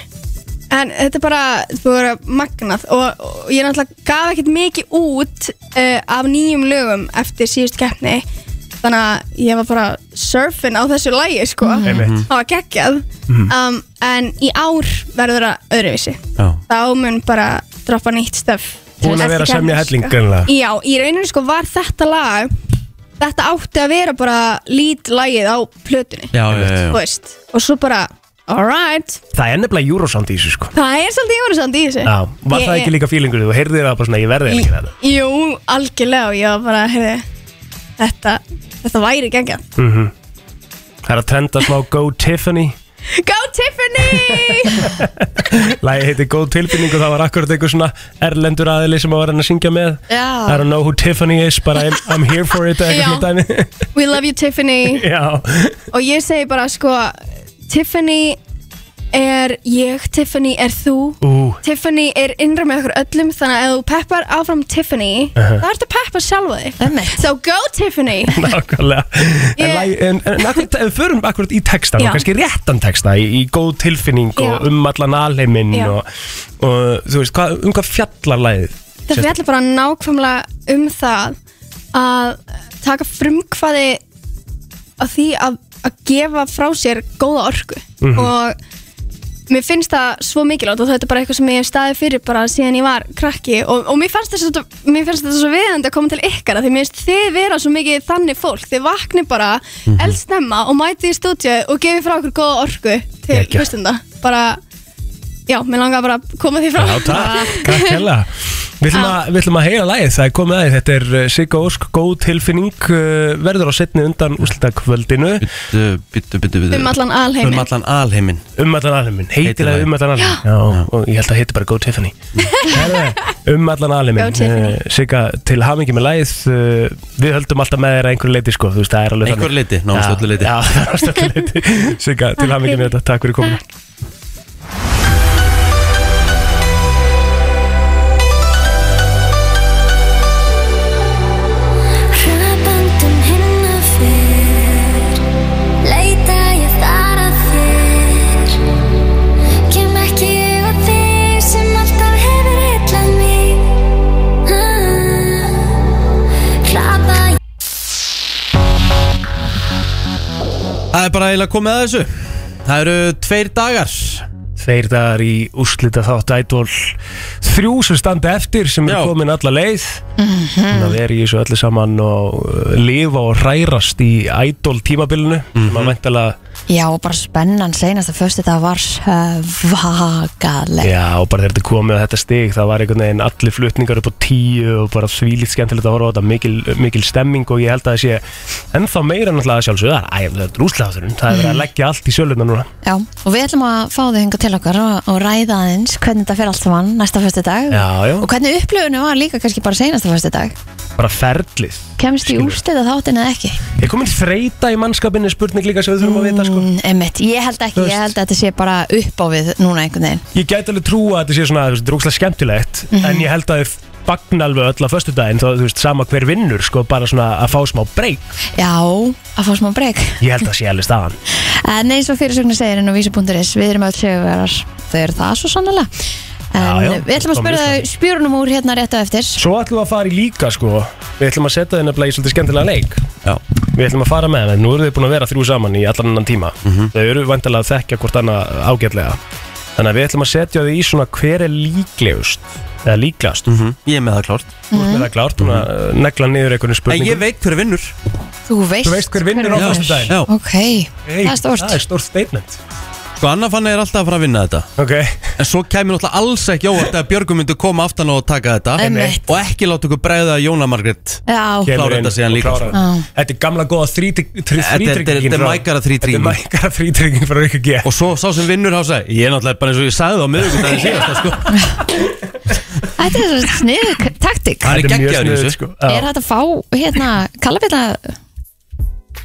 [SPEAKER 12] En þetta er bara, þetta er bara magnað og, og ég náttúrulega gaf ekkert mikið út uh, af nýjum lögum eftir síðust keppni þannig að ég var bara surfin á þessu lægi sko,
[SPEAKER 13] Mhm. Einmitt.
[SPEAKER 12] það var geggjað
[SPEAKER 13] Mhm.
[SPEAKER 12] um, en í ár verður það öðruvísi
[SPEAKER 2] Já.
[SPEAKER 12] þá mun bara droppa nýtt stöf
[SPEAKER 2] Búin að
[SPEAKER 12] Eftir
[SPEAKER 2] vera að semja
[SPEAKER 12] keppni,
[SPEAKER 2] helling,
[SPEAKER 12] sko.
[SPEAKER 2] greinilega.
[SPEAKER 12] Já, í rauninu sko var þetta lag þetta átti að vera bara lít lagið á plötunni
[SPEAKER 2] Já, já, já, já.
[SPEAKER 12] Þú veist, og svo bara, alright
[SPEAKER 2] Það er nefnilega Eurosound í þessu sko
[SPEAKER 12] Það er svolítið Eurosound í þessu
[SPEAKER 2] Já, var
[SPEAKER 12] Ég-
[SPEAKER 2] það ekki líka fílingur þú heyrðir það bara svona, ég verði ekki þetta
[SPEAKER 12] Jú, algjörlega og ég var bara, heyrðu Þetta, þetta væri gengja
[SPEAKER 2] mm Það er að trenda smá Go Tiffany
[SPEAKER 12] Go Tiffany!
[SPEAKER 2] Lægi heiti Góð tilfinning og það var akkurat einhver svona erlendur aðili sem að var hann að syngja með
[SPEAKER 12] Já.
[SPEAKER 2] I don't know who Tiffany is but I'm, I'm here for it eða
[SPEAKER 12] Ah. Já.
[SPEAKER 2] eitthvað svona dæmi
[SPEAKER 12] We love you Tiffany
[SPEAKER 2] Já,
[SPEAKER 12] Og ég segi bara, sko Tiffany er ég Tiffany er þú
[SPEAKER 2] ú,
[SPEAKER 12] Tiffany er innra með okkur öllum Þannig að ef þú peppar áfram Tiffany
[SPEAKER 2] Uh-huh.
[SPEAKER 12] þá ertu að peppa sjálfa þig So go Tiffany
[SPEAKER 2] nákvæmlega En,
[SPEAKER 12] Ég-
[SPEAKER 2] lagi, en, en akkurat, ef við förum akkurat í textan
[SPEAKER 12] Já.
[SPEAKER 2] og kannski réttan texta í, í góð tilfinning og
[SPEAKER 12] Já.
[SPEAKER 2] um allan alheiminn
[SPEAKER 12] Já.
[SPEAKER 2] og, og þú veist, hvað, um hvað fjallar lægið?
[SPEAKER 12] Það fjallar bara nákvæmlega um það að taka frumkvæði að því að, að gefa frá sér góða orku
[SPEAKER 13] Mhm.
[SPEAKER 12] og mér finnst það svo mikilvægt og þetta er bara eitthvað sem ég hef staðið fyrir bara síðan ég var krakki og, og mér, fannst þetta svo, mér finnst þetta svo viðandi að koma til ykkar af því mér finnst þið vera svo mikið þannig fólk þið vakni bara
[SPEAKER 13] Mhm.
[SPEAKER 12] eldsnemma og mætið í stúdíu og gefið frá okkur góða orku til
[SPEAKER 2] Geggjað.
[SPEAKER 12] hlustenda bara, já, mér langar bara að koma því frá
[SPEAKER 2] Já, takk, takk hella Við ætlum, að, við ætlum að heyra lagið, það er komið aðeins Þetta er uh, Sigga Ósk, góð tilfinning uh, Verður á setni undan úslita kvöldinu
[SPEAKER 1] Byttu, byttu, byttu
[SPEAKER 12] Um allan alheiminn.
[SPEAKER 1] Um allan alheimin
[SPEAKER 2] Um allan alheimin, heitir það um allan alheimin Já, og ég held að heitir bara Go Tiffany Herðu, Um allan
[SPEAKER 12] Go
[SPEAKER 2] alheimin
[SPEAKER 12] Tiffany.
[SPEAKER 2] Uh, Sigga, til hamingi með lagið uh, Við höldum alltaf með þér að einhverju leiti sko, þú veist, það er alveg
[SPEAKER 1] Einhverju leiti, nánast öllu leiti.
[SPEAKER 2] Já, nánast öllu leiti Sigga, til hamingi með þetta, takk fyrir komuna
[SPEAKER 13] Hrapandum hinna fyrr Leita ég þar að þér Kem ekki ég að þig sem alltaf hefur heitlað mig Ah, Hrapa ég
[SPEAKER 1] Það er bara eiginlega komið að þessu Það eru tveir dagar
[SPEAKER 2] Þeir dagar í úslita þátt ædol Þrjú sem standa eftir sem er komin alla leið Þannig að vera í þessu öllu saman og uh, lifa og hrærast í ædol tímabilinu sem
[SPEAKER 1] Mhm.
[SPEAKER 2] að væntalega
[SPEAKER 3] Já, og bara spennan seinast að föstu þetta var eh, svakaleg
[SPEAKER 2] Já, og bara þegar þetta komið á þetta stig það var einhvern veginn allir flutningar upp á tíu og bara þvílíkt skemmtilegt að horfa á þetta mikil, mikil stemming og ég held að það sé ennþá meira náttúrulega að sjálfsögða Það er rúslegaðurinn, það er verið að leggja allt í söluna núna
[SPEAKER 3] Já, og við ætlum að fá þau hingað til okkar og, og ræða aðeins hvernig þetta fer allt saman næsta fyrstu dag
[SPEAKER 2] Já, já.
[SPEAKER 3] og hvernig upplöfunum var líka kannski bara seinasta fyrstu dag
[SPEAKER 2] Bara ferlið
[SPEAKER 3] kemst í úrstæða þáttin eða ekki
[SPEAKER 2] Er komin þreita í mannskapinni spurning líka sem við þurfum að vita sko
[SPEAKER 3] Einmitt, ég held ekki, ég held að þetta sé bara upp á við núna einhvern veginn
[SPEAKER 2] Ég gæti alveg trúa að þetta sé svona þú veist, þetta er drúkslega skemmtilegt
[SPEAKER 3] Mhm.
[SPEAKER 2] En ég held að þið fagna alveg öll á föstu daginn þá, þú veist, sama hver vinnur, sko, bara svona að fá smá breyk
[SPEAKER 3] Já, að fá smá breyk
[SPEAKER 2] Ég held að sé alveg staðan
[SPEAKER 3] En eins og fyrirsögnu segir en á vísi.is Við erum öll sjögarar Þau eru það svo sannlega En
[SPEAKER 2] Já, já,
[SPEAKER 3] við ætlum að
[SPEAKER 2] komum
[SPEAKER 3] spyrja þau spjörunum úr hérna rétt á eftir
[SPEAKER 2] Svo ætlum við að fara í líka, sko Við ætlum að setja þau nefnilega í svolítið skemmtilega leik Já Við ætlum að fara með þeim, nú eru þau búin að vera þrjú saman í allan annan tíma Þau eru vantilega að þekkja hvort annað ágætlega Þannig að við ætlum að setja þau í svona hver er líklegust Eða líklegast Mhm. Ég er með það klárt Þú ert með það klárt, búin að eh, negla niður einhvern spurningum
[SPEAKER 1] En ég veit hver vinnur
[SPEAKER 3] Þú veist,
[SPEAKER 2] Þú veist hver vinnur á föstudaginn? Já.
[SPEAKER 3] Ok, það er stórt
[SPEAKER 2] Það er stórt statement
[SPEAKER 1] Sko Anna fann er alltaf að fara að vinna þetta
[SPEAKER 2] okay.
[SPEAKER 1] En svo kemur náttúrulega alls ekki óvart að Björgum myndi koma aftan og taka þetta
[SPEAKER 3] Einmitt.
[SPEAKER 1] Og ekki láta okkur bregða að Jóna Margrét
[SPEAKER 3] Já. Kemur
[SPEAKER 1] Klára
[SPEAKER 2] inn
[SPEAKER 1] þetta síðan
[SPEAKER 2] og
[SPEAKER 1] líka
[SPEAKER 2] klárar.
[SPEAKER 3] Já.
[SPEAKER 2] Þetta er gamla góða þrítryggingin
[SPEAKER 1] Þetta er- þetta er mækara þrítrygging
[SPEAKER 2] Þetta er mækara þrítrygging frá Rikki G
[SPEAKER 1] Og svo sá sem vinnur þá segi Ég er náttúrulega bara eins og ég sagði það á miðugundaginn síðast sko.
[SPEAKER 3] Þetta er svo sniðu taktik
[SPEAKER 1] Það er geggjaður í þessu
[SPEAKER 2] sko.
[SPEAKER 3] Er þetta að fá hérna Kallabilla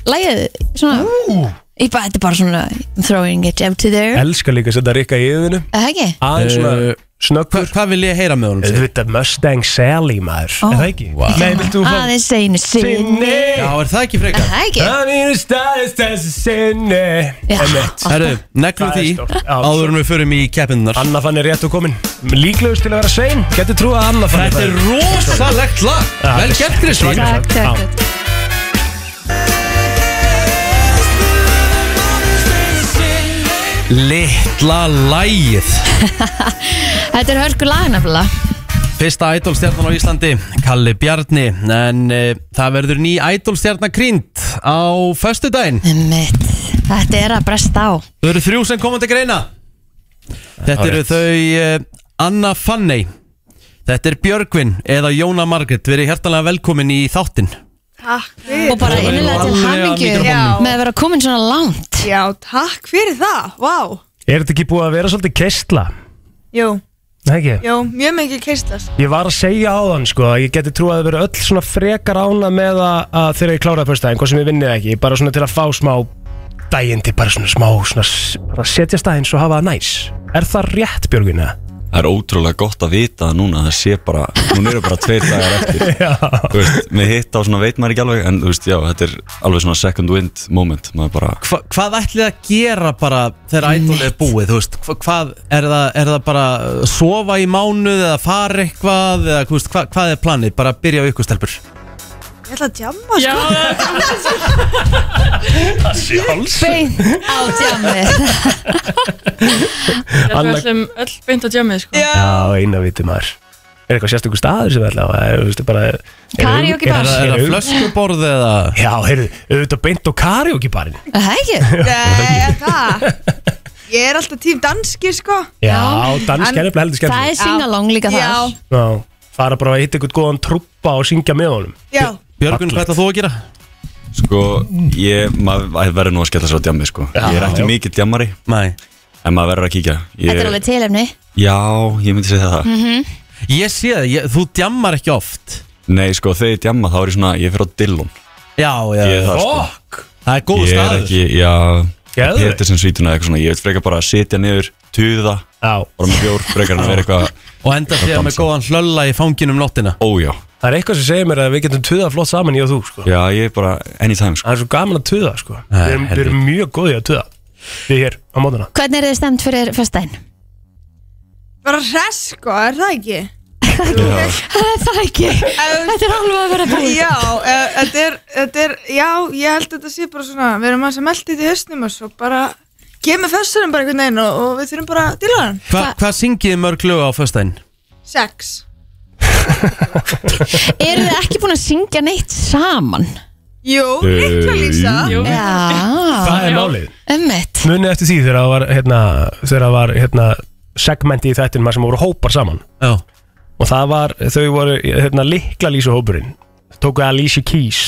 [SPEAKER 3] Lægið svona Ég bara, þetta er bara svona I'm throwing it up to there
[SPEAKER 2] Elskar líka að setja Rikka í yfirinu
[SPEAKER 3] Er Það ekki?
[SPEAKER 2] Aðeins svona
[SPEAKER 1] Eh,
[SPEAKER 2] snöggur
[SPEAKER 1] Hvað vil ég heyra með honum?
[SPEAKER 2] Þú veit að Mustang Sally maður
[SPEAKER 3] Ó.
[SPEAKER 2] Er það ekki?
[SPEAKER 1] Vá.
[SPEAKER 2] Nei, vilt þú fá
[SPEAKER 3] Aðeins einu sinni
[SPEAKER 1] Já, er það ekki
[SPEAKER 3] Er
[SPEAKER 1] frekar?
[SPEAKER 3] Það ekki?
[SPEAKER 2] Það er staðist þessi sinni
[SPEAKER 3] Já.
[SPEAKER 2] Einmitt.
[SPEAKER 1] Herru, neglum
[SPEAKER 2] Það er
[SPEAKER 1] því
[SPEAKER 2] stórt. Já,
[SPEAKER 1] áður en við förum í keppinnar
[SPEAKER 2] Anna fann er rétt og komin Líklegust til að vera sein Getur trú að Anna fann
[SPEAKER 1] Þetta er rosalegt lag
[SPEAKER 2] Já,
[SPEAKER 1] Vel
[SPEAKER 2] þetta er-
[SPEAKER 1] gert Kristi
[SPEAKER 2] þetta er-
[SPEAKER 3] Takk,
[SPEAKER 2] Já.
[SPEAKER 3] takk, takk
[SPEAKER 1] Littla lægið
[SPEAKER 3] Þetta er hörku lag nefnilega
[SPEAKER 1] Fyrsta ædolstjarnan á Íslandi Kalli Bjarni En e, það verður ný ædolstjarnakrýnd Á föstudaginn
[SPEAKER 3] Einmitt. Þetta er að bresta á
[SPEAKER 1] Þau eru þrjú sem komandi greina Þetta eru
[SPEAKER 2] Hárrétt.
[SPEAKER 1] þau e, Anna Fanney Þetta er Björgvin eða Jóna Margrét Verið hjertalega velkomin í þáttinn
[SPEAKER 14] Takk
[SPEAKER 3] Og bara innilega til hamingju
[SPEAKER 14] Já.
[SPEAKER 3] Með að vera komin svona langt
[SPEAKER 14] Já, takk fyrir það, vá
[SPEAKER 2] Er þetta ekki búið að vera svolítið keistla?
[SPEAKER 14] Jú,
[SPEAKER 2] Nei ekki?
[SPEAKER 14] jú, mjög mikið keislas
[SPEAKER 2] Ég var að segja á þann sko að ég geti trú að það verið öll svona frekar ána með að, að þegar ég kláraði fyrstæðin, hvað sem ég vinnið ekki, bara svona til að fá smá dægindi, bara svona smá, svona s- bara setja stæðins og hafa það næs. Er það rétt Björguna?
[SPEAKER 15] Það er ótrúlega gott að vita það núna að það sé bara, núna eru bara tveir dagar eftir Þú veist, með hitt á svona veit maður ekki alveg en þú veist, já, þetta er alveg svona second wind moment, maður bara
[SPEAKER 1] Hva, hvað ætlið þið að gera bara þegar ædol er búið, þú veist, hva, hvað er það, er það bara að sofa í mánuð eða fara eitthvað eða þú veist, hva, hvað er planið, bara að byrja á ykkur stelpur
[SPEAKER 14] Ég ætla að djamma sko
[SPEAKER 2] Sjálfs
[SPEAKER 3] Beint á tjammið
[SPEAKER 16] Ég held
[SPEAKER 2] Anna-
[SPEAKER 16] við ætlum öll beint að jammið sko.
[SPEAKER 2] Já, eina viti maður. Er eitthvað sérstökur staður sem við ætla að, þú veist, bara... er-
[SPEAKER 16] Karaoke bar.
[SPEAKER 2] er-
[SPEAKER 1] Er það- er það
[SPEAKER 2] er-
[SPEAKER 1] flöskuborð eða
[SPEAKER 2] Já, heyrðu, auðvitað beint á karaokebarinn
[SPEAKER 3] Er Það ekki?
[SPEAKER 14] Nei, er það Ég er alltaf tím danski sko
[SPEAKER 2] Já, dansk er nefnilega heldur skemmtilegt.
[SPEAKER 3] Það er singalong líka þar
[SPEAKER 14] Já,
[SPEAKER 2] Já, fara bara að hitta eitthvað góðan trúppa og syngja með honum
[SPEAKER 14] já
[SPEAKER 1] Björgun, hvað ætlað þú að gera?
[SPEAKER 15] sko, ég, maður verður nú að skella sér á djammi, sko, ég er
[SPEAKER 2] Já.
[SPEAKER 15] ekki mikill djammari
[SPEAKER 1] Nei.
[SPEAKER 15] en maður verður að kíkja
[SPEAKER 3] Þetta
[SPEAKER 2] Eh,
[SPEAKER 3] er
[SPEAKER 15] ég,
[SPEAKER 3] alveg tilefni
[SPEAKER 15] Já, ég myndi segja
[SPEAKER 2] ah.
[SPEAKER 15] það
[SPEAKER 3] Mhm.
[SPEAKER 1] Ég sé það, ég- þú djammar ekki oft
[SPEAKER 15] Nei, sko, þegar ég djamma þá er ég svona, ég fyrir á Dillon
[SPEAKER 1] Já, já,
[SPEAKER 15] Ég er það, sko.
[SPEAKER 1] Fokk! Það er góð
[SPEAKER 15] Ég er
[SPEAKER 1] staður
[SPEAKER 15] ekki, já,
[SPEAKER 1] Geðveikt.
[SPEAKER 15] Petersen svítuna eða eitthvað svona, ég vil frekar bara sitja niður, tuða,
[SPEAKER 2] bara
[SPEAKER 15] með bjór, frekar en að vera eitthvað
[SPEAKER 1] Og enda sér með góðan hlölla í fanginum nóttina
[SPEAKER 15] Ójá
[SPEAKER 2] Það er eitthvað sem segir mér að við getum tuða flott saman ég og þú sko.
[SPEAKER 15] Já, ég er bara anytime sko.
[SPEAKER 2] Það er svo gaman að tuða sko. við, erum, við erum mjög góðið að tuða Við hér á mótana
[SPEAKER 3] Hvernig er þið stemt fyrir föstudaginn?
[SPEAKER 14] Bara hress sko, er það ekki?
[SPEAKER 3] Það er það ekki Þetta er alveg að vera búið
[SPEAKER 14] Já, eh, þetta er, þetta er, já, ég held að þetta sé bara svona, við erum aðeins að melda þetta í höstnum og svo bara kemur fessunum bara einhvern veginn og, og við þurfum bara að dila hann.
[SPEAKER 1] Hva, Hvað syngið þið mörg lög á föstudaginn?
[SPEAKER 14] Sex.
[SPEAKER 3] Eru þið ekki búin að syngja neitt saman?
[SPEAKER 14] Jú,
[SPEAKER 2] litla Lísa. jú.
[SPEAKER 3] Já
[SPEAKER 2] Það er málið.
[SPEAKER 3] Ömmit
[SPEAKER 2] Munið eftir því þegar það var, hérna, þegar það var hérna, segmenti í þættinum þar sem voru hópar saman
[SPEAKER 1] Já.
[SPEAKER 2] Og það var, þau voru hérna, líkla lýsa hópurinn Tókuð Alicia Keys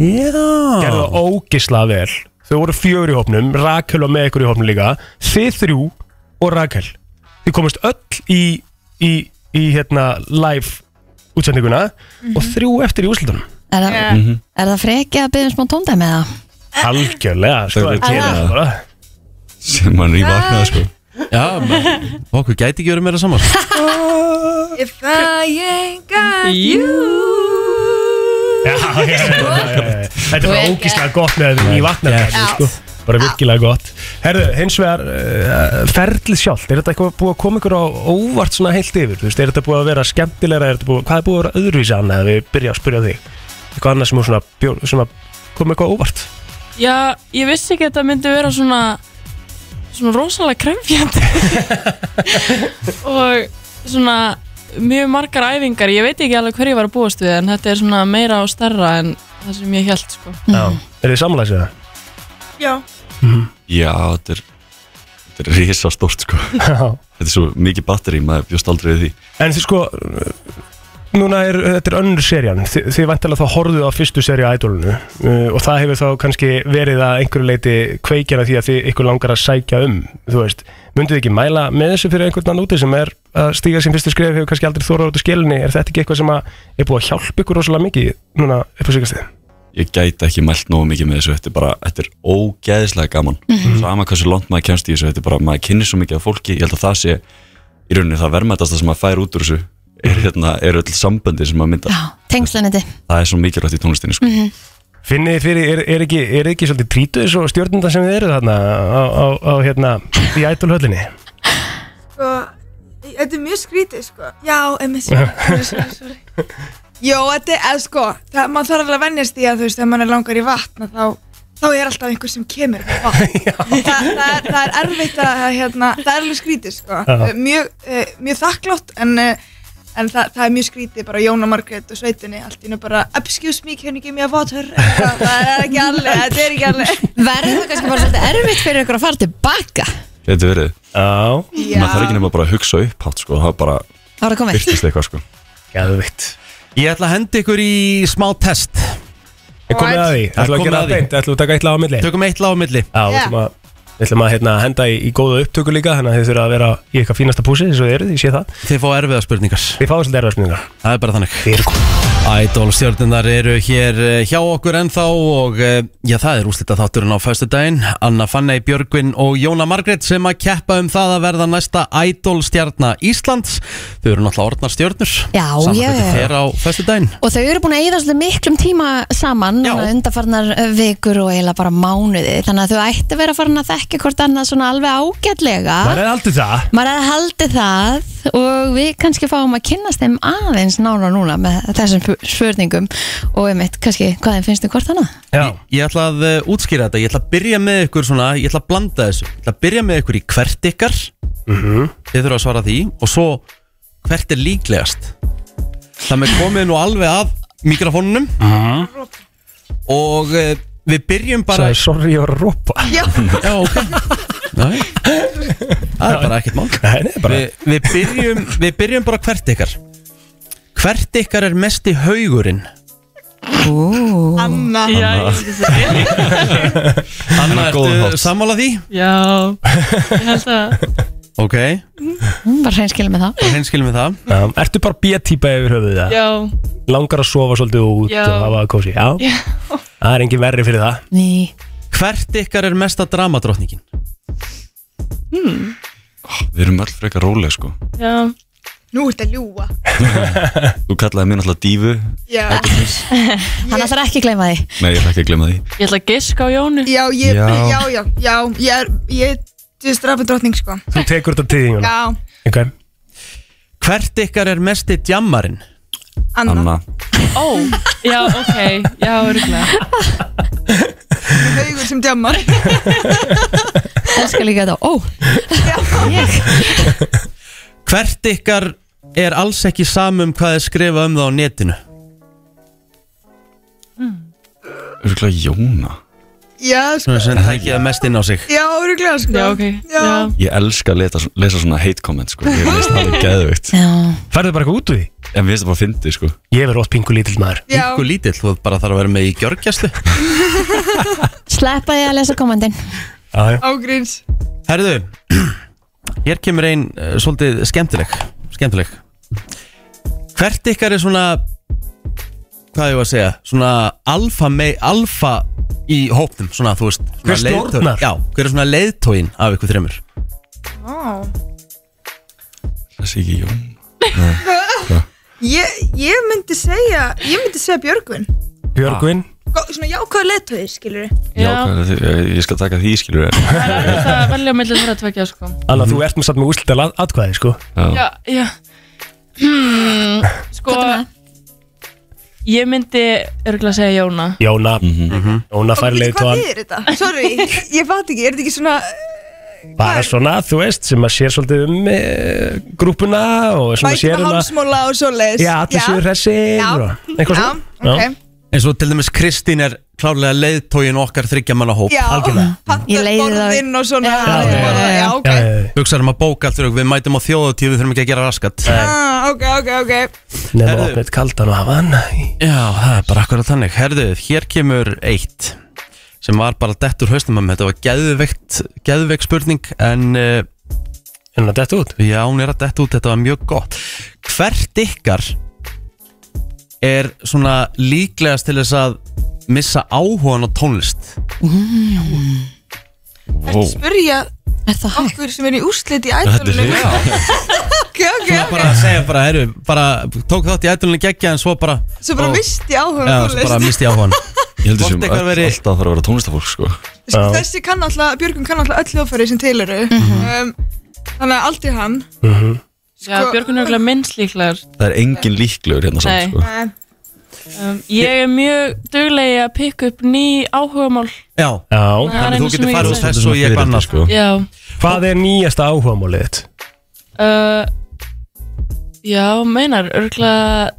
[SPEAKER 1] Já
[SPEAKER 2] Gerðu það ógisla vel Þau voru fjögur í hópnum, Rakel var með ykkur í hópnum líka Þið þrjú og Rakel Þið komast öll í, í, í hérna, live útsendinguna Og þrjú eftir í úrslutunum
[SPEAKER 3] Er það,
[SPEAKER 2] Mhm.
[SPEAKER 3] er það freki að byggja um smá tóndæmi eða?
[SPEAKER 2] Algjörlega, sko,
[SPEAKER 15] Þau
[SPEAKER 2] það
[SPEAKER 15] eru
[SPEAKER 2] gerir
[SPEAKER 3] að-
[SPEAKER 2] það bara
[SPEAKER 15] sem mann er í vaknaði sko.
[SPEAKER 1] Já, menn, okkur gæti ekki verið meira saman
[SPEAKER 14] If I ain't got you
[SPEAKER 2] Já, já, já, já, já. Þetta er bara
[SPEAKER 14] Vel
[SPEAKER 2] ógíslega
[SPEAKER 14] gert.
[SPEAKER 2] gott með í vatnafjörn
[SPEAKER 14] Já.
[SPEAKER 2] sko. Bara virkilega gott Herðu, hins vegar, uh, ferlið sjálft Er þetta eitthvað búið að koma ykkur á óvart svona heilt yfir? Þú veist, er þetta búið að vera skemmtilegra? Er þetta búið, hvað er búið að vera öðruvísi annað? ef Við byrja að spyrja þig Eitthvað annað sem, er svona, bjó, sem að koma eitthvað á óvart
[SPEAKER 16] Já, ég vissi ekki að þetta myndi vera svona svona rosalega krefjandi og svona mjög margar æfingar ég veit ekki alveg hverju ég var að búast við en þetta er svona meira og stærra en það sem ég held sko.
[SPEAKER 2] Já Er þið samlæsið það?
[SPEAKER 14] Já
[SPEAKER 15] Já, þetta er þetta er risa stort sko
[SPEAKER 2] Já.
[SPEAKER 15] þetta er svo mikið batteri, maður bjóst aldrei við því
[SPEAKER 2] En þið sko Núna er, þetta er önnur serían Þi, Þið vantilega þá horfðuð á fyrstu seríu á Idolinu uh, og það hefur þá kannski verið að einhverju leiti kveikjana því að þið ykkur langar að sækja um þú veist, mynduð þið ekki mæla með þessu fyrir einhvern mann úti sem er að stíga sín fyrstu skref hefur kannski aldrei þórað út úr skelinni er þetta ekki eitthvað sem að er búið að hjálpa ykkur rosalega mikið núna upp á síkastið?
[SPEAKER 15] ég gæti ekki mælt nógu mikið með þessu þetta er bara, þetta er ógeðislega gaman
[SPEAKER 2] Mhm.
[SPEAKER 15] sama hversu langt maður kemst í þessu þetta er bara, maður kynni svo mikið af fólki, ég held að það sé í rauninni það verðmætasta sem maður fær út úr þessu er, hérna, er öll samböndi sem maður mynda
[SPEAKER 3] Tengslanandi
[SPEAKER 15] það er svo mikilvægt í tónlistinni sko.
[SPEAKER 3] Mhm.
[SPEAKER 2] Finnið þið fyrir, er, er, ekki, er ekki svolítið trítuð svo stjórnunda sem þið eru þarna á, á, á hérna, í Idol höllinni?
[SPEAKER 14] sko, Þetta er mjög skrítið sko Já, emmi, sorry, sorry, sorry Jó, þetta er, eða sko það, maður þarf alveg að vennjast í að þú veist ef maður er langar í vatn að þá, þá er alltaf einhver sem kemur með vatn það, það, er, það er erfitt að hérna, það er alveg skrítið sko
[SPEAKER 13] Já.
[SPEAKER 14] mjög, eh, mjög þakklátt en, eh, en það, það er mjög skrítið bara Jóna Margrét og sveitinni allt í nú bara excuse me, can you give me a water það, það er ekki alveg, þetta er ekki alveg
[SPEAKER 3] Verður það kannski bara svolítið erfitt fyrir ykkur að fara tilbaka
[SPEAKER 15] þetta verið
[SPEAKER 3] Já.
[SPEAKER 15] maður þarf ekki nema bara að hugsa upp hátt sko. það er bara,
[SPEAKER 3] Það var að koma
[SPEAKER 15] byrtist eitthvað sko.
[SPEAKER 2] Gæðvikt
[SPEAKER 1] Ég ætla að henda ykkur í smá test
[SPEAKER 2] Er komið að því? Ætlum við að gera það beint? Ætlum við að taka eitt lag á milli?
[SPEAKER 1] Tökum eitt lag á milli
[SPEAKER 2] Já, við
[SPEAKER 1] Já.
[SPEAKER 2] ætlum að, við ætlum að hérna, henda í, í góða upptöku líka Þannig að þið þurfa að vera í eitthvað fínasta púsi Þess að þið eruð, ég sé það
[SPEAKER 1] Þið fá erfiða spurningar
[SPEAKER 2] Þið fá svolítið erfiða spurningar
[SPEAKER 1] Það er bara þannig
[SPEAKER 2] Þið eru
[SPEAKER 1] Idol stjórnirnar eru hér eh, hjá okkur ennþá og eh, já, það er úslita þátturinn á föstudaginn Anna Fanney Björgvin og Jóna Margrét sem að keppa um það að verða næsta Idol stjárna Íslands Þau eru náttúrulega orðnar stjórnur
[SPEAKER 3] Já, já, já.
[SPEAKER 1] Þeir á föstudaginn
[SPEAKER 3] Og þau eru búin að eyða svolítið miklum tíma saman núna undanfarnar eh, vikur og eiginlega bara mánuði þannig að þau ætti að vera farin að þekka hvort annað svona alveg ágætlega
[SPEAKER 2] Maður er aldrei það
[SPEAKER 3] Maður er að haldi það og við kannski fáum að kynnast þeim aðeins nána núna með þessum pu- spurningum og um eitt kannski hvað þeim finnst þau hvort annað
[SPEAKER 1] Ég, ég ætla að eh, útskýra þetta, ég ætla að byrja með ykkur svona, ég ætla að blanda þessu Ég ætla að byrja með ykkur í hvert ykkar
[SPEAKER 2] Mhm.
[SPEAKER 1] Þið þurfa að svara því Og svo hvert er líklegast Það með komið nú alveg að mikrofónunum
[SPEAKER 2] Mhm.
[SPEAKER 1] Og uh, við byrjum bara
[SPEAKER 2] Sæði, sorry, ég var að rópa
[SPEAKER 1] Já, ok Nei. Það er bara ekkert mál
[SPEAKER 2] Nei, nei, bara-
[SPEAKER 1] Vi, við, byrjum, við byrjum bara hvert ykkar Hvert ykkar er mest í haugurinn
[SPEAKER 3] Ooh.
[SPEAKER 14] Anna
[SPEAKER 1] Já, ég
[SPEAKER 16] veit
[SPEAKER 3] Mhm.
[SPEAKER 1] Anna,
[SPEAKER 16] góðum
[SPEAKER 1] ertu sammála því?
[SPEAKER 16] Já, ég held að
[SPEAKER 1] Ok,
[SPEAKER 3] Hún var hreinskil Mm, með það
[SPEAKER 1] hreinskilum við það
[SPEAKER 2] Já, Ertu bara B-típa yfir höfuðið það?
[SPEAKER 16] Já,
[SPEAKER 2] Langar að sofa svolítið út
[SPEAKER 16] Já.
[SPEAKER 2] og hafa það kósi Já,
[SPEAKER 16] já.
[SPEAKER 2] það er engin verri fyrir það
[SPEAKER 3] Ný.
[SPEAKER 1] Hvert ykkar er mesta dramadrottningin?
[SPEAKER 16] Hmm.
[SPEAKER 15] við erum öll frekar róleg sko.
[SPEAKER 16] já
[SPEAKER 14] Nú ert að ljúa
[SPEAKER 15] þú kallaði mér náttúrulega dífu
[SPEAKER 14] Já
[SPEAKER 3] Hann ætlar ekki að gleyma því
[SPEAKER 15] nei, ég ætla ekki að glemma því
[SPEAKER 16] Ég ætla að giska á Jónu
[SPEAKER 14] Já, ég,
[SPEAKER 15] Já.
[SPEAKER 14] já, já, já, ég er, ég er, ég er strafadrottning sko
[SPEAKER 2] Þú tekur þetta til þín
[SPEAKER 14] Já,
[SPEAKER 2] okay.
[SPEAKER 1] Hvert ykkar er mest í djammarinn?
[SPEAKER 14] Anna.
[SPEAKER 15] Anna.
[SPEAKER 16] Ó, já, ok, já, örgulega
[SPEAKER 14] haugur sem djammar
[SPEAKER 3] Elskar líka þetta, ó Ég
[SPEAKER 1] Hvert ykkar er alls ekki samum hvað er skrifað um það á netinu?
[SPEAKER 15] örgulega Jóna
[SPEAKER 14] Já, sko
[SPEAKER 1] Svona sem tækja það mest inn á sig
[SPEAKER 14] Já, öruglega sko
[SPEAKER 16] Já, ok, já,
[SPEAKER 15] ég elska að leta, lesa svona hate comment sko. ég veist það er geðvögt
[SPEAKER 2] Færðu bara eitthvað út úr því?
[SPEAKER 15] en við veist það bara fyndi sko.
[SPEAKER 2] ég verður ótt pingu lítill maður
[SPEAKER 14] Já.
[SPEAKER 1] Ykkur lítill, þú bara þarf að vera með í gjörgjæslu
[SPEAKER 3] Sleppa því að lesa komandinn
[SPEAKER 14] Ágríns
[SPEAKER 1] Herðu, hér kemur ein uh, svolítið skemmtileg Skemmtileg Hvert ykkar er svona Hvað ég var að segja Svona alfa, mei, alfa í hópnum Svona þú veist svona
[SPEAKER 2] Hver
[SPEAKER 1] leiðtogi-
[SPEAKER 2] stjórnar?
[SPEAKER 1] Já, hver er svona leiðtóin af ykkur þreymur
[SPEAKER 14] Vá.
[SPEAKER 15] Það sé ekki Jón
[SPEAKER 14] Ég, ég myndi segja ég myndi segja Björgvin
[SPEAKER 2] Björgvin
[SPEAKER 14] Gó- svona jákvæðu leðtöði skilur
[SPEAKER 15] Já, hvað er þið- ég skal taka því skilur
[SPEAKER 16] Það er alveg það að velja mellum þeirra tvekja sko.
[SPEAKER 2] Anna,
[SPEAKER 1] Mhm.
[SPEAKER 2] þú ert með satt með úrslital atkvæði, sko
[SPEAKER 16] Já, já hmm, Sko Ég myndi örgulega segja Jóna
[SPEAKER 2] Jóna
[SPEAKER 15] Mhm.
[SPEAKER 2] Jóna fær leiðtóan
[SPEAKER 14] Hvað er þetta? Sorry, ég fatt ekki, er þetta ekki svona
[SPEAKER 2] bara svona, þú veist, sem að sér svolítið um e, grúpuna og svona
[SPEAKER 14] Bækjum
[SPEAKER 2] sér um að
[SPEAKER 14] hálsmóla og svoleiðis
[SPEAKER 2] Já, allir séu hressir
[SPEAKER 14] Já.
[SPEAKER 2] og eitthvað
[SPEAKER 14] Já,
[SPEAKER 2] svona.
[SPEAKER 14] ok.
[SPEAKER 1] En svo til dæmis Kristín er klárlega leiðtógin okkar þryggja manna hóp
[SPEAKER 14] Já. Algjörlega. Ég leiði það Borðinn og svona Já, já, já, ok
[SPEAKER 1] Þú hugsaðum um að bóka allt þrjók, við mætum á þjóðatíð, við þurfum ekki að gera raskat
[SPEAKER 14] Ah, Ok, ok, ok
[SPEAKER 2] Nefnum að opna eitt kaldan og hafa hann
[SPEAKER 1] Já, það er bara akkurat þannig Herðu, hér kemur eitt sem var bara dett úr hausnum að mér þetta var geðveikt, geðveikt spurning en uh,
[SPEAKER 2] Er hún að dett út?
[SPEAKER 1] Já, hún er að dett út, þetta var mjög gott Hvert ykkar er svona líklegast til þess að missa áhugan á tónlist?
[SPEAKER 3] Mm.
[SPEAKER 1] Wow.
[SPEAKER 14] Spurja okkur sem er í úrslit í
[SPEAKER 1] Þetta er
[SPEAKER 14] ætlunum Ok, ok,
[SPEAKER 1] Svona
[SPEAKER 14] ok
[SPEAKER 1] bara að segja bara, herru, bara tók þátt í ætlunni geggja en svo bara
[SPEAKER 14] Svo bara
[SPEAKER 1] Ó.
[SPEAKER 14] misti áhuga á
[SPEAKER 1] Já, svo
[SPEAKER 14] tónlist.
[SPEAKER 1] bara misti áhugan
[SPEAKER 15] Ég held
[SPEAKER 1] Hvort
[SPEAKER 15] þessum
[SPEAKER 1] ykkar veri-
[SPEAKER 15] alltaf að fara að vera tónlistafólk sko
[SPEAKER 14] Sko, Þessi kann alltaf, Björgum kann alltaf öll hljóðfæri sem til eru um, Þannig að aldrei hann sko-
[SPEAKER 16] Já, Björgun er örgulega minnst líklar
[SPEAKER 15] Það er engin líklegur hérna samt
[SPEAKER 16] Nei
[SPEAKER 15] sko
[SPEAKER 16] um, Ég er mjög duglegi að pikka upp ný áhugamál
[SPEAKER 1] Já,
[SPEAKER 2] já.
[SPEAKER 16] Það er einu sem ég
[SPEAKER 1] farið
[SPEAKER 16] sé.
[SPEAKER 1] úr þessu og ég eitthvað annað, sko.
[SPEAKER 16] Já
[SPEAKER 2] Hvað er nýjasta áhugamálið þitt?
[SPEAKER 16] uh, Já, meinar örgulega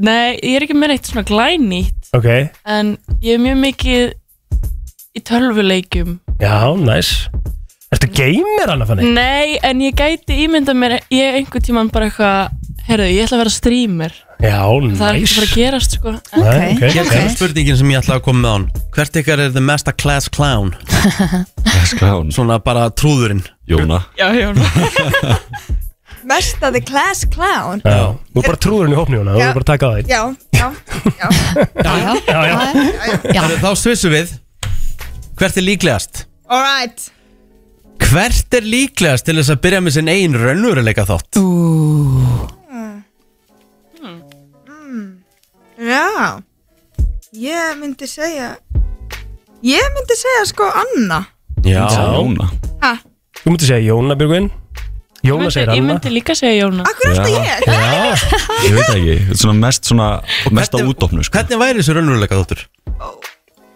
[SPEAKER 16] Nei, ég er ekki með neitt svona glænýtt
[SPEAKER 2] Ok,
[SPEAKER 16] en ég er mjög mikið í tölvuleikjum
[SPEAKER 2] já, næs Ertu gamer annað fannig?
[SPEAKER 16] Nei, en ég gæti ímynda mér ég einhver tíman bara eitthvað herðu, ég ætla að vera streamer
[SPEAKER 2] Já,
[SPEAKER 16] það er ekki
[SPEAKER 2] næs
[SPEAKER 16] að fara að gerast sko
[SPEAKER 2] Nei, ok,
[SPEAKER 1] Hér
[SPEAKER 2] ok.
[SPEAKER 1] kemur spurningin sem ég ætla að koma með hann Hvert ykkar er the master class clown? Class
[SPEAKER 15] clown
[SPEAKER 1] Svona bara trúðurinn
[SPEAKER 15] Jóna
[SPEAKER 16] Já, já
[SPEAKER 14] Mesta the class clown
[SPEAKER 2] Já, þú er bara trúðurinn í hópni Jóna, þú
[SPEAKER 14] Já.
[SPEAKER 2] er bara að taka á þitt
[SPEAKER 14] Já, já, já
[SPEAKER 1] Já,
[SPEAKER 2] já, já.
[SPEAKER 1] Þá svissum við Hvert er líklegast?
[SPEAKER 14] Alright
[SPEAKER 1] Hvert er líklegast til þess að byrja með sinn einn raunveruleika þátt?
[SPEAKER 14] Mm. Já Ég myndi segja Ég myndi segja sko Anna
[SPEAKER 1] Já,
[SPEAKER 15] Jóna
[SPEAKER 14] Ha?
[SPEAKER 2] Þú myndir segja Jóna Björgvin Jóna segir
[SPEAKER 16] Ég
[SPEAKER 2] Anna
[SPEAKER 16] myndi líka segja Jóna
[SPEAKER 14] Akkur
[SPEAKER 15] alltaf
[SPEAKER 14] ég?
[SPEAKER 15] Já, ég veit það ekki, þetta er svona mest svona mest á útdófnu sko
[SPEAKER 1] Hvernig væri þessi raunveruleika þáttur?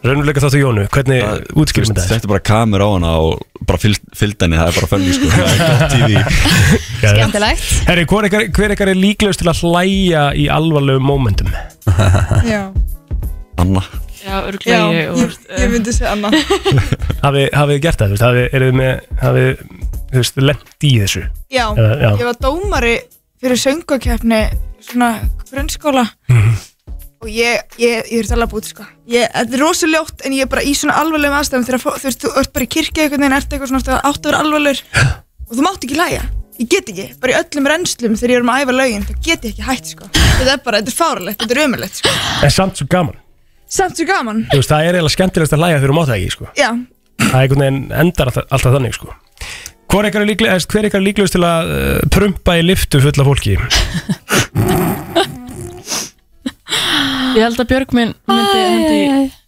[SPEAKER 2] Raunveruleika þáttu Jónu, hvernig útskýrum þetta?
[SPEAKER 15] Þetta er bara kamer á hana og bara fyllt henni, það er bara fenni sko Það er gott TV
[SPEAKER 3] Skemmtilegt
[SPEAKER 2] Herri, hver ykkar, hver ykkar er líklegust til að hlæja í alvarlegum mómentum?
[SPEAKER 14] Já
[SPEAKER 15] Anna
[SPEAKER 16] Já, örgulega ég, og,
[SPEAKER 14] ég, ég myndi segja Anna
[SPEAKER 2] Hafið hafið þið gert það, þú veist, hafið, eruð þið með hafið, þú veist, lent í þessu
[SPEAKER 14] Já,
[SPEAKER 2] Eða- já.
[SPEAKER 14] ég var dómari fyrir söngakefni svona grunnskóla
[SPEAKER 2] Mhm.
[SPEAKER 14] og ég, ég, ég er talað búið sko ég, þetta er rosaljótt en ég er bara í svona alvarlegum aðstæðum þegar fó- þú veist, þú ert bara í kirkja einhvern veginn, ert eitthvað svona ertu að- átt að vera alvarlegur og þú mátt ekki læja, ég get ekki bara í öllum reynslum þegar ég er um að æfa lögin þá get ég ekki hætt sko, þetta er bara, þetta er fáralegt þetta er ömulegt sko,
[SPEAKER 2] En samt svo gaman,
[SPEAKER 14] samt svo gaman
[SPEAKER 2] þú veist, það er eiginlega skemmtilegast að hlæja þegar þú mátt það ekki, sko
[SPEAKER 14] Já,
[SPEAKER 2] Það er einhvern veginn endar alltaf, alltaf þannig, sko Hvor ykkar er líklegust, hver ykkar er líklegust til að uh, prumpa í liftu fulla fólki?
[SPEAKER 14] Ah.
[SPEAKER 16] ég held að Björg minn myndi, myndi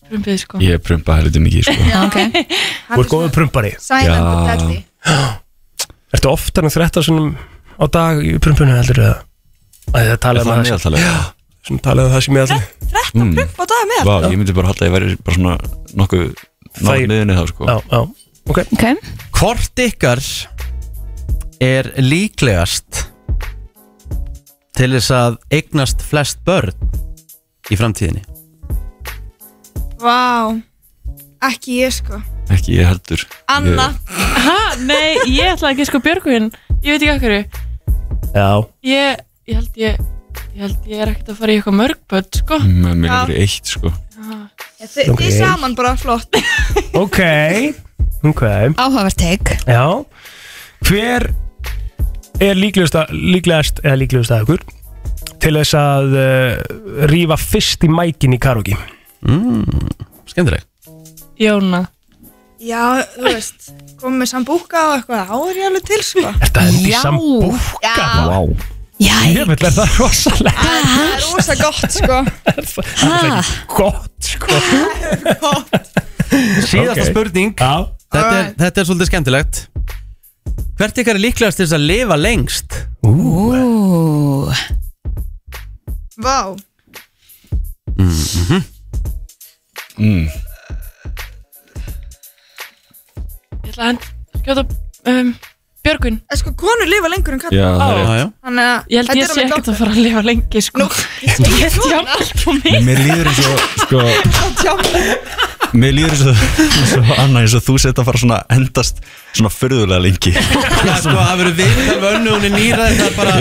[SPEAKER 16] frumbið sko
[SPEAKER 15] Ég prumpa helviti mikið sko
[SPEAKER 16] Já, ok
[SPEAKER 2] Þú ert góður prumpari
[SPEAKER 15] Silent Já. and deadly.
[SPEAKER 2] Ertu oftar en þrætt á dag í prumpunum heldur eða? Æ, Það
[SPEAKER 15] Er
[SPEAKER 2] talaði
[SPEAKER 15] það meðaltalið?
[SPEAKER 2] Já, sem talaði það sem ég allir
[SPEAKER 15] Þetta
[SPEAKER 14] og
[SPEAKER 15] prumpa
[SPEAKER 14] það er
[SPEAKER 15] Mm. Vá, ég myndi bara halda að ég væri bara svona nokkuð nátt miðinni þá sko
[SPEAKER 2] Já, já, ok,
[SPEAKER 3] okay.
[SPEAKER 1] Hvort ykkar er líklegast til þess að eignast flest börn í framtíðinni?
[SPEAKER 14] vá ekki ég sko
[SPEAKER 15] Ekki ég heldur
[SPEAKER 14] Anna
[SPEAKER 16] Hæ, nei, ég ætla ekki sko Björgun ég veit ekki okkur
[SPEAKER 2] Já
[SPEAKER 16] ég, ég held ég ég held ég er ekkert að fara í eitthvað mörgböld sko
[SPEAKER 15] Mm, Mér langar í eitt sko
[SPEAKER 14] Já, þi-
[SPEAKER 2] Ok.
[SPEAKER 14] Þið saman bara flott
[SPEAKER 2] ok, ok
[SPEAKER 3] Áhugavert teik
[SPEAKER 2] Já Hver er líklegust að, líklegast eða líklegust að ykkur til þess að uh, rífa fyrst í mækin í karaoke
[SPEAKER 1] mm, Skemmtileg
[SPEAKER 16] Jóna
[SPEAKER 14] Já, þú veist, komið með sambúka og eitthvað, þá er ég alveg til, sko.
[SPEAKER 2] Þetta hendi
[SPEAKER 14] Já.
[SPEAKER 2] sambúka
[SPEAKER 14] Já.
[SPEAKER 2] Vá Ég vil er það rosalega
[SPEAKER 14] Það er rosa gott, sko.
[SPEAKER 2] Það er ekki gott, sko.
[SPEAKER 1] Síðasta
[SPEAKER 2] Ok.
[SPEAKER 1] spurning þetta er, þetta er svolítið skemmtilegt Hvert ykkar er líklegast til þess að lifa lengst?
[SPEAKER 3] Ú
[SPEAKER 14] Vá.
[SPEAKER 1] Mhm.
[SPEAKER 15] mm.
[SPEAKER 16] Ég ætla að hend- skjóta um, Björgun
[SPEAKER 14] En sko, konur lifa lengur en kallar.
[SPEAKER 15] Já, það er rétt. Já, já.
[SPEAKER 14] Þannig að
[SPEAKER 16] Ég held
[SPEAKER 14] þetta
[SPEAKER 16] ég
[SPEAKER 14] er
[SPEAKER 16] sé
[SPEAKER 14] alveg
[SPEAKER 16] ekkert að fara að lifa lengi sko Nú,
[SPEAKER 14] ég
[SPEAKER 16] held ég að allt og mig
[SPEAKER 15] Mér líður eins og sko, Mér líður eins og, eins og Anna eins og þú setja að fara svona endast svona förðulega lengi
[SPEAKER 1] sko, það verður viðtal við önnu, hún er nýra Það er bara,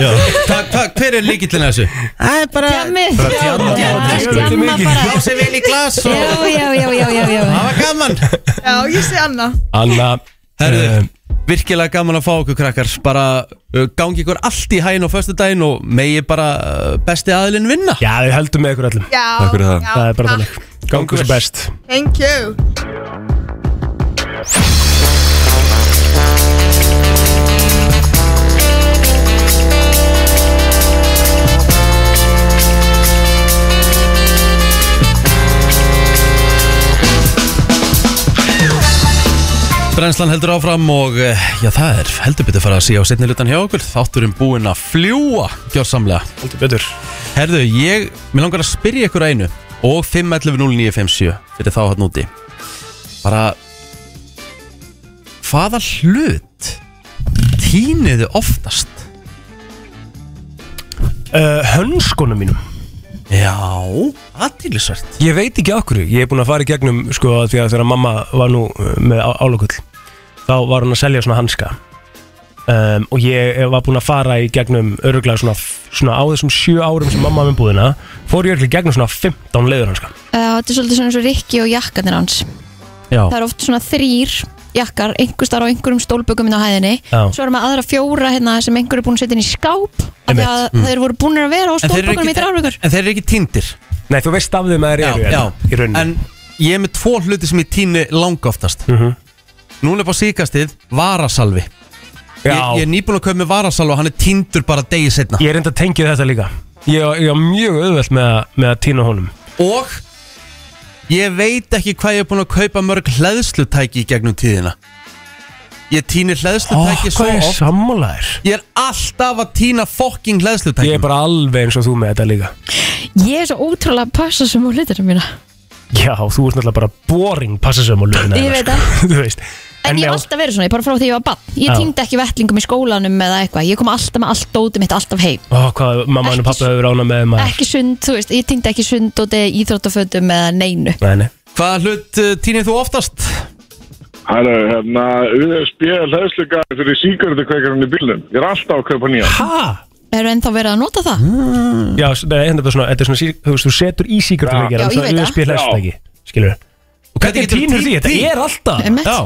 [SPEAKER 1] takk, takk, hver er líkillin þessu? Það er bara
[SPEAKER 3] Djammið
[SPEAKER 1] Bara djamma.
[SPEAKER 3] Djamma bara
[SPEAKER 1] Lá sér vel í glas og
[SPEAKER 3] Já, já, já, já, já, já.
[SPEAKER 1] Það var gaman
[SPEAKER 14] Já, ég sé Anna.
[SPEAKER 2] Anna eh,
[SPEAKER 1] Herðu, virkilega gaman að fá okkur krakkar Bara uh, gangi ykkur allt í hægin á föstu daginn Og megi bara uh, besti aðilinn vinna
[SPEAKER 2] Já, við heldum með ykkur öllum
[SPEAKER 14] Já, Takk fyrir það. já,
[SPEAKER 2] Það er bara
[SPEAKER 14] takk.
[SPEAKER 2] þannig Gangu sem best
[SPEAKER 14] Thank you.
[SPEAKER 1] Brennslan heldur áfram og eh, já það er heldur betur fara að sé á setni lutan hjá okkur Þátturinn búinn að fljúa gjörsamlega
[SPEAKER 2] Heldur betur
[SPEAKER 1] Herðu, ég, mér langar að spyrja ykkur að einu og 5110957 fyrir þá hann úti Bara Hvaða hlut týniðu oftast?
[SPEAKER 2] uh, Hönskunum mínum
[SPEAKER 1] Já, aðtýrlisvært
[SPEAKER 2] Ég veit ekki okkur, ég er búin að fara í gegnum sko að því að þegar mamma var nú uh, með á- álokull þá var hún að selja svona hanska um, og ég var búin að fara í gegnum öruglega svona, svona á þessum sjö árum sem mamma var með búðina fór ég öruglega í gegnum svona 15 leiður hanska
[SPEAKER 3] Uh, Þetta er svolítið svona eins og Rikki og jakkanir hans
[SPEAKER 2] Já.
[SPEAKER 3] Það er oft svona þrýr jakkar einhver starf á einhverjum stólbökum inn á hæðinni
[SPEAKER 1] Já.
[SPEAKER 3] Svo erum við aðra fjóra hérna, sem einhver er búin að setja inn í skáp af því að
[SPEAKER 1] Einmitt. Mm.
[SPEAKER 3] þeir voru búin að vera á
[SPEAKER 1] En þeir eru
[SPEAKER 3] stólbökum í
[SPEAKER 1] ekki-
[SPEAKER 3] þrjárvíkur
[SPEAKER 1] En þeir eru ekki týndir
[SPEAKER 2] Nei, þú veist af þeim að þeir eru,
[SPEAKER 1] já, já.
[SPEAKER 2] en- í
[SPEAKER 1] En ég er með tvo hluti sem ég týni langoftast
[SPEAKER 2] mm -hmm.
[SPEAKER 1] Núna upp á síkastið, varasalvi ég,
[SPEAKER 2] Já.
[SPEAKER 1] ég er nýbúin að köpa með varasalvi og hann er týndur bara degi setna
[SPEAKER 2] Ég er enda tengið þetta líka Ég, ég var mjög auðvelt með, að- með að týna honum
[SPEAKER 1] Og ég veit ekki hvað ég er búin að kaupa mörg hleðslutæki í gegnum tíðina Ég týni hleðslutæki svo
[SPEAKER 2] Hvað er
[SPEAKER 1] oft
[SPEAKER 2] sammálaðir?
[SPEAKER 1] Ég er alltaf að týna fokking hleðslutæki
[SPEAKER 2] Ég er bara alveg eins og þú með þetta líka
[SPEAKER 3] Ég er svo ótrúlega passa sem á hlutina mína
[SPEAKER 2] Já, þú ert náttúrulega bara boring passasöm á lögina
[SPEAKER 3] Ég veit það.
[SPEAKER 2] Þú veist
[SPEAKER 3] En, ég hef alltaf verið svona, ég bara frá því ég var bann Ég
[SPEAKER 2] Já.
[SPEAKER 3] týndi ekki vettlingum í skólanum eða eitthvað Ég kom alltaf með allt dótið mitt alltaf heim
[SPEAKER 2] Ó, hvað mamma og pappa hefur rána með maður
[SPEAKER 3] Ekki sund, þú veist, ég týndi ekki sund og degi íþróttafötum eða neinu
[SPEAKER 2] Nei, nei
[SPEAKER 1] Hvaða hlut uh, týnir þú oftast?
[SPEAKER 17] Hæru, hérna, USB hlæðslugari fyrir síkvörðukveikarinn í bílnum. Ég er alltaf að kaupa nýja.
[SPEAKER 2] Hæ?
[SPEAKER 3] Eru ennþá verið að nota það? Mm.
[SPEAKER 2] Já, s- nei, þetta er svona, þetta er svona, sír- þú veist, þú setur í
[SPEAKER 3] Já.
[SPEAKER 2] síkartöfingir
[SPEAKER 3] Já, ég veit það.
[SPEAKER 2] USB hlæstæki, skilur við Og hvernig týnur því? Þetta er alltaf
[SPEAKER 3] Já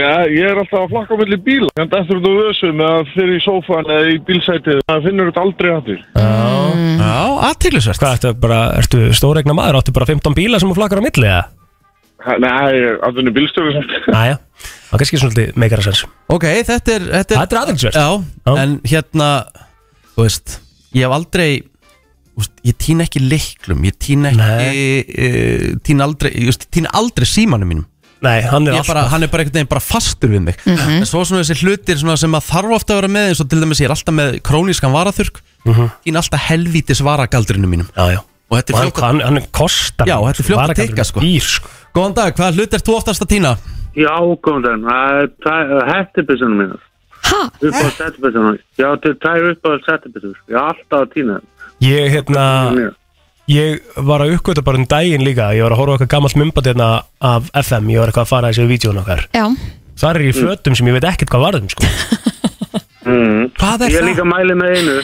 [SPEAKER 17] Nei, ég er alltaf að flakka á milli bíla. Hérna, Þannig að eftir þú ösum eða fyrir í sófan eða í bílsætið, það finnur þetta aldrei að því.
[SPEAKER 1] Já, aðtýrlisvært
[SPEAKER 2] Hvað, ertu bara, ertu stóregna maður, áttu bara 15 bíla sem þú flakkar á milli, eða?
[SPEAKER 17] Nei, ég er alveg bílstöru sem
[SPEAKER 1] Hm.
[SPEAKER 2] Næja, það er kannski svona meikara sens
[SPEAKER 1] Ok, þetta er Þetta er,
[SPEAKER 2] er aðeinsverð
[SPEAKER 1] Já, en hérna Þú veist, ég hef aldrei þú veist, Ég týn ekki leiklum Ég týn ekki e, Týn aldrei, ég veist, týn aldrei símanum mínum
[SPEAKER 2] Nei, hann er
[SPEAKER 1] Ég bara,
[SPEAKER 2] alltaf-
[SPEAKER 1] Hann er bara einhvern veginn bara fastur við mig En svo svona þessi hlutir svona sem að þarf ofta að vera með eins og til dæmis ég er alltaf með krónískan varaþurk
[SPEAKER 2] Mhm.
[SPEAKER 1] Týn alltaf helvítis varagaldrinu mínum
[SPEAKER 2] Já, já
[SPEAKER 1] Og þetta er
[SPEAKER 2] Og hann-
[SPEAKER 1] fljótt
[SPEAKER 2] hann, hann kostar
[SPEAKER 1] Já, þetta er fljótt að
[SPEAKER 2] Varagaldurinn
[SPEAKER 1] tikka sko.
[SPEAKER 2] sko
[SPEAKER 1] Góðan dag, hvaða hlut ert þú oftast að týna?
[SPEAKER 18] Já, komum þann, það er hættibissunum minna.
[SPEAKER 3] Hæ?
[SPEAKER 18] Upp á sættibissunum. Já, til tæri upp á sættibissur. Ég er alltaf að týna það.
[SPEAKER 2] Ég, hérna, ég var að uppgöta bara um daginn líka Ég var að horfa á eitthvað gammalt mymbandi hérna af FM Ég var eitthvað að fara þessi vídjón okkar
[SPEAKER 3] Já
[SPEAKER 2] Þar er ég í
[SPEAKER 19] Mm.
[SPEAKER 2] fötum sem ég veit ekkert hvað varðum sko
[SPEAKER 18] Mm.
[SPEAKER 1] Hvað
[SPEAKER 18] er ég það? Ég líka mæli með einu.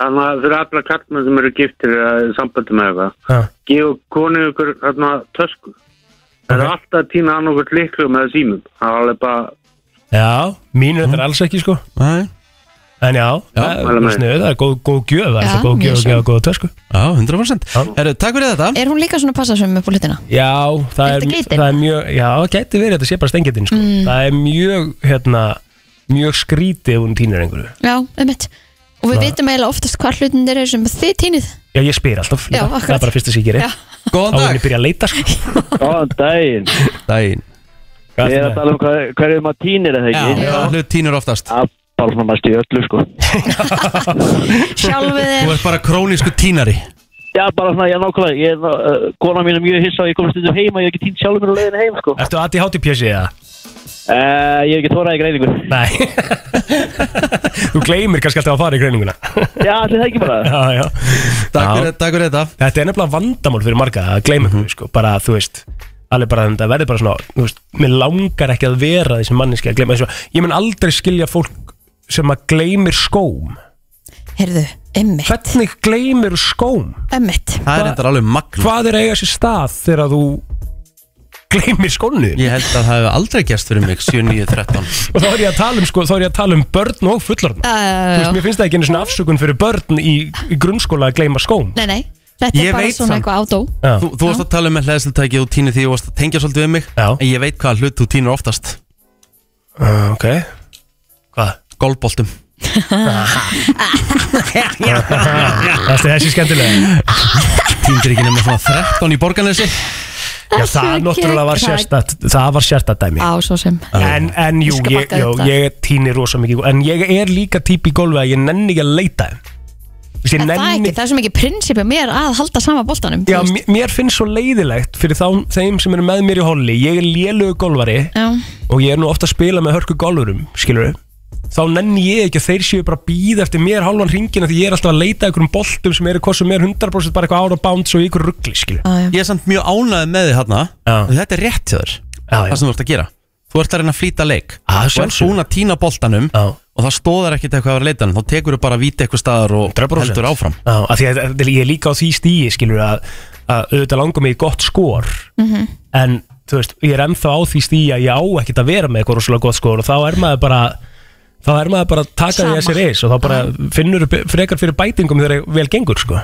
[SPEAKER 18] Þannig að fyrir alla kallmenn sem eru giftir eða í sambandi með
[SPEAKER 2] Ha.
[SPEAKER 18] eitthvað. Gef konu ykkur hérna, tösku. Það er alltaf að týna annað okkur liklu með símum. Það er alveg bara...
[SPEAKER 19] Mm.
[SPEAKER 2] Já, mínu þetta er alls ekki sko
[SPEAKER 1] Nei
[SPEAKER 2] En já, það
[SPEAKER 1] Mælum
[SPEAKER 2] er
[SPEAKER 1] með.
[SPEAKER 2] sniðu, það er góð, góð gjöf Það er
[SPEAKER 3] Já,
[SPEAKER 2] alltaf góð
[SPEAKER 3] mjög
[SPEAKER 2] gjöf að
[SPEAKER 3] svo.
[SPEAKER 2] gefa góða tösku
[SPEAKER 1] Já, 100% Herru, takk fyrir þetta
[SPEAKER 3] Er hún líka svona passasum upp á hlutina?
[SPEAKER 2] Já, það er,
[SPEAKER 3] Ertu geitin?
[SPEAKER 2] það er mjög Já, það gæti verið, þetta sé bara stengitin sko.
[SPEAKER 3] Mm.
[SPEAKER 2] Það er mjög, hérna Mjög skrítið ef hún týnir einhverju
[SPEAKER 3] Já, einmitt Og við
[SPEAKER 2] Svona-
[SPEAKER 3] vitum eiginlega oftast hvað hlutin þeir eru sem þið týnið
[SPEAKER 2] Já, ég spyr alltaf líka.
[SPEAKER 3] Já,
[SPEAKER 2] Það
[SPEAKER 3] akkurat.
[SPEAKER 2] er bara fyrsta sem ég gerir
[SPEAKER 3] Já.
[SPEAKER 1] Góðan
[SPEAKER 2] dag Þá er ég byrja að leita sko.
[SPEAKER 19] Góðan daginn
[SPEAKER 1] Daginn
[SPEAKER 19] Ég er að tala um hvað, hverju maður týnir eða ekki
[SPEAKER 1] Já, hlut tínur oftast
[SPEAKER 19] Já, bara svona mest í öllu sko
[SPEAKER 3] Sjálfið
[SPEAKER 1] Þú ert bara krónísku tínari
[SPEAKER 19] Já, bara svona, já nákvæmlega Ég er, uh, kona mín er mjög hissa og ég komið stundum heima Ég hef ekki týnt sjálfur mér á leiðinu heim sko
[SPEAKER 2] Ertu aðti hátti pjössi E, eða?
[SPEAKER 19] Uh, ég hef ekki þórað í greiningu
[SPEAKER 2] Nei Þú gleymir kannski alltaf að fara í greininguna
[SPEAKER 19] Já, allir það ekki bara
[SPEAKER 2] Já, já
[SPEAKER 1] Takk fyrir- takk fyrir þetta Mhm.
[SPEAKER 2] Þetta er nefnilega vandamál fyrir marga að gleyma mm sko, bara þú veist alveg bara þetta verður bara svona þú veist, mér langar ekki að vera þessi manneski að gleyma þessu ég mun aldrei skilja fólk sem að gleymir skóm
[SPEAKER 3] Herðu, emmitt
[SPEAKER 2] Hvernig gleymir skóm?
[SPEAKER 3] Emmitt
[SPEAKER 1] Það er reyndar alveg magna
[SPEAKER 2] Hvað er að eiga sér stað þegar að þú gleymir skónu?
[SPEAKER 1] Ég held að það hefur aldrei gerst fyrir mig 7, 9, 13
[SPEAKER 2] Og þá er ég að tala um, sko, þá er ég að tala um börn og fullorðna
[SPEAKER 3] Já, já, já,
[SPEAKER 2] Þú veist,
[SPEAKER 3] já.
[SPEAKER 2] mér finnst það ekki einu svona afsökun fyrir börn í, í grunnskóla að gleyma skóm
[SPEAKER 3] Nei, nei, þetta
[SPEAKER 1] Ég
[SPEAKER 3] er bara
[SPEAKER 1] veit
[SPEAKER 3] svona
[SPEAKER 1] samt.
[SPEAKER 3] eitthvað ádó
[SPEAKER 1] Þú, þú varst að tala um með hlæðslutæki og tínir því og varst að tengja svolítið við mig Já. En ég veit hvaða hlut þú tínir oftast
[SPEAKER 2] uh, Ok Hvað?
[SPEAKER 1] Golfboltum
[SPEAKER 2] Það er þessi skemmtilega
[SPEAKER 1] Tíndir ekki nema svona 13 í borgarnesi
[SPEAKER 2] Já, það náttúrulega var sérstætt Það var sérstætt dæmi
[SPEAKER 3] Á, svo sem
[SPEAKER 2] En, en jú,
[SPEAKER 3] Ég skal
[SPEAKER 2] ég,
[SPEAKER 3] bakka
[SPEAKER 2] jú,
[SPEAKER 3] þetta.
[SPEAKER 2] ég týni rosa mikið En ég er líka típ í golfi að ég nenni ekki að leita þeim. Þú veist, ég
[SPEAKER 3] En það er
[SPEAKER 2] nenni,
[SPEAKER 3] ekki, það er svo mikið prinsipið mér að halda sama boltanum
[SPEAKER 2] Já, mér- mér finnst svo leiðilegt fyrir þá, þeim sem eru með mér í holli Ég er lélugu golfari
[SPEAKER 3] Já.
[SPEAKER 2] og ég er nú ofta að spila með hörku golfurum skilur þá nenni ég ekki að þeir séu bara býð eftir mér halvan ringina því ég er alltaf að leita að einhverjum boltum sem eru kostum mér 100% bara eitthvað ára bánt og í ykkur ruggli skilur
[SPEAKER 1] Ég er samt mjög ánægð með þig hérna Þetta er rétt hjá þér
[SPEAKER 2] Það
[SPEAKER 1] sem þú ert að gera Þú ert að reyna að flýta leik
[SPEAKER 2] ah,
[SPEAKER 1] Þú ert búin að tína boltanum
[SPEAKER 2] Já.
[SPEAKER 1] Og það stóðar ekkit eitthvað að vera leitan Þá tekur þú bara að víta eitthvað staðar og heldur áfram
[SPEAKER 2] Já, af því að að ég er líka á því stíi skilur að, að auðvitað langar mig í gott skor
[SPEAKER 13] Mhm.
[SPEAKER 2] en þú veist, ég er ennþá á því stíi að ég á ekkert að vera með eitthvað rosalega gott skor og þá er maður bara þá er maður bara að taka því að
[SPEAKER 1] Sama.
[SPEAKER 2] sér eis og þá bara finnur frekar fyrir bætingum þegar vel gengur sko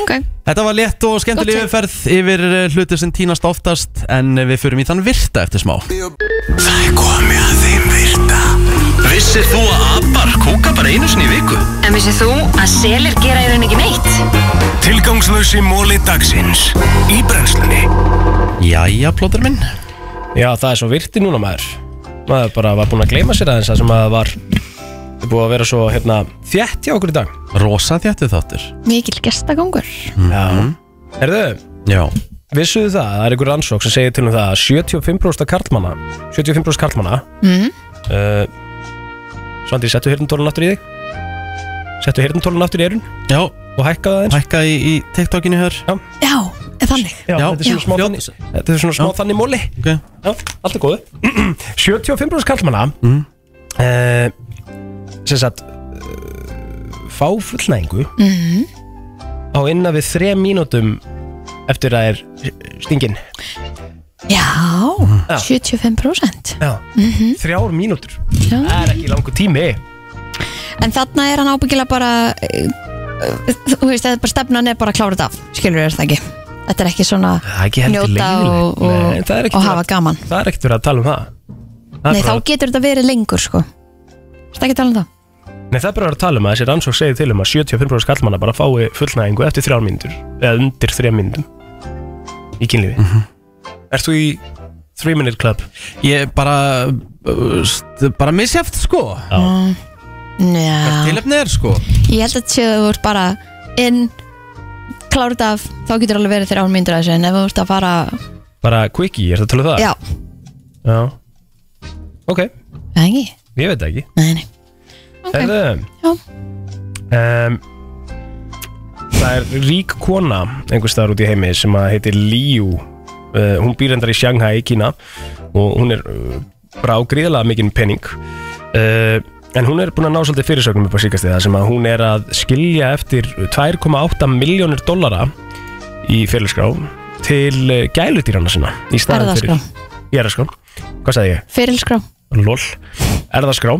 [SPEAKER 3] Ok
[SPEAKER 1] Þetta var létt og skemmtileg yfirferð yfir eh, hluti sem tínast oftast En eh, við förum í þann virta eftir smá
[SPEAKER 5] Það er komið að þeim virta Vissir þú að abar kúka bara einu sinni í viku?
[SPEAKER 7] En vissið þú að selir gera í raun ekki neitt?
[SPEAKER 5] Tilgangslösi móli dagsins Í brennslunni
[SPEAKER 1] Jæja, plótur minn
[SPEAKER 2] Já, það er svo virti núna maður Maður bara var búin að gleyma sér aðeins Það sem maður var Það er búið að vera svo hérna Þjætt hjá okkur í dag
[SPEAKER 1] Rosa þjættu þáttur Mhm.
[SPEAKER 3] Mikil gestagangur
[SPEAKER 2] Já Herðu
[SPEAKER 1] Já
[SPEAKER 2] Vissuðu það, að það er einhver rannsók sem segir til um það að 75% karlmanna 75% karlmanna
[SPEAKER 3] mm.
[SPEAKER 2] uh, Svandi, settu hirtintólun aftur í þig Settu hirtintólun aftur í erun
[SPEAKER 1] Já
[SPEAKER 2] Og hækka það eins
[SPEAKER 1] Hækka í, í TikTokinu hér
[SPEAKER 2] Já,
[SPEAKER 3] Já, er þannig
[SPEAKER 2] Já, þetta er svona smá þannig Þetta er svona smá
[SPEAKER 1] Já.
[SPEAKER 2] þannig móli
[SPEAKER 1] okay.
[SPEAKER 2] Já, allt er góðu 75% kallmanna mm. eh, sem sagt uh, fá fullnæðingu
[SPEAKER 3] Mm.
[SPEAKER 2] á innan við 3 mínútum eftir að er stingin
[SPEAKER 14] Mm.
[SPEAKER 3] Já,
[SPEAKER 2] Já.
[SPEAKER 3] 75%
[SPEAKER 2] Já,
[SPEAKER 3] Mhm.
[SPEAKER 2] þrjár mínútur
[SPEAKER 3] Já.
[SPEAKER 2] Það er ekki langur tími
[SPEAKER 3] En þarna er hann ábyggilega bara eh, eh, Þú veist, það er bara stefnan er bara að klára þetta af Skilur þér það ekki Þetta er ekki svona
[SPEAKER 2] Það er ekki heldur
[SPEAKER 3] njóta
[SPEAKER 2] leiðilegt.
[SPEAKER 3] og, og,
[SPEAKER 2] Nei, það er ekkert
[SPEAKER 3] og
[SPEAKER 2] verið
[SPEAKER 3] hafa
[SPEAKER 2] að-
[SPEAKER 3] gaman
[SPEAKER 2] Það er ekkert verið að tala um það Það er
[SPEAKER 3] Nei, þá
[SPEAKER 2] bara-
[SPEAKER 3] getur þetta verið lengur sko Það ekki að tala um það
[SPEAKER 2] Nei, það er bara að vera að tala um að þessi rannsók segir til um að 75% kallmanna bara fái fullnæðingu eftir þrjár mínútur eða undir þrjár mínútum í kynlífi mm Ert þú í 3 minute club?
[SPEAKER 1] Ég bara uh, st- bara misjæft sko
[SPEAKER 2] Já
[SPEAKER 3] Njá,
[SPEAKER 1] Tilefni er sko
[SPEAKER 3] ég held að séu að þú ert bara inn, klára þetta af þá getur alveg verið þér án myndur að þessu en ef þú ert að fara
[SPEAKER 2] Bara quickie, ert það að tala um það?
[SPEAKER 3] Já,
[SPEAKER 2] Já Ok,
[SPEAKER 3] það ekki
[SPEAKER 2] ég veit það ekki
[SPEAKER 3] Nei, nei
[SPEAKER 2] Ok Herðu um, Það er rík kona einhvers staðar út í heimi sem að heitir Liu uh, Hún býr endar í Shanghai í Kína og hún er uh, bara á gríðlega mikinn penning uh, En hún er búin að ná svolítið fyrirsögnum upp á síkast það sem að hún er að skilja eftir 2,8 miljónir dollara í fyrirskrá til uh, gæludýrana sinna í staðin fyrir
[SPEAKER 3] Erfðaskrá.
[SPEAKER 2] Ég er að skrá Hvað sagði ég?
[SPEAKER 3] Fyrilskrá
[SPEAKER 2] lol, erðaskrá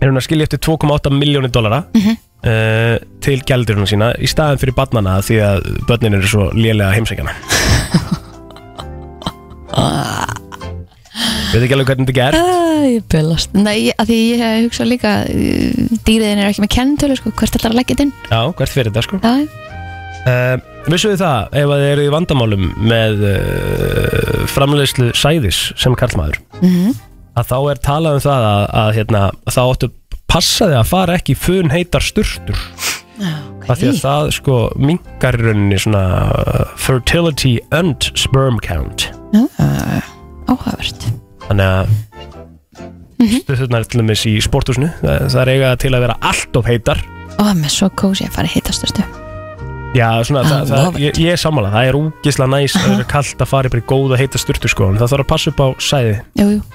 [SPEAKER 2] er hún að skilja eftir 2,8 miljónir dollara uh, til gældiruna sína í staðan fyrir barnana því að börnin eru svo lélega heimsækjana Ég veit ekki alveg hvernig þetta er
[SPEAKER 3] Æ, ég bylast Nei, að því ég hef hugsað líka eh, dýriðin er ekki með kennitölu sko, hvert ætlar að leggja þetta inn
[SPEAKER 2] Já, hvert fyrir þetta sko
[SPEAKER 3] Já,
[SPEAKER 2] uh, Vissuðu það, ef að þið eru í vandamálum með uh, framleiðslu sæðis sem karlmaður
[SPEAKER 14] Mm-hmm.
[SPEAKER 13] Mhm.
[SPEAKER 2] að þá er talað um það að, að hérna, þá áttu passaði að fara ekki í fun heitar sturtur okay. af því að það sko minkar í rauninni svona uh, fertility and sperm count
[SPEAKER 3] uh, áhugavert
[SPEAKER 2] þannig að sturturnar til dæmis í sporthúsinu það, það er eiga til að vera allt of heitar
[SPEAKER 3] og með svo kósi að fara í hitasturstu
[SPEAKER 2] Já, svona,
[SPEAKER 3] I
[SPEAKER 2] það,
[SPEAKER 3] love
[SPEAKER 2] það, ég, ég er sammála, það er úgislega næs að vera kallt að fara yfir í góða heita sturtu sko, en það þarf að passa upp á sæði
[SPEAKER 3] Jú, jú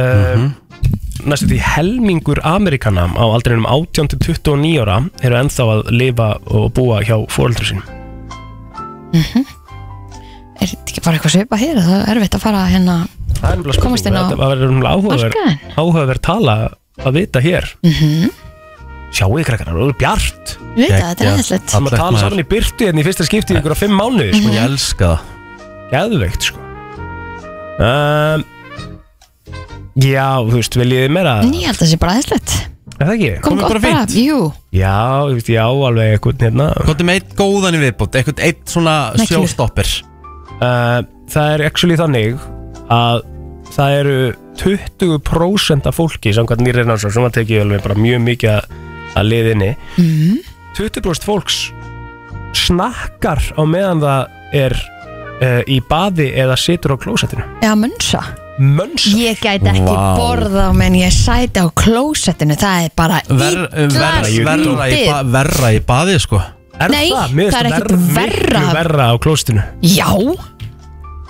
[SPEAKER 2] um, Næstu því helmingur Amerikana á aldrinum 18-29 ára eru ennþá að lifa og búa hjá fóreldur sínum
[SPEAKER 3] Er þetta ekki bara eitthvað svipað hér? Það er erfitt að fara hérna
[SPEAKER 2] Það er nefnilega
[SPEAKER 3] Komast
[SPEAKER 2] spurning,
[SPEAKER 3] inn á
[SPEAKER 2] þetta var nefnilega áhugaverð
[SPEAKER 3] markaðinn.
[SPEAKER 2] áhugaverð tala að vita hér
[SPEAKER 3] mm -hmm.
[SPEAKER 2] Sjáuðu krakkar, það eru bjart
[SPEAKER 3] Ég veit það, þetta er aðeinslegt.
[SPEAKER 2] Það maður tala
[SPEAKER 1] Fallegt
[SPEAKER 2] saman í byrtu hérna í fyrsta skipti í ykkur á fimm mánuði sko.
[SPEAKER 1] Mhm. Ég elska það
[SPEAKER 2] Gæðveikt sko um, Já, þú veist, viljið þið meira
[SPEAKER 3] Ég held að það sé bara aðeinslegt
[SPEAKER 2] Er það ekki?
[SPEAKER 3] Kom gott bara, jú
[SPEAKER 2] Já, ég veist, ég á alveg eitthvað hérna
[SPEAKER 1] Hvort er með eitt góðan í viðbútt, eitthvað eitt svona
[SPEAKER 2] Neglu.
[SPEAKER 1] sjóstoppir
[SPEAKER 2] uh, Það er actually þannig að það eru 20% af fólki samkvæmt nýri reynarsson sem að tekið alveg bara mjög mikið að- að liðinni
[SPEAKER 3] mm.
[SPEAKER 2] 20% fólks snakkar á meðan það er uh, í baði eða situr á klósettinu
[SPEAKER 3] Já, munsa
[SPEAKER 2] Mönsa?
[SPEAKER 3] Ég gæti ekki
[SPEAKER 2] Vá.
[SPEAKER 3] borða á menn ég sæti á klósettinu Það er bara
[SPEAKER 1] Ver,
[SPEAKER 3] illa
[SPEAKER 1] verra, í- verra, í ba,
[SPEAKER 3] skrítið
[SPEAKER 1] verra í baði sko
[SPEAKER 2] Er
[SPEAKER 3] Nei,
[SPEAKER 2] það, Mér finnst
[SPEAKER 3] það er
[SPEAKER 2] það
[SPEAKER 3] ekkert
[SPEAKER 2] verra-
[SPEAKER 3] verra.
[SPEAKER 2] miklu verra á klósettinu
[SPEAKER 3] Já,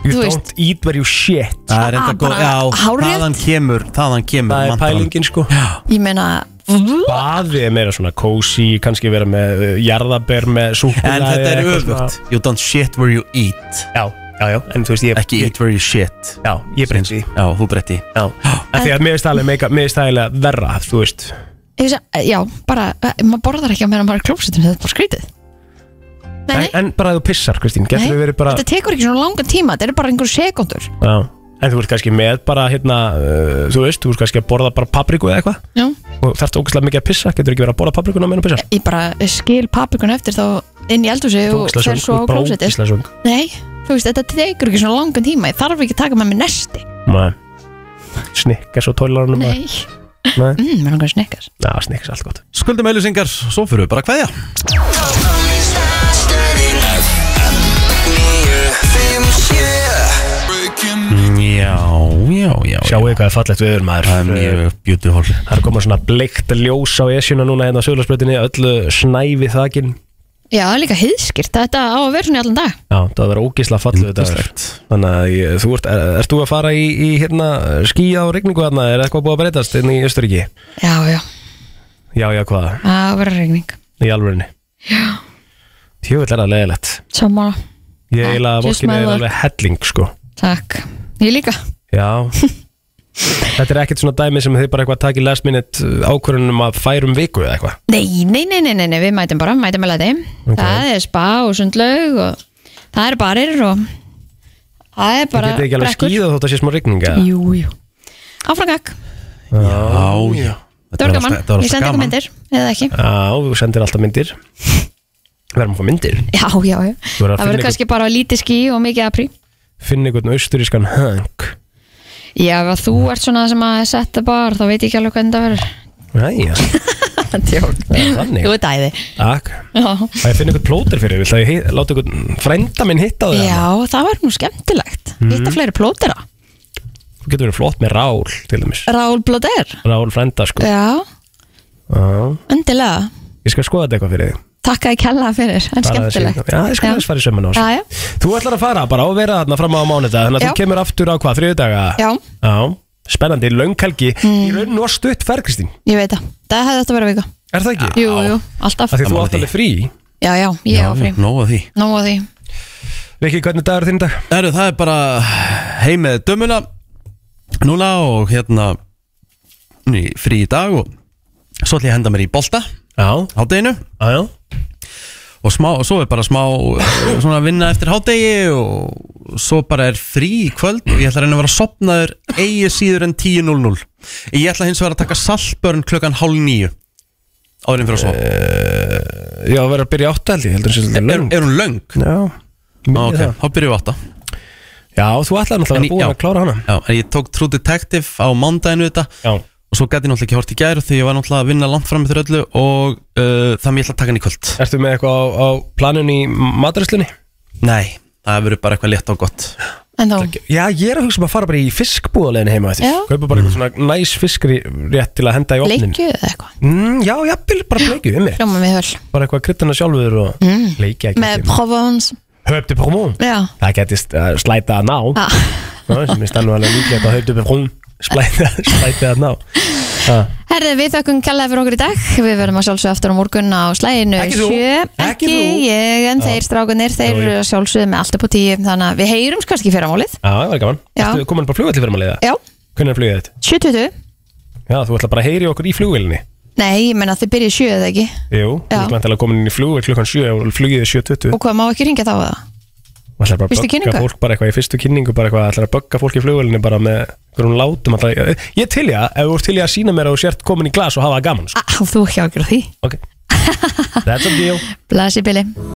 [SPEAKER 2] You
[SPEAKER 3] Þú
[SPEAKER 2] don't
[SPEAKER 3] veist-
[SPEAKER 2] eat where you shit
[SPEAKER 1] Það er enda
[SPEAKER 3] Ah,
[SPEAKER 1] góð,
[SPEAKER 3] bara
[SPEAKER 1] já,
[SPEAKER 3] hárrétt.
[SPEAKER 1] þaðan kemur, þaðan kemur
[SPEAKER 2] Það er
[SPEAKER 1] mantran.
[SPEAKER 2] pælingin sko
[SPEAKER 3] ég meina
[SPEAKER 2] Baði er meira svona kósi, kannski vera með uh, jarðaber með súkulega
[SPEAKER 1] En þetta er öfugt, you don't shit where you eat
[SPEAKER 2] Já, já, já, en þú veist ég
[SPEAKER 1] Ekki eat where you shit
[SPEAKER 2] Já, ég breytti
[SPEAKER 1] Já, þú breytti
[SPEAKER 2] Já, af því að mér finnst það alveg meika- mér finnst það eiginlega verra, þú veist
[SPEAKER 3] Ég sé- Já, bara, eh, maður borðar ekki á meðan maður er klósettinu, það er bara skrítið
[SPEAKER 2] en, en bara þú pissar, Kristín, getur við verið bara
[SPEAKER 3] Þetta tekur ekki svona langan tíma, þetta eru bara einhver sekundur
[SPEAKER 2] Já, en þú ert kannski með bara hérna, uh, þú veist, þú ert kannski að borða bara papriku eða eitthvað
[SPEAKER 3] Já.
[SPEAKER 2] og þarfst ógæslega mikið að pissa, getur ekki verið að borða paprikuna meðan að pissa
[SPEAKER 3] Ég bara skil paprikun eftir þá inn í eldhúsi
[SPEAKER 2] Þú
[SPEAKER 3] og
[SPEAKER 2] ógeðslega
[SPEAKER 3] fer
[SPEAKER 2] svöng,
[SPEAKER 3] svo
[SPEAKER 2] þú
[SPEAKER 3] á
[SPEAKER 2] ert bara
[SPEAKER 3] klósettið
[SPEAKER 2] ógeðslega svöng.
[SPEAKER 3] Nei, þú veist, þetta tekur ekki svona langan tíma Ég þarf ekki að taka með mér nesti
[SPEAKER 2] Nei. Snikka svo tólarunum
[SPEAKER 3] Nei,
[SPEAKER 2] Nei.
[SPEAKER 3] mm, mér langar snikkar
[SPEAKER 2] Já, snikka allt gott
[SPEAKER 1] Skuldum eilisingar, svo fyrir við bara hverja Mm, Já, já, já
[SPEAKER 2] Sjáu þið hvað er fallegt viður maður Það er mjög
[SPEAKER 1] beautiful
[SPEAKER 2] Það er komað svona bleikt ljós á esjuna núna hérna á sögularsbreytinni öllu snævi þakin
[SPEAKER 3] Já, líka heiðskirt, þetta á að vera svona í allan dag
[SPEAKER 2] Já, það er ógislega fallið þetta Þannig að ég, þú ert, er, ert þú að fara í, í hérna, skýja og regningu hérna, er eitthvað búið að breytast inn í Östuríki?
[SPEAKER 3] Já, já,
[SPEAKER 2] Já, já, hvað?
[SPEAKER 3] að vera regning
[SPEAKER 2] Í alvörinni?
[SPEAKER 3] Já.
[SPEAKER 2] Tjöfull er það leðilegt
[SPEAKER 3] Sammála,
[SPEAKER 2] Ég eiginlega
[SPEAKER 3] just
[SPEAKER 2] vorkinni
[SPEAKER 3] my
[SPEAKER 2] er
[SPEAKER 3] luck.
[SPEAKER 2] alveg helling, sko
[SPEAKER 3] takk Ég líka
[SPEAKER 2] Já Þetta er ekkert svona dæmi sem þið bara eitthvað takið last minute ákvörunum að færum viku eða eitthvað
[SPEAKER 3] Nei, nei, nei, nei, nei, nei, við mætum bara, mætum með læti
[SPEAKER 2] Ok.
[SPEAKER 3] Það er spa og sundlaug og það er barir og það er
[SPEAKER 2] Þið
[SPEAKER 3] bara
[SPEAKER 2] getið ekki alveg
[SPEAKER 3] brekkur.
[SPEAKER 2] skýða þótt að sé smá regninga
[SPEAKER 3] Jú, jú Áfram gakk,
[SPEAKER 1] Já, já
[SPEAKER 3] það var gaman, ég sendi ykkur myndir eða ekki
[SPEAKER 2] Já, þú sendir alltaf myndir Við erum að fá myndir
[SPEAKER 3] Já, já, já,
[SPEAKER 2] Þú verður að
[SPEAKER 3] það verður
[SPEAKER 2] finna
[SPEAKER 3] kannski bara lítið ský og mikið aprí
[SPEAKER 2] Finn einhvern austurískan hang
[SPEAKER 3] Já, ef að þú ert svona sem að setja bar þá veit ég ekki alveg hvernig það verður
[SPEAKER 2] Næja,
[SPEAKER 3] Djók,
[SPEAKER 2] þannig.
[SPEAKER 3] þú ert æði
[SPEAKER 2] takk
[SPEAKER 3] Já,
[SPEAKER 2] Það ég finn einhvern plóter fyrir, vill að ég hei- láta einhvern frænda minn hitta á þig
[SPEAKER 3] já það var nú skemmtilegt
[SPEAKER 2] Mhm.
[SPEAKER 3] Hitta fleiri plótera,
[SPEAKER 2] Þú getur verið flott með rál til dæmis
[SPEAKER 3] Raúl Blóter
[SPEAKER 2] Rál frænda sko
[SPEAKER 3] Já,
[SPEAKER 2] Já.
[SPEAKER 3] undilega
[SPEAKER 2] Ég skal skoða þetta eitthvað fyrir þig
[SPEAKER 3] Takk að ég kella fyrir, en
[SPEAKER 2] Bara að
[SPEAKER 3] skemmtilegt
[SPEAKER 2] sé- Já, ég skal
[SPEAKER 3] Já.
[SPEAKER 2] þess fara í sko. sömmun á þessu.
[SPEAKER 3] Já, já,
[SPEAKER 2] Þú ætlar að fara bara og vera þarna fram á mánudag Þannig að
[SPEAKER 3] Já.
[SPEAKER 2] þú kemur aftur á hvað, þriðudaga?
[SPEAKER 3] Já.
[SPEAKER 2] spennandi, lönghelgi Í raun og stutt ferð, Kristín
[SPEAKER 3] ég veit það Það hefði þetta verið vika
[SPEAKER 2] Er það ekki?
[SPEAKER 3] Jú, jú, alltaf
[SPEAKER 2] Af því þú átt alveg frí
[SPEAKER 3] Já, já, ég á frí
[SPEAKER 1] Nóa því
[SPEAKER 3] Nó að því
[SPEAKER 2] Rikki, hvernig dagur þinn í dag?
[SPEAKER 1] Herru, það er bara heimið dömuna Núna og hérna mm, í frí í dag og svo ætlum ég að henda mér í bolta hádeginu
[SPEAKER 2] já.
[SPEAKER 1] og smá, og svo er bara smá eh, svona vinna eftir hádegi og svo bara er frí í kvöld og ég ætla að reyna að vera sopnaður eigi síður en 10.00 ég ætla hins vegar að taka saltbörn klukkan hálf níu áðurinn fyrir að sofa
[SPEAKER 2] Eh, Já, verður að byrja átta held ég, heldur hún sé
[SPEAKER 1] er, er hún löng?
[SPEAKER 2] Já,
[SPEAKER 1] ah,
[SPEAKER 2] minni
[SPEAKER 1] ok,
[SPEAKER 2] það.
[SPEAKER 1] þá byrjum við átta
[SPEAKER 2] Já, þú ætlaði náttúrulega
[SPEAKER 1] En
[SPEAKER 2] að vera
[SPEAKER 1] ég-
[SPEAKER 2] búin
[SPEAKER 1] já.
[SPEAKER 2] að klára hana
[SPEAKER 1] Já, en ég tók True Detective á mándaginu þetta
[SPEAKER 2] Já.
[SPEAKER 1] og svo gæti ég náttúrulega ekki hort í gær því ég var náttúrulega að vinna langt fram með þér öllu og uh, það mér ætla að taka hann í kvöld
[SPEAKER 2] Ertu með eitthvað á, á planun í maturslunni?
[SPEAKER 1] Nei, það verður bara eitthvað létt og gott
[SPEAKER 3] En þá,
[SPEAKER 2] Já, ég er að hugsa um að fara bara í fiskbúðalegin heima eftir
[SPEAKER 3] Já.
[SPEAKER 2] Kaupa bara eitthvað svona næs fiskri rétt til að henda í opnin
[SPEAKER 3] leikju eða eitthvað
[SPEAKER 2] mm, Já, jafnvel bara bleikju, um mig
[SPEAKER 3] Hljóma mig höll
[SPEAKER 2] Bara eitthvað kryttana sjálfur og mm.
[SPEAKER 3] Mm.
[SPEAKER 2] leikja
[SPEAKER 3] Með Provence
[SPEAKER 2] Höfdu promón
[SPEAKER 3] Já,
[SPEAKER 2] Það getist uh, slæta að ná
[SPEAKER 3] Ha.
[SPEAKER 2] Það sem er stannu alveg líklegt að höfdu promón Slæta, slæta að ná Ah. Ha.
[SPEAKER 3] herði við þökkum kjallaði fyrir okkur í dag Við verðum að sjálfsögðu aftur á morgun á slæginu
[SPEAKER 13] Ekki þú.
[SPEAKER 3] sjö.
[SPEAKER 13] Ekki
[SPEAKER 3] Ekki
[SPEAKER 13] þú.
[SPEAKER 3] ég, en
[SPEAKER 2] Já.
[SPEAKER 3] þeir strákunir Þeir
[SPEAKER 2] Jú, jú.
[SPEAKER 3] eru að sjálfsögðu með allt upp á tíu Þannig að við heyrums kannski fyrir á málið
[SPEAKER 2] Já, það var gaman
[SPEAKER 3] Já.
[SPEAKER 2] Ertu komin bara flugvelli fyrir maður leiða?
[SPEAKER 3] Já,
[SPEAKER 2] Hvernig er flugið þitt?
[SPEAKER 3] 7.20
[SPEAKER 2] Já, þú ætla bara að heyri okkur í flugvélni
[SPEAKER 3] Nei, ég menna þið byrja í sjö eða ekki
[SPEAKER 2] Jú, þú
[SPEAKER 3] Já.
[SPEAKER 2] ert vantilega komin inn í flugvél klukkan 7 og flugið er 7.20
[SPEAKER 3] Og hvað má ekki ringja þá að það?
[SPEAKER 2] og ætlar bara að
[SPEAKER 3] Fyrstu
[SPEAKER 2] bögga
[SPEAKER 3] kynningu?
[SPEAKER 2] fólk bara eitthvað í fyrstu kynningu bara eitthvað, ætlar að bögga fólk í flugvölinni bara með einhverjum látum alltaf, ég er til ég að, ef þú ert til ég að sína mér að þú sért komin í
[SPEAKER 3] Ah.
[SPEAKER 2] glas og hafa það gaman sko.
[SPEAKER 3] Á, þú ekki ágjur því
[SPEAKER 2] That's a deal
[SPEAKER 3] Blasi Billy